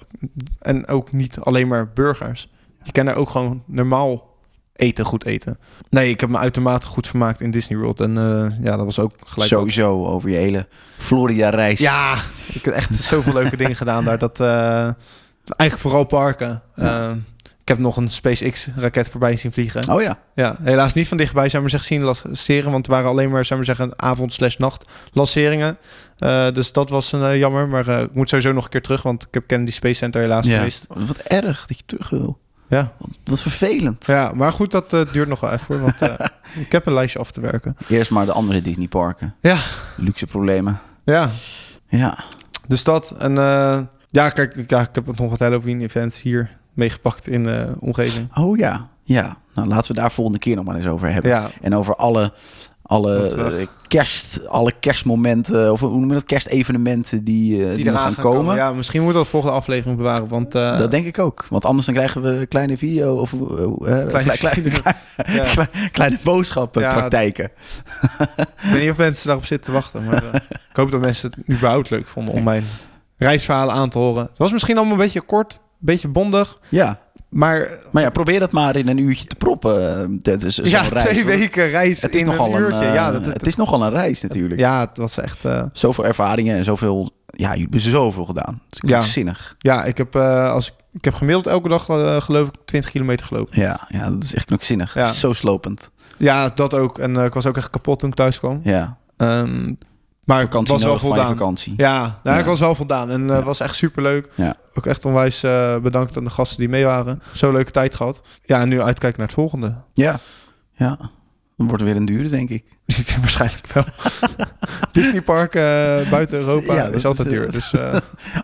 En ook niet alleen maar burgers. Je kan daar ook gewoon normaal eten goed eten. Nee, ik heb me uitermate goed vermaakt in Disney World. En eh, ja, dat was ook gelijk... ook- sowieso over je hele Florida-reis. Ja, ik heb echt zoveel leuke dingen gedaan daar. Dat, eh, eigenlijk vooral parken. Ja. Eh, ik heb nog een SpaceX-raket voorbij zien vliegen. Oh ja. Ja, helaas niet van dichtbij zijn we zeggen zien lanceren, want het waren alleen maar zijn we zeggen avond slash nacht lanceringen. Eh, dus dat was een, eh, jammer, maar eh, ik moet sowieso nog een keer terug, want ik heb Kennedy Space Center helaas ja. gemist. Wat erg dat je terug wil. Ja. Wat, wat vervelend. Ja, maar goed, dat eh, duurt nog wel even, hoor, want eh, ik heb een lijstje af te werken. Eerst maar de andere Disney parken. Ja. Luxe problemen. Ja, Ja. dus dat. En eh, ja, kijk, ik- ja, ik heb nog wat Halloween events hier meegepakt in de omgeving. Oh ja. Ja. Nou, laten we daar volgende keer nog maar eens over hebben. Ja, En over alle, alle Komt terug. eh, kerst, alle kerstmomenten, of hoe noem je dat, kerstevenementen die, eh, die, nog eraan gaan komen. Ja, misschien moeten we dat volgende aflevering bewaren, want... eh, Dat denk ik ook. Want anders dan krijgen we kleine video of eh, eh, Kleine klei- klei- video. ja. klei- kleine boodschappen Ja, praktijken. Ik weet niet of mensen daarop zitten te wachten. Maar eh, ik hoop dat mensen het überhaupt leuk vonden om mijn reisverhalen aan te horen. Het was misschien allemaal een beetje kort, een beetje bondig. Ja, Maar maar ja, probeer dat maar in een uurtje te proppen. eh, Dat is zo'n ja, reis, twee hoor. weken reis Het is, in nogal een een, uurtje. eh, ja, dat, het is nogal een reis natuurlijk. ja, het was echt... eh, Zoveel ervaringen en zoveel... Ja, jullie hebben zoveel gedaan. Het is Ja. ja. zinnig. ja, ik heb, eh, als, ik, ik heb gemiddeld elke dag eh, geloof ik 20 kilometer gelopen. Ja, ja, dat is echt knokzinnig. Ja. Het is zo slopend. Ja, dat ook. En eh, ik was ook echt kapot toen ik thuis kwam. Ja, Ehm, maar ik vakantie was wel nodig van je voldaan. vakantie. Ja, daar Ja. ik was wel voldaan. En eh, Ja. was echt superleuk. Ja. Ook echt onwijs eh, bedankt aan de gasten die mee waren. Zo'n leuke tijd gehad. Ja, en nu uitkijken naar het volgende. Ja. Ja. Dan wordt het weer een dure, denk ik. Waarschijnlijk wel. Disneypark eh buiten Europa Ja, is dat altijd is, eh, duur. Dus, eh,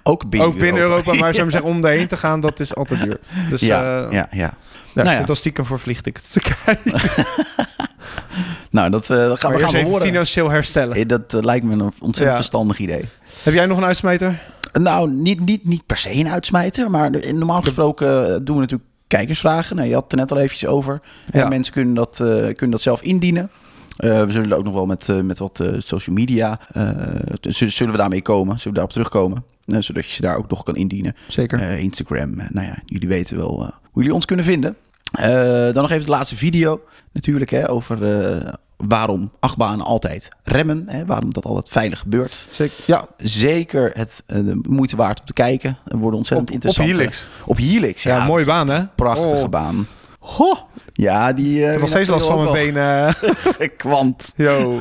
Ook binnen ook binnen Europa, maar zou ik zeggen, om daarheen te gaan, dat is altijd duur. Dus eh, ja, ja, ja, ja. ik Nou ja. zit al stiekem voor vliegtickets te kijken. Nou, dat eh, dat gaan Maar we eerst gaan we even horen. financieel herstellen. Eh, Dat eh, lijkt me een ontzettend Ja. verstandig idee. Heb jij nog een uitsmijter? Nou, niet, niet, niet per se een uitsmijter, maar de- normaal gesproken eh, doen we natuurlijk kijkersvragen. Nou, je had het er net al eventjes over. Ja. En mensen kunnen dat, eh, kunnen dat zelf indienen. Eh, we zullen er ook nog wel met, eh, met wat eh, social media, eh, t- zullen zullen we daarmee komen, zullen we daarop terugkomen. Eh, zodat je ze daar ook nog kan indienen. Zeker. Eh, Instagram. Eh, nou ja, jullie weten wel eh, hoe jullie ons kunnen vinden. Eh, dan nog even de laatste video natuurlijk hè, over eh, waarom achtbanen altijd remmen. Hè, waarom dat altijd veilig gebeurt. Zeker. Ja, Zeker het, eh, de moeite waard om te kijken. Er worden ontzettend op, op interessante... Helix. Op Helix, ja. Ja, mooie baan hè? Prachtige Oh, baan. Ho! Ja, die... eh, Ik heb nog die steeds last van mijn natuurlijk benen. ook wel Kwant. Yo.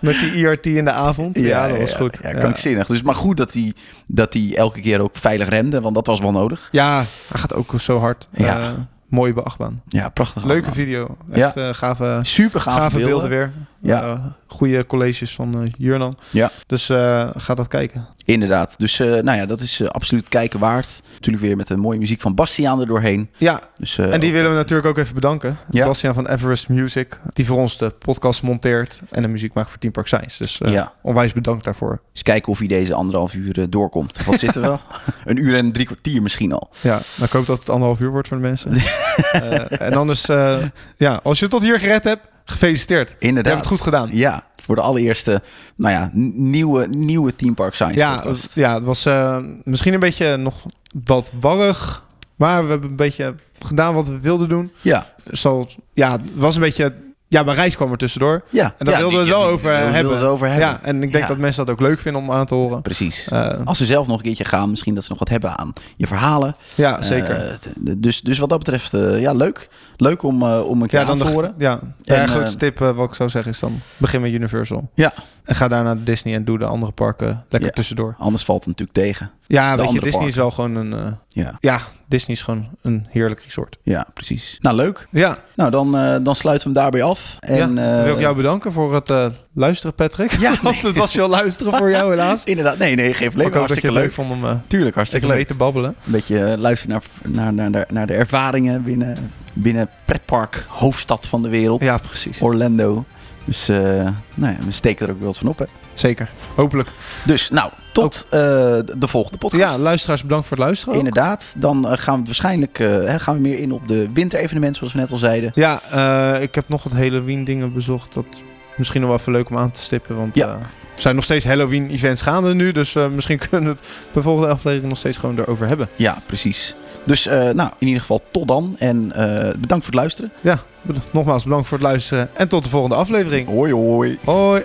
Met die IRT in de avond. Ja, dat was goed. Ja, krankzinnig. Dus, maar goed dat hij dat die elke keer ook veilig remde, want dat was wel nodig. Ja, hij gaat ook zo hard. Ja. Eh, mooie beachtbaan. Ja, prachtig. Leuke video. Echt eh, gave, Super gave, beelden. weer. Ja. Ja. goede colleges van eh, Jurnan. Ja. Dus eh, ga dat kijken. Inderdaad. Dus eh, nou ja, dat is eh, absoluut kijken waard. Natuurlijk weer met de mooie muziek van Bastiaan er doorheen. Ja, Dus, eh, en die willen we natuurlijk ook even bedanken. Ja. Bastiaan van Everest Music, die voor ons de podcast monteert en de muziek maakt voor Team Park Science. Dus eh, Ja. onwijs bedankt daarvoor. Eens kijken of hij deze anderhalf uur eh, doorkomt. Wat zitten we? een uur en drie kwartier misschien al. Ja, nou, ik hoop dat het anderhalf uur wordt voor de mensen. Eh, en anders, eh, ja, als je het tot hier gered hebt, gefeliciteerd. Je Inderdaad. hebt het goed gedaan. Ja, voor de allereerste, nou ja, n- nieuwe, nieuwe Theme Park Science Ja, podcast. het- ja, het was eh, misschien een beetje nog wat warrig. Maar we hebben een beetje gedaan wat we wilden doen. Ja, Zo, ja, het was een beetje... Ja, mijn reis kwam er tussendoor. ja. En daar ja, wilden we die- het wel die- over die wilden we hebben. het over hebben. Ja, en ik denk Ja. dat mensen dat ook leuk vinden om aan te horen. Precies. Eh, Als ze zelf nog een keertje gaan, misschien dat ze nog wat hebben aan je verhalen. ja, zeker. Eh, t- dus, dus wat dat betreft, eh, ja, leuk. Leuk om, eh, om een keer ja, dan aan te de, horen. Ja, ja, En, de grootste eh, tip eh, wat ik zou zeggen is dan begin met Universal. Ja. En ga daarna naar Disney en doe de andere parken lekker Ja. tussendoor. Anders valt het natuurlijk tegen. Ja, weet je, andere Disney is parken. wel gewoon een... eh, Ja, ja, Disney is gewoon een heerlijk resort. ja, precies. Nou, leuk. Ja, Nou, dan, eh, dan sluiten we hem daarbij af. En, ja, dan wil ik eh, jou bedanken voor het eh, luisteren, Patrick. Ja, Want het was wel luisteren voor jou, helaas. Inderdaad, nee, nee, geef Maar leuk. ik hoop dat je Hartstikke het leuk leuk. vond om eh, Tuurlijk, hartstikke even mee leuk. te babbelen. Een beetje eh, luisteren naar, naar, naar, naar, naar de ervaringen binnen, binnen pretpark, hoofdstad van de wereld, Ja, precies. Orlando. Dus eh, nou ja, we steken er ook wel wat van op. Hè. Zeker. Hopelijk. Dus nou, tot eh, de volgende podcast. Ja, luisteraars, bedankt voor het luisteren. ook. Inderdaad, dan eh, gaan we het waarschijnlijk eh, hè, gaan we meer in op de winterevenementen, zoals we net al zeiden. Ja, eh, ik heb nog wat Halloween-dingen bezocht. Dat is misschien nog wel even leuk om aan te stippen. Want Ja. eh, er zijn nog steeds Halloween-events gaande nu. Dus eh, misschien kunnen we het bij volgende aflevering nog steeds gewoon erover hebben. Ja, precies. Dus eh, nou, in ieder geval tot dan en eh, bedankt voor het luisteren. Ja, bed- nogmaals bedankt voor het luisteren. En tot de volgende aflevering. Hoi hoi. Hoi.